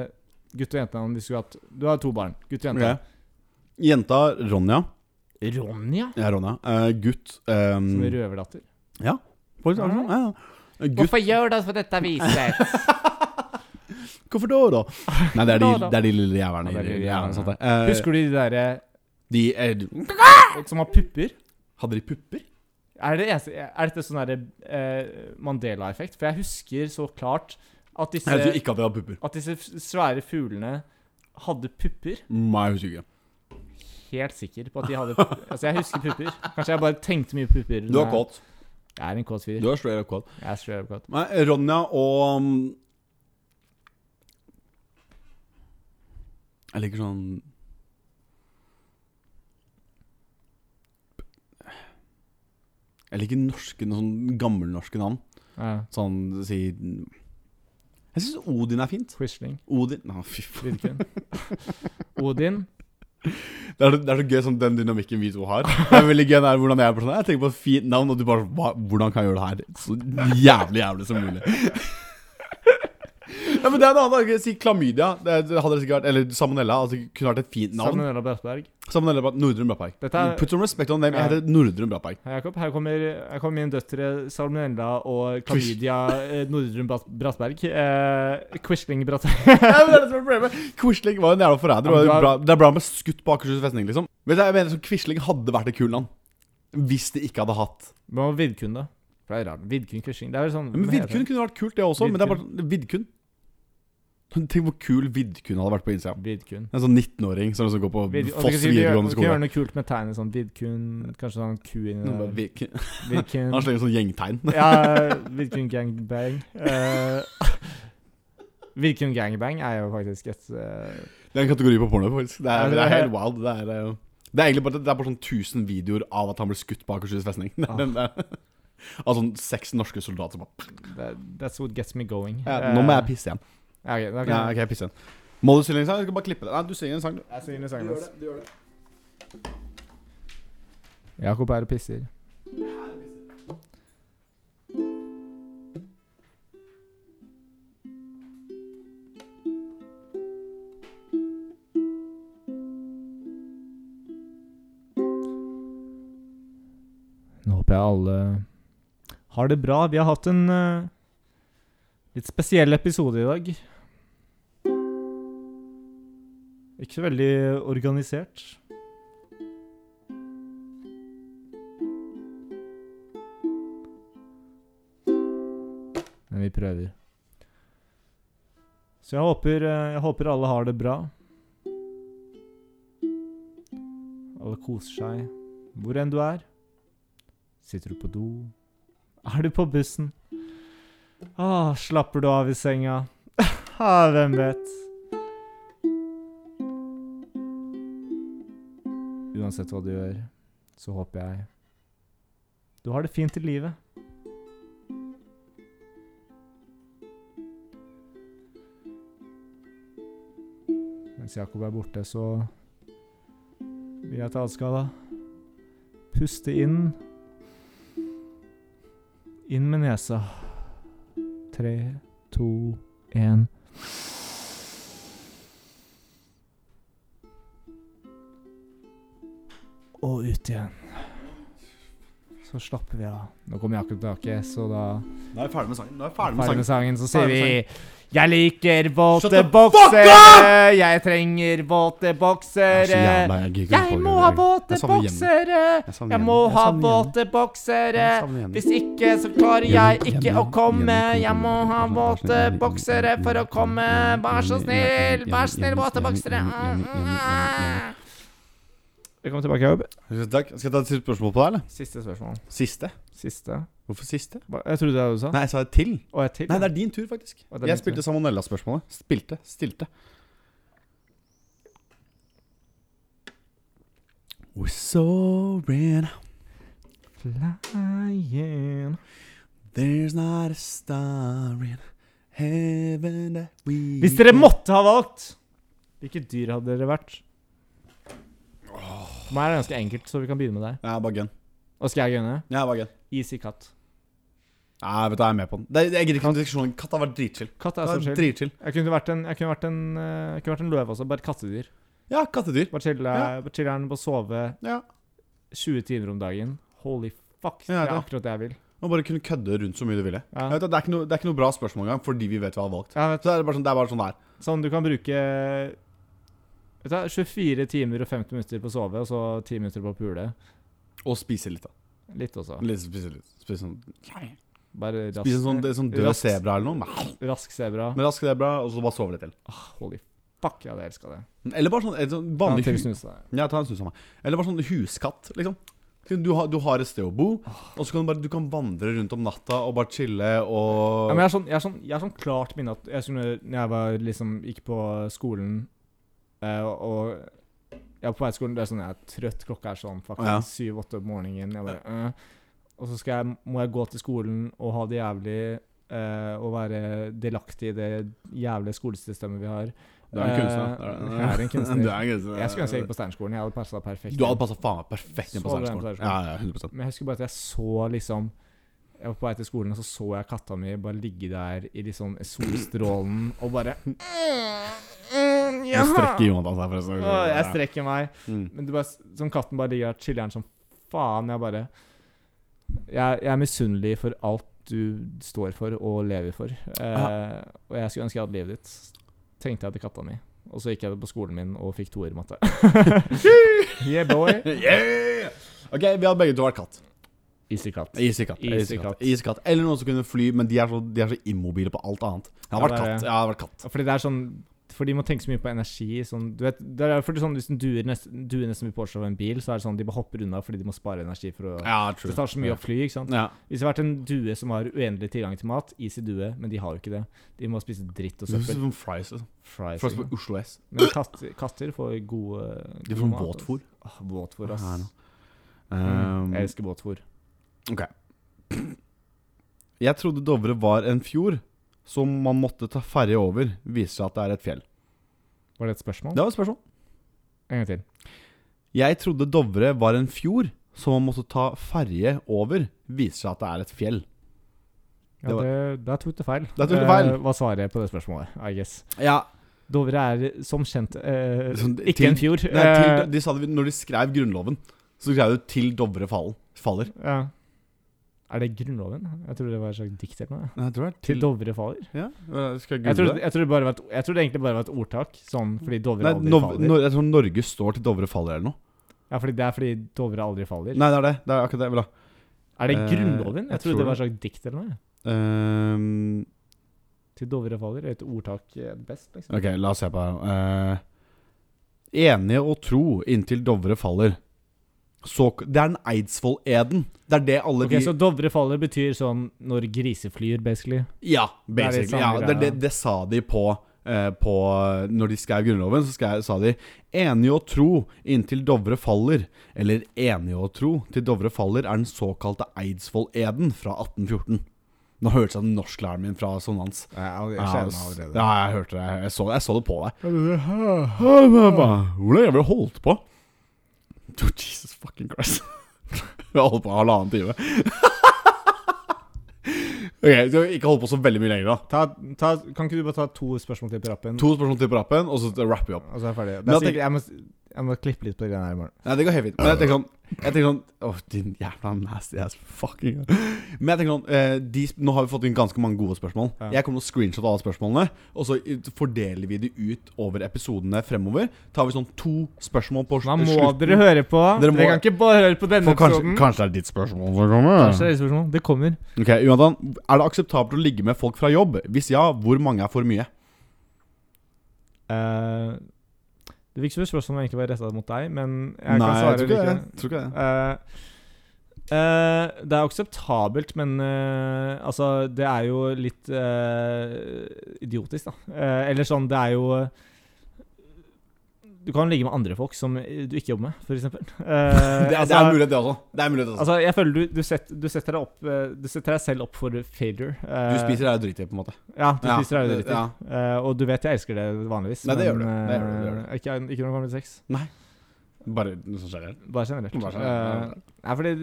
Gutt og jentenavn vi skulle hatt Du har to barn. Gutt og jente.
Ok. Jenta Ronja.
Ronja?
Ja, Ronja. Eh, gutt ehm,
Som røverdatter.
Folk snakker sånn. Ja, ja. Eh, Gutt
gjør du på dette viset?
Hvorfor da, da? Nei, det er de, det er de lille jævlene.
Ja, det er de lille jævlene.
sant det. Eh,
Husker du de derre
de eh,
som har pupper?
Hadde de pupper?
Eh, Er, det, eneste- er dette sånn derre eh, Mandela-effekt? For jeg husker så klart at disse,
Jeg tror ikke at de hadde pupper.
at disse f- svære fuglene hadde pupper.
Nei, jeg husker ikke.
helt sikker på at de hadde Altså, jeg husker pupper. Kanskje jeg bare tenkte mye pupper.
Du er
når jeg-
kåt.
Jeg er en kåt fyr.
Du er straight up kåt.
Jeg er straight up kåt.
Nei, Ronja
um,
og mm, Jeg liker sånn Jeg liker norske, noen sånn gammelnorske navn.
Ja.
Sånn si Jeg syns Odin er fint.
Quisling.
Odin Nå, fy faen.
Vidkun. Odin.
Det er, så- det er så gøy sånn den dynamikken vi to har. Det er veldig gøy det er hvordan Jeg er på sånn Jeg tenker på et fint navn, og du bare hva, Hvordan kan jeg gjøre det her så jævlig jævlig som mulig? Ja, men det er noe annet. Jeg kan Si klamydia. Det det hadde det sikkert vært Eller salmonella. Altså, det kunne vært et fint navn.
Salmonella Brattberg.
Salmonella på Nordre Brattberg.
Dette er-
Put some respect on them. Jeg
Ja.
heter Nordre Brattberg.
Hei, Jakob. Her kommer, her kommer mine døtre Salmonella og Kamidia Nordrum Brattberg. Eh, Quisling Brattberg.
Ja, men det er det som er problemet. Quisling var en jævla forræder. og
Ja, men du
bra- Det er bra med skutt på Akershus festning, liksom. Vet du, jeg mener sånn, Quisling hadde vært et kult navn. Hvis de ikke hadde hatt
Hva med Vidkun, da? For det er rart. Vidkun Quisling. Det er vel sånn
Men
hva heter
Vidkun
det?
kunne vært kult, det også. Men det er bare sånn- Vidkun. Tenk hvor kul Vidkun hadde vært på Instagram.
Vidkun.
En sånn 19-åring som liksom går på
Vid- og så kan
Foss
vi- vi- vi
videregående
kan gjøre
skole.
noe kult med tegnet sånn Vidkun Kanskje sånn ku inni
Noen bare,
der.
Vidkun.
Vidkun.
Han slenger sånn gjengtegn.
Ja, Vidkun Gangbang. Eh, Vidkun Gangbang er jo faktisk et eh,
Det er en kategori på porno, faktisk. Det
Ja,
er,
det
det er
er-
helt wild. Det er, eh, det er egentlig bare, det er bare sånn 1000 videoer av at han ble skutt på Akershus festning. Det er
Ah.
den der- Av sånn seks norske soldater som bare
that, That's what gets me going.
ja, Nå må
Eh,
jeg pisse igjen.
ja, ok, da kan
Ja,
jeg-
ok, jeg pisser igjen. Må du synge en sang? Jeg skal bare klippe det. Nei, du synger en sang, du.
Jeg synger sangen hans.
du gjør det.
Jakob er og pisser. Nå håper jeg alle har det bra. Vi har hatt en eh, litt spesiell episode i dag. Ikke så veldig organisert. Men vi prøver. Så jeg håper, eh, jeg håper alle har det bra. Alle koser seg hvor enn du er. Sitter du på do? Er du på bussen? Ah, slapper du av i senga? Ah, hvem vet? Uansett hva du gjør, så håper jeg du har det fint i livet. Mens Jakob er borte, så vil jeg at alle skal puste inn. Inn med nesa. Tre, to, én. Og ut igjen. Så slapper vi av. Nå kommer Jakob tilbake, så da
Nå er jeg ferdig med sangen. Nå er jeg ferdig med
Ferdig med
sangen.
sangen, så
Ferdig
sier
med
vi Jeg liker våte
Shut the fuck
up!
boksere, jeg trenger våte
Jeg er så
boksere.
jævla- jeg gidder ikke
Jeg
å
må
gjøre
ha
det.
våte
Jeg savner hjemmet.
boksere.
Jeg savner
Jeg
hjemmet.
må ha
savner hjemmet.
våte boksere.
Jeg savner hjemmet.
Hvis ikke så klarer jeg
Hjemmet,
ikke å
hjemmet,
komme.
hjemmet,
Jeg må ha
hjemmet,
våte
hjemmet,
boksere
hjemmet,
for å komme.
hjemmet,
Vær så
hjemmet,
snill,
hjemmet,
vær så snill,
hjemmet,
våte
hjemmet,
boksere.
hjemmet, hjemmet, hjemmet, hjemmet.
Velkommen tilbake, Jobb.
Tusen Takk. Skal jeg ta et siste spørsmål på deg, eller?
Siste spørsmål.
Siste?
Siste.
Hvorfor siste?
Hva- Jeg trodde det var det du sa.
Nei, jeg sa et til.
Og et til.
Nei, det er din tur, faktisk.
Å, det er min
Jeg spilte salmonella-spørsmålet. Spilte. Stilte. We're soaring,
Flying.
there's not a star in heaven that we
Hvis dere måtte ha valgt, hvilket dyr hadde dere vært? For meg er det ganske enkelt, så vi kan begynne med deg.
Ja, bare gun.
Og skal jeg gønne?
Ja, bare gun.
Easy katt.
Nei, vet du, jeg er med på den. Det, jeg gidder ikke noen diskusjon. Katt har vært dritchill.
Katt er
Katt
så
har vært
chill.
Dritchill.
Jeg kunne vært en, jeg kunne vært en, eh, jeg kunne vært en løve også, bare et kattedyr.
Ja, kattedyr.
Bare chille-
Ja.
bare chiller'n på å sove
Ja.
20 timer om dagen. Holy fuck, det
Ja,
er
det.
akkurat det jeg vil.
Og bare kunne kødde rundt så mye du ville.
Ja.
Jeg Vet, du, det, er ikke noe, det er ikke noe bra spørsmål engang, fordi vi vet hva vi har valgt.
Ja, vet,
Så er det, bare sånn, det er bare sånn det er.
sånn du kan bruke vet du, 24 timer og 50 minutter på å sove, og så 10 minutter på å pule.
Og spise litt, da.
Litt også.
Litt, spise litt. Spise sånn,
Bare rask,
spise sånn, det er sånn død
Raskt.
sebra eller noe.
rask sebra.
Men rask sebra, og så bare sove litt til.
Holy Fuck, jeg hadde elska det.
Eller bare sånn, et sånn
Ta en
vanlig
til
hu-
snus, da.
Ja, ta en snus av meg. Eller bare sånn huskatt, liksom. Du har, du har et sted å bo, og så kan du bare Du kan vandre rundt om natta og bare chille og
Ja, men jeg har sånn, jeg har sånn, jeg har sånn klart minne at jeg skulle, når jeg var, liksom, gikk på skolen eh, og jeg var på vei til skolen, det er sånn jeg er trøtt, klokka er sånn
Ja.
faktisk syv-åtte om morgenen. Jeg bare, eh. Og så skal jeg, må jeg gå til skolen og ha det jævlig eh, og være delaktig i det jævlig skolesystemet vi har.
Du er en kunstner.
Eh,
da. Det
jeg er en kunstner.
du er en kunstner.
Jeg skulle ønske jeg gikk på Steinerskolen. Jeg hadde passa perfekt.
Du hadde passa faen meg perfekt inn på
Så bra
Steinerskolen.
på
Ja, ja, 100
Men jeg husker bare at jeg så liksom Jeg var på vei til skolen, og så så jeg katta mi bare ligge der i liksom solstrålen og bare mm,
Nå strekker
jeg,
Jonas her, forresten.
jeg strekker meg.
sånn. Mm.
Men det bare, som katten bare ligger der, chiller den som faen. Jeg bare Jeg, jeg er misunnelig for alt du står for og lever for. Eh, og jeg skulle ønske jeg hadde livet ditt. Tenkte jeg til katta mi. Og så gikk jeg på skolen min og fikk toer i matte. yeah, boy.
Yeah! Ok, vi har begge to vært katt.
Easy katt.
Iskatt.
Easy
Iskatt.
katt.
Iskatt. Eller noen som kunne fly, men de er så, de er så immobile på alt annet. Jeg har
Ja,
vært
det er
katt.
det.
Jeg har vært katt.
Ja, Fordi det er sånn For de må tenke så mye på energi sånn, Du vet Det er fordi sånn Hvis en duer nesten, duer nesten mye på av en bil Så er det sånn De bare hopper unna Fordi de må spare energi for å
Ja,
Det tar så mye å fly, ikke sant?
Ja.
Hvis det hadde vært en due som har uendelig tilgang til mat Easy due Men de har jo ikke det De må spise dritt og
Det er
søppel
som fries. liksom.
Fries
Fries på
ikke sant?
Oslo S.
Men katt, katter får gode
De
god
får sånn
mat, altså.
våtfôr.
Åh, Våtfôr, ass
Ja, nå.
Mm,
Um,
Jeg elsker båtfôr
jeg trodde Dovre var en fjord som man måtte ta ferje over. Viser seg at det er et fjell.
Var det et spørsmål?
Det var et spørsmål.
En gang til
Jeg trodde Dovre var en fjord som man måtte ta ferje over. Viser seg at det er et fjell.
ja,
Det var-
det, Da tok du feil
Da tok du feil.
Eh, Hva svarer jeg på det spørsmålet? I guess
Ja,
Dovre er som kjent eh,
Sånn,
Ikke
til-
en fjord
Nei,
Eh,
til, de sa det, når de skrev Grunnloven, så skrev de 'til Dovre fall, faller'.
Ja. Er det Grunnloven? Jeg tror det var et slags dikt eller noe.
Nei, jeg tror det er
Til Dovre faller?
Ja, skal
Jeg tror, jeg, tror det bare var et, jeg tror det egentlig bare var et ordtak, sånn fordi Dovre
Nei,
aldri
Nov-
faller.
Nor- jeg tror Norge står til Dovre faller eller noe.
Ja, fordi det er fordi Dovre aldri faller.
Nei, det er det. Det er akkurat det. jeg vil ha.
Er det
Eh,
Grunnloven? Jeg,
jeg
trodde
tror
det var et slags dikt eller noe.
Ehm,
Til Dovre faller. Et ordtak eh, best, liksom.
ok, la oss se på det. her. Eh, enige og tro inntil Dovre faller. Så, k- det er en Eidsvoll-eden. Det er det alle
Ok,
de
Så Dovre faller betyr sånn når griser flyr, basically.
Ja,
Det er litt
basically.
samme
Ja, det,
greia.
det, det sa de på, eh, på Når de skrev Grunnloven, så skrev, sa de 'Enige å tro inntil Dovre faller', eller 'Enige å tro til Dovre faller' er den såkalte Eidsvoll-eden fra 1814. Nå hørtes jeg den norsklæreren min fra Sonans.
Jeg
Ja, ja, jeg hørte det. Jeg så, jeg så det på deg.
allerede.
Hvordan jævlig holdt på? Oh, Jesus fucking Christ. Vi har holdt på halvannen time. ok, så ikke holdt på så veldig mye lenger, da.
Ta, ta, kan ikke du bare ta to spørsmål til på rappen?
To spørsmål til på rappen, og så rapper vi opp.
Og så er Altså, jeg ferdig. Det er
Men jeg tenker-
sikkert, jeg, må, jeg må klippe litt på de greiene her i morgen.
Nei, det går helt fint. Men jeg tenker sånn Jeg tenker sånn Åh, din jævla nasty ass fucking Men jeg tenker sånn eh, de, sp- Nå har vi fått inn ganske mange gode spørsmål.
Ja.
Jeg kommer til å screenshotte alle spørsmålene, og så i- fordeler vi de ut over episodene fremover. Tar vi sånn to spørsmål på
Da
sl-
må dere høre på.
Dere
Dere,
må-
kan ikke bare høre på denne
For kanskje,
episoden.
kanskje det er ditt spørsmål som kommer?
Kanskje det er et spørsmål. Det kommer.
Ok, Jonathan. Er det akseptabelt å ligge med folk fra jobb? Hvis ja, hvor mange er for mye?
Eh, det virker som et spørsmål som egentlig var retta mot deg, men jeg kan
Nei,
svare
jeg tror ikke det.
likevel.
Jeg Tror ikke det.
Eh, eh, det er akseptabelt, men eh, altså Det er jo litt eh, idiotisk, da. Eh, eller sånn, det er jo Du kan ligge med andre folk som du ikke jobber med, Eh, f.eks.
Det, er- det er mulighet, det også. Det er mulighet, det også.
Altså, jeg føler du, du, setter, du, setter deg opp, eh, du setter deg selv opp for failure. eh,
Du spiser deg jo dritt i, på en måte.
Ja, du
Ja,
spiser deg jo dritt i.
ja.
Eh, og du vet jeg elsker det vanligvis.
Nei, det gjør
men,
du. Det gjør du,
eh,
det gjør
Ikke, ikke når det kommer til sex.
Bare noe som skjer her.
Bare generelt.
Bare sånn, generelt,
Eh, nei, fordi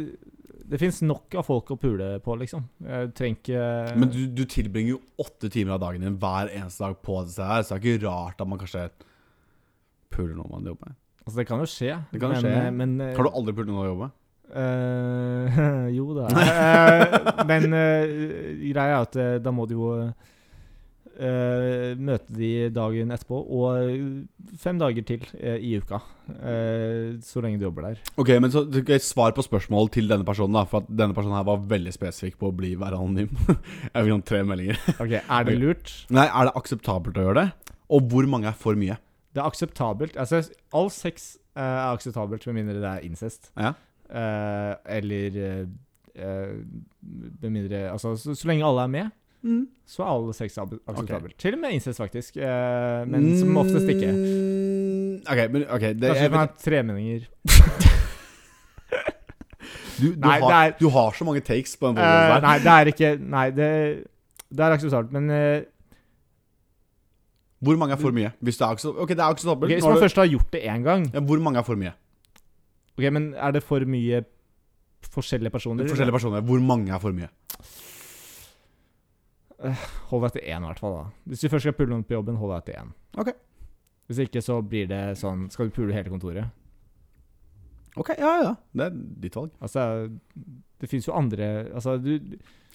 det fins nok av folk å pule på, liksom. Jeg trenger ikke
Men du, du tilbringer jo åtte timer av dagen din hver eneste dag på dette her, så det er ikke rart at man kanskje puler noen man jobber med.
Altså, det kan jo skje.
Det kan jo
men,
skje.
eh, Men, eh,
Har du aldri pult noen man jobber med?
eh, jo da. Eh, men eh, greia er at eh, da må du jo eh, møte de dagen etterpå, og fem dager til eh, i uka. eh, så lenge du jobber der.
Ok, men så ok, Svar på spørsmål til denne personen, da, for at denne personen her var veldig spesifikk på å bli være anonym. Jeg fikk sånn tre meldinger.
Ok, Er det lurt?
Nei, Er det akseptabelt å gjøre det? Og hvor mange er for mye?
Det er akseptabelt. Altså, all sex eh, er akseptabelt med mindre det er incest.
Ja.
Eh, eller eh, eh, Med mindre Altså, så, så lenge alle er med,
Mm.
så er all sex ab- akseptabelt. Til og med incest, faktisk. eh, men som oftest ikke.
Mm, Ok, men ok det,
Kanskje
jeg,
man har tremenninger.
du, du,
Nei,
har,
det
du har så mange takes på en
Eh,
volleyball der.
nei, det er ikke Nei, det, det er akseptabelt, men eh,
Hvor mange er for mye? Hvis det er akseptabelt Ok, det er akseptabelt.
ok, Hvis
Nå har
man
du-
først har gjort det én gang,
ja, hvor mange er for mye?
Ok, men er det for mye forskjellige personer?
Forskjellige personer. Hvor mange er for mye?
Hold deg til én, i hvert fall. da Hvis du først skal pule noen på jobben, hold deg til én.
Ok.
Hvis ikke så blir det sånn Skal du pule hele kontoret?
Ok, ja, ja. Det er ditt valg.
Altså, det fins jo andre Altså, du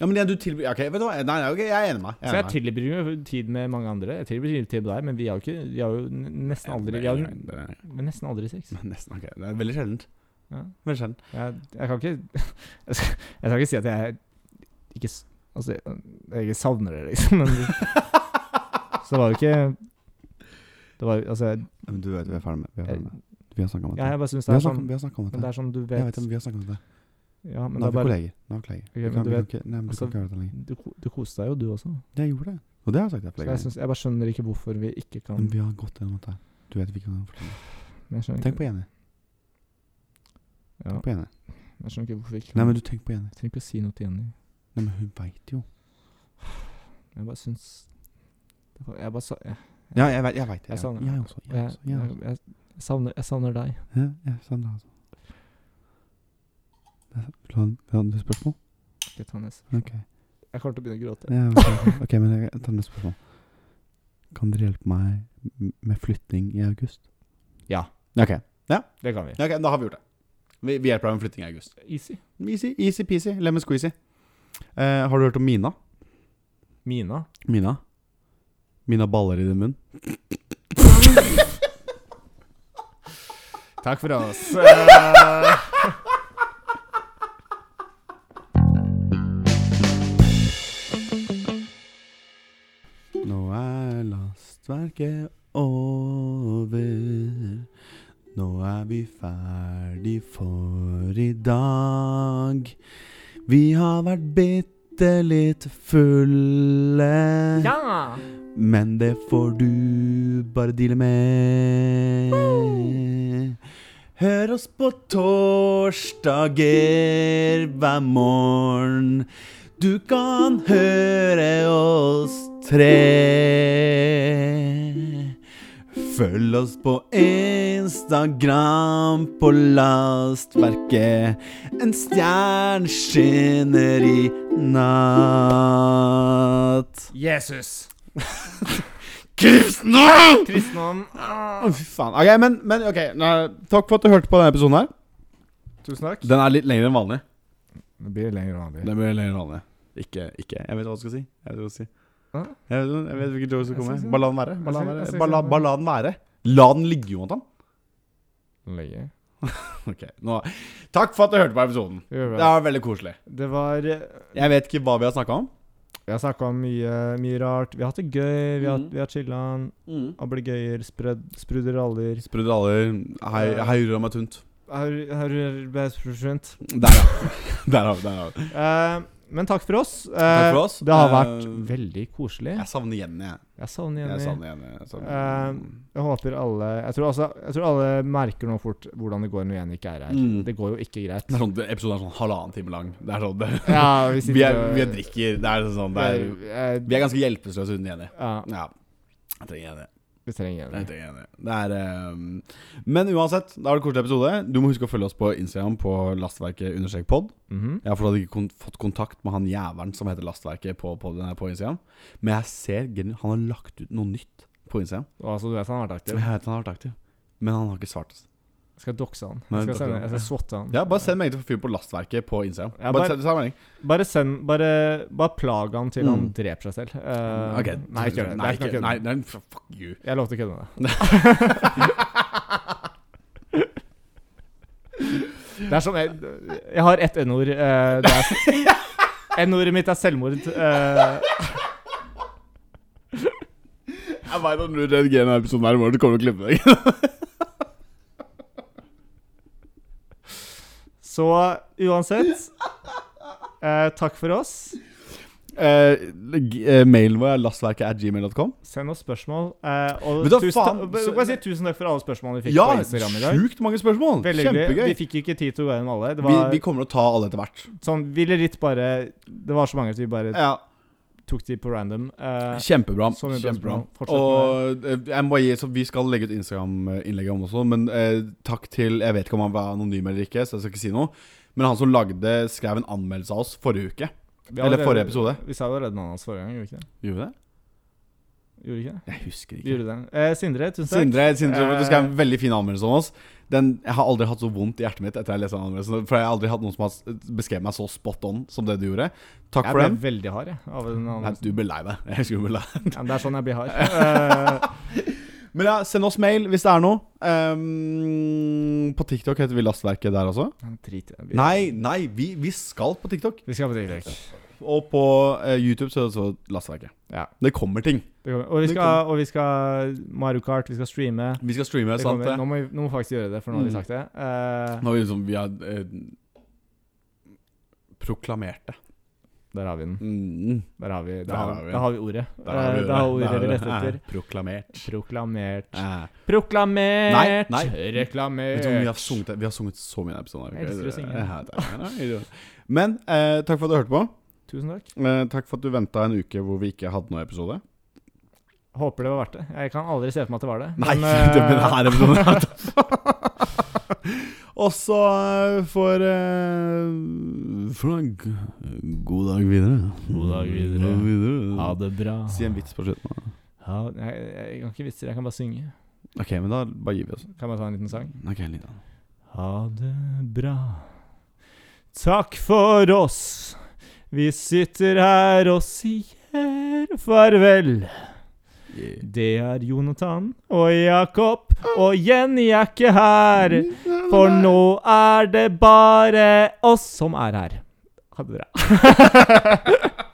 Ja, men det du tilbyr Ok, vet du hva? Nei, nei, ok, jeg er enig med deg.
Så
Jeg er
jeg
enig med deg.
tilbringer jo tid med mange andre. Jeg tilbringer tid med deg, men vi har jo ikke Vi har jo n- nesten aldri Vi har jo n-
Det er-
vi har nesten aldri sex.
Men Nesten, ok. Det er veldig sjeldent.
Ja.
Veldig sjeldent.
Jeg, jeg kan ikke jeg skal, jeg skal ikke si at jeg ikke s- Altså, jeg, jeg ikke savner det, liksom, men Så det var jo ikke Det var jo Altså, jeg,
Men du vet, vi er ferdig med, vi er ferdig med. Vi har snakka om
ja,
dette.
jeg bare syns det
Vi har
er
snakket om-
sånn
vi har snakket om
Men det
dette.
er sånn du vet,
Jeg vet, men vi har snakket om dette.
Ja, men det er
Nå er vi
bare
kolleger. Nå er vi kolleger.
Ok,
Vi
men du
kan- vi kan
vet-
ikke- Nei, men vi
altså-
kan ikke gjøre dette lenger.
Du, ko- du koste deg jo, du også.
Jeg gjorde det. Og det har jeg sagt til
Så
flere
jeg,
ganger.
syns- jeg bare skjønner ikke hvorfor vi ikke kan
Men vi har gått gjennom dette. her. Du vet vi kan fortelle.
men jeg, skjønner
Tenk
ikke,
på Jenny.
ja,
På Jenny.
jeg skjønner ikke hvorfor vi ikke
Nei,
kan
men du tenk på Jenny.
Jeg trenger ikke å si noe til Jenny.
Nei, men hun veit jo.
Jeg bare syns det var- Jeg bare sa Jeg,
Ja, jeg veit jeg vet det.
Jeg
Jeg,
savner
jeg også. Jeg
jeg,
også. Jeg,
jeg,
også.
jeg, savner, jeg savner deg.
Ja, sånn jeg savner deg også. Vil du ha- vil du ha et spørsmål?
Skal jeg ta neste?
Ok.
Jeg kommer til å begynne å gråte.
Ja, ok, ok, men jeg tar neste spørsmål. Kan dere hjelpe meg m- med flytting i august?
Ja. Det
Ok,
kan vi.
Ja, ok, da har vi gjort det. Vi, vi hjelper deg med flytting i august.
Easy.
Easy, easy peasy. Lemon squeezy. Eh, har du hørt om Mina?
Mina.
Mina? Mina baller i din munn.
Takk for oss.
Nå er lastverket over. Nå er vi ferdig for i dag. Vi har vært bitte litt fulle.
Ja!
Men det får du bare deale med. Hør oss på torsdager hver morgen. Du kan høre oss tre. Følg oss på Instagram på Lastverket. En stjerne skinner i natt.
Jesus.
Kristne!
Kristendom. Ah.
Å, fy faen. Ok, men, men ok. nå- Takk for at du hørte på denne episoden her.
Tusen takk.
Den er litt lengre enn vanlig.
Det blir lenger enn vanlig.
Den blir lenger enn vanlig. Ikke, ikke. Jeg vet hva du skal si. Jeg vet hva du skal si.
Hæ?
Jeg vet, jeg vet hvilken joke som
Jeg
kommer.
skal si-
Bare la den være.
jeg
Bare la den være.
skal- jeg skal
Bare la,
si-
bare la den være. La den ligge, Jonathan.
Lenge.
Ok, nå. Takk for at du hørte på episoden. Det var veldig koselig.
Det var Jeg
Jeg vet ikke hva vi har snakka om.
har snakka om mye, mye rart. Vi har hatt det gøy. Vi har, vi har chillan.
Mm.
Ablegøyer, spredd- spruderaller
Spruderaler. Hei, hei, røra meg tunt.
Her- her er best produsent.
Der, ja. Der har vi der har vi.
Eh, Men takk for oss. Eh,
Takk for oss.
Det har
Eh,
vært veldig koselig.
Jeg savner Jenny, jeg.
Jeg savner
Jeg
Jenny.
savner Jenny. Jeg
Eh,
savner.
Jeg håper alle jeg tror, altså, jeg tror alle merker nå fort hvordan det går når Jenny ikke er her.
Mm.
Det går jo ikke greit.
Det er sånn, episoden er sånn halvannen time lang. Det er sånn, det,
Ah,
Ja, vi sitter
vi, er,
og-
vi er drikker. Det er sånn, det
uh,
er,
Jeg-
vi er ganske hjelpeløse uten Jenny.
Ja,
Ja. Jeg trenger Jenny.
vi trenger
Jeg
Jenny.
trenger Jenny. Det er, ehm, men uansett, da er det koselig episode. Du må huske å følge oss på Instagram på lastverket understrek pod.
Mhm.
Jeg har fortsatt ikke kon fått kontakt med han jævelen som heter Lastverket på podden her på Instagram. Men jeg ser genuint- han har lagt ut noe nytt på Instagram.
Og altså, du vet han har vært
Jeg
aktiv.
vet han har vært aktiv, men han har ikke svart oss.
Jeg skal doxe han.
Nei,
Jeg skal,
doxe
sende,
han.
jeg skal swatte han.
Ja, bare send melding til fyren på Lastverket på Instagram.
Ja,
bare
bare-
send, send melding.
Bare send Bare, bare plag han til han
Mm.
dreper seg selv. Eh,
Ok.
Nei, ikke gjør det.
Nei,
det. er ikke noe å kødde
nei,
med.
nei, f- fuck you.
Jeg lovte å kødde med deg. Det er sånn Jeg, jeg har ett n-ord. eh, det er- N-ordet mitt er selvmord. eh.
Jeg veit at du redigerer denne episoden her i morgen, du kommer til å klippe deg.
Så uansett eh, Takk for oss.
Eh, mailen vår er lastverket.gmail.com.
Send oss spørsmål. Eh, og
Men da
tusen,
faen,
ta- så,
så-
bare si tusen takk for alle spørsmålene vi fikk
Ja,
på Instagram i dag.
sjukt mange spørsmål!
Veldig hyggelig.
Kjempegøy.
Vi fikk jo ikke tid til å gå gjennom alle. Det
Vi,
var
vi kommer til å ta alle etter hvert.
sånn, ville litt bare Det var så mange at vi bare
Ja,
tok de på random. Eh,
Kjempebra.
Så mye bra
kjempebra
spørsmål. Fortsett
Og eh, jeg må gi, så Vi skal legge ut Instagram-innlegget om også, men eh, takk til Jeg vet ikke om han var anonym eller ikke, så jeg skal ikke si noe. Men han som lagde, skrev en anmeldelse av oss forrige uke.
vi
Eller
allerede-
forrige episode.
Vi sa jo allerede navnet hans forrige gang, gjorde vi ikke det?
Gjorde vi det?
Gjorde vi ikke det?
Jeg husker
Vi
ikke.
gjorde det. Eh, Sindre, tusen takk.
Sindre, Sindre
Eh.
du skrev en veldig fin anmeldelse om oss. Den, jeg har aldri hatt så vondt i hjertet mitt etter jeg leste den anmeldelsen. For jeg har aldri hatt noen som har beskrevet meg så spot on som det du gjorde. Takk
Jeg
for
ble
den.
veldig hard, jeg. Av den
Nei,
annonsen.
du ble lei deg. Jeg husker du ble lei
Ja, men det er sånn jeg blir hard. Eh,
Men ja, send oss mail hvis det er noe. Ehm, på TikTok heter vi Lastverket der også.
Drit i det. Vi-
Nei, nei, vi, vi skal på TikTok.
Vi skal på TikTok.
Og på eh, YouTube så er det så Lastverket.
Ja.
Det kommer ting.
Det kommer. Og vi
Det
skal, og vi skal Mario Kart, vi skal streame.
Vi skal streame,
Det
sant
kommer.
det?
Nå, må vi, nå må vi faktisk gjøre det, for nå har vi
Mm.
sagt det. Eh,
Nå har vi liksom Vi har eh, proklamert det.
der har vi den.
Mm.
Der har vi, der
Der
har,
har vi
der har vi ordet.
Der har
Eh,
vi
der har vi ordet
Der har
vi
vi
lette etter.
Eh, Proklamert.
Proklamert.
Eh.
Proklamert!
Nei, Vet
Reklamert!
du hvor mye vi har sunget? det? Vi har sunget så mye i denne episoden. her.
Eh, Jeg elsker å synge.
Ja, det er- Men eh, takk for at du hørte på.
Tusen takk.
Eh, takk for at du venta en uke hvor vi ikke hadde noen episode.
Håper det var verdt det. Jeg kan aldri se for meg at det var det.
Nei,
Men,
men, det, men det
eh,
her er episoden er Og så eh, for eh, For en g- god dag videre.
God dag videre.
God videre.
Ha det bra.
Si en vits på slutten. da.
Ha, jeg, jeg kan ikke vitser, jeg kan bare synge.
Ok, men da bare gir vi oss.
Kan jeg bare ta en liten sang?
Ok, litt da.
Ha det bra. Takk for oss. Vi sitter her og sier farvel. Det er Jonathan og Jakob, og Jenny er ikke her. For nå er det bare oss som er her. Ha det bra.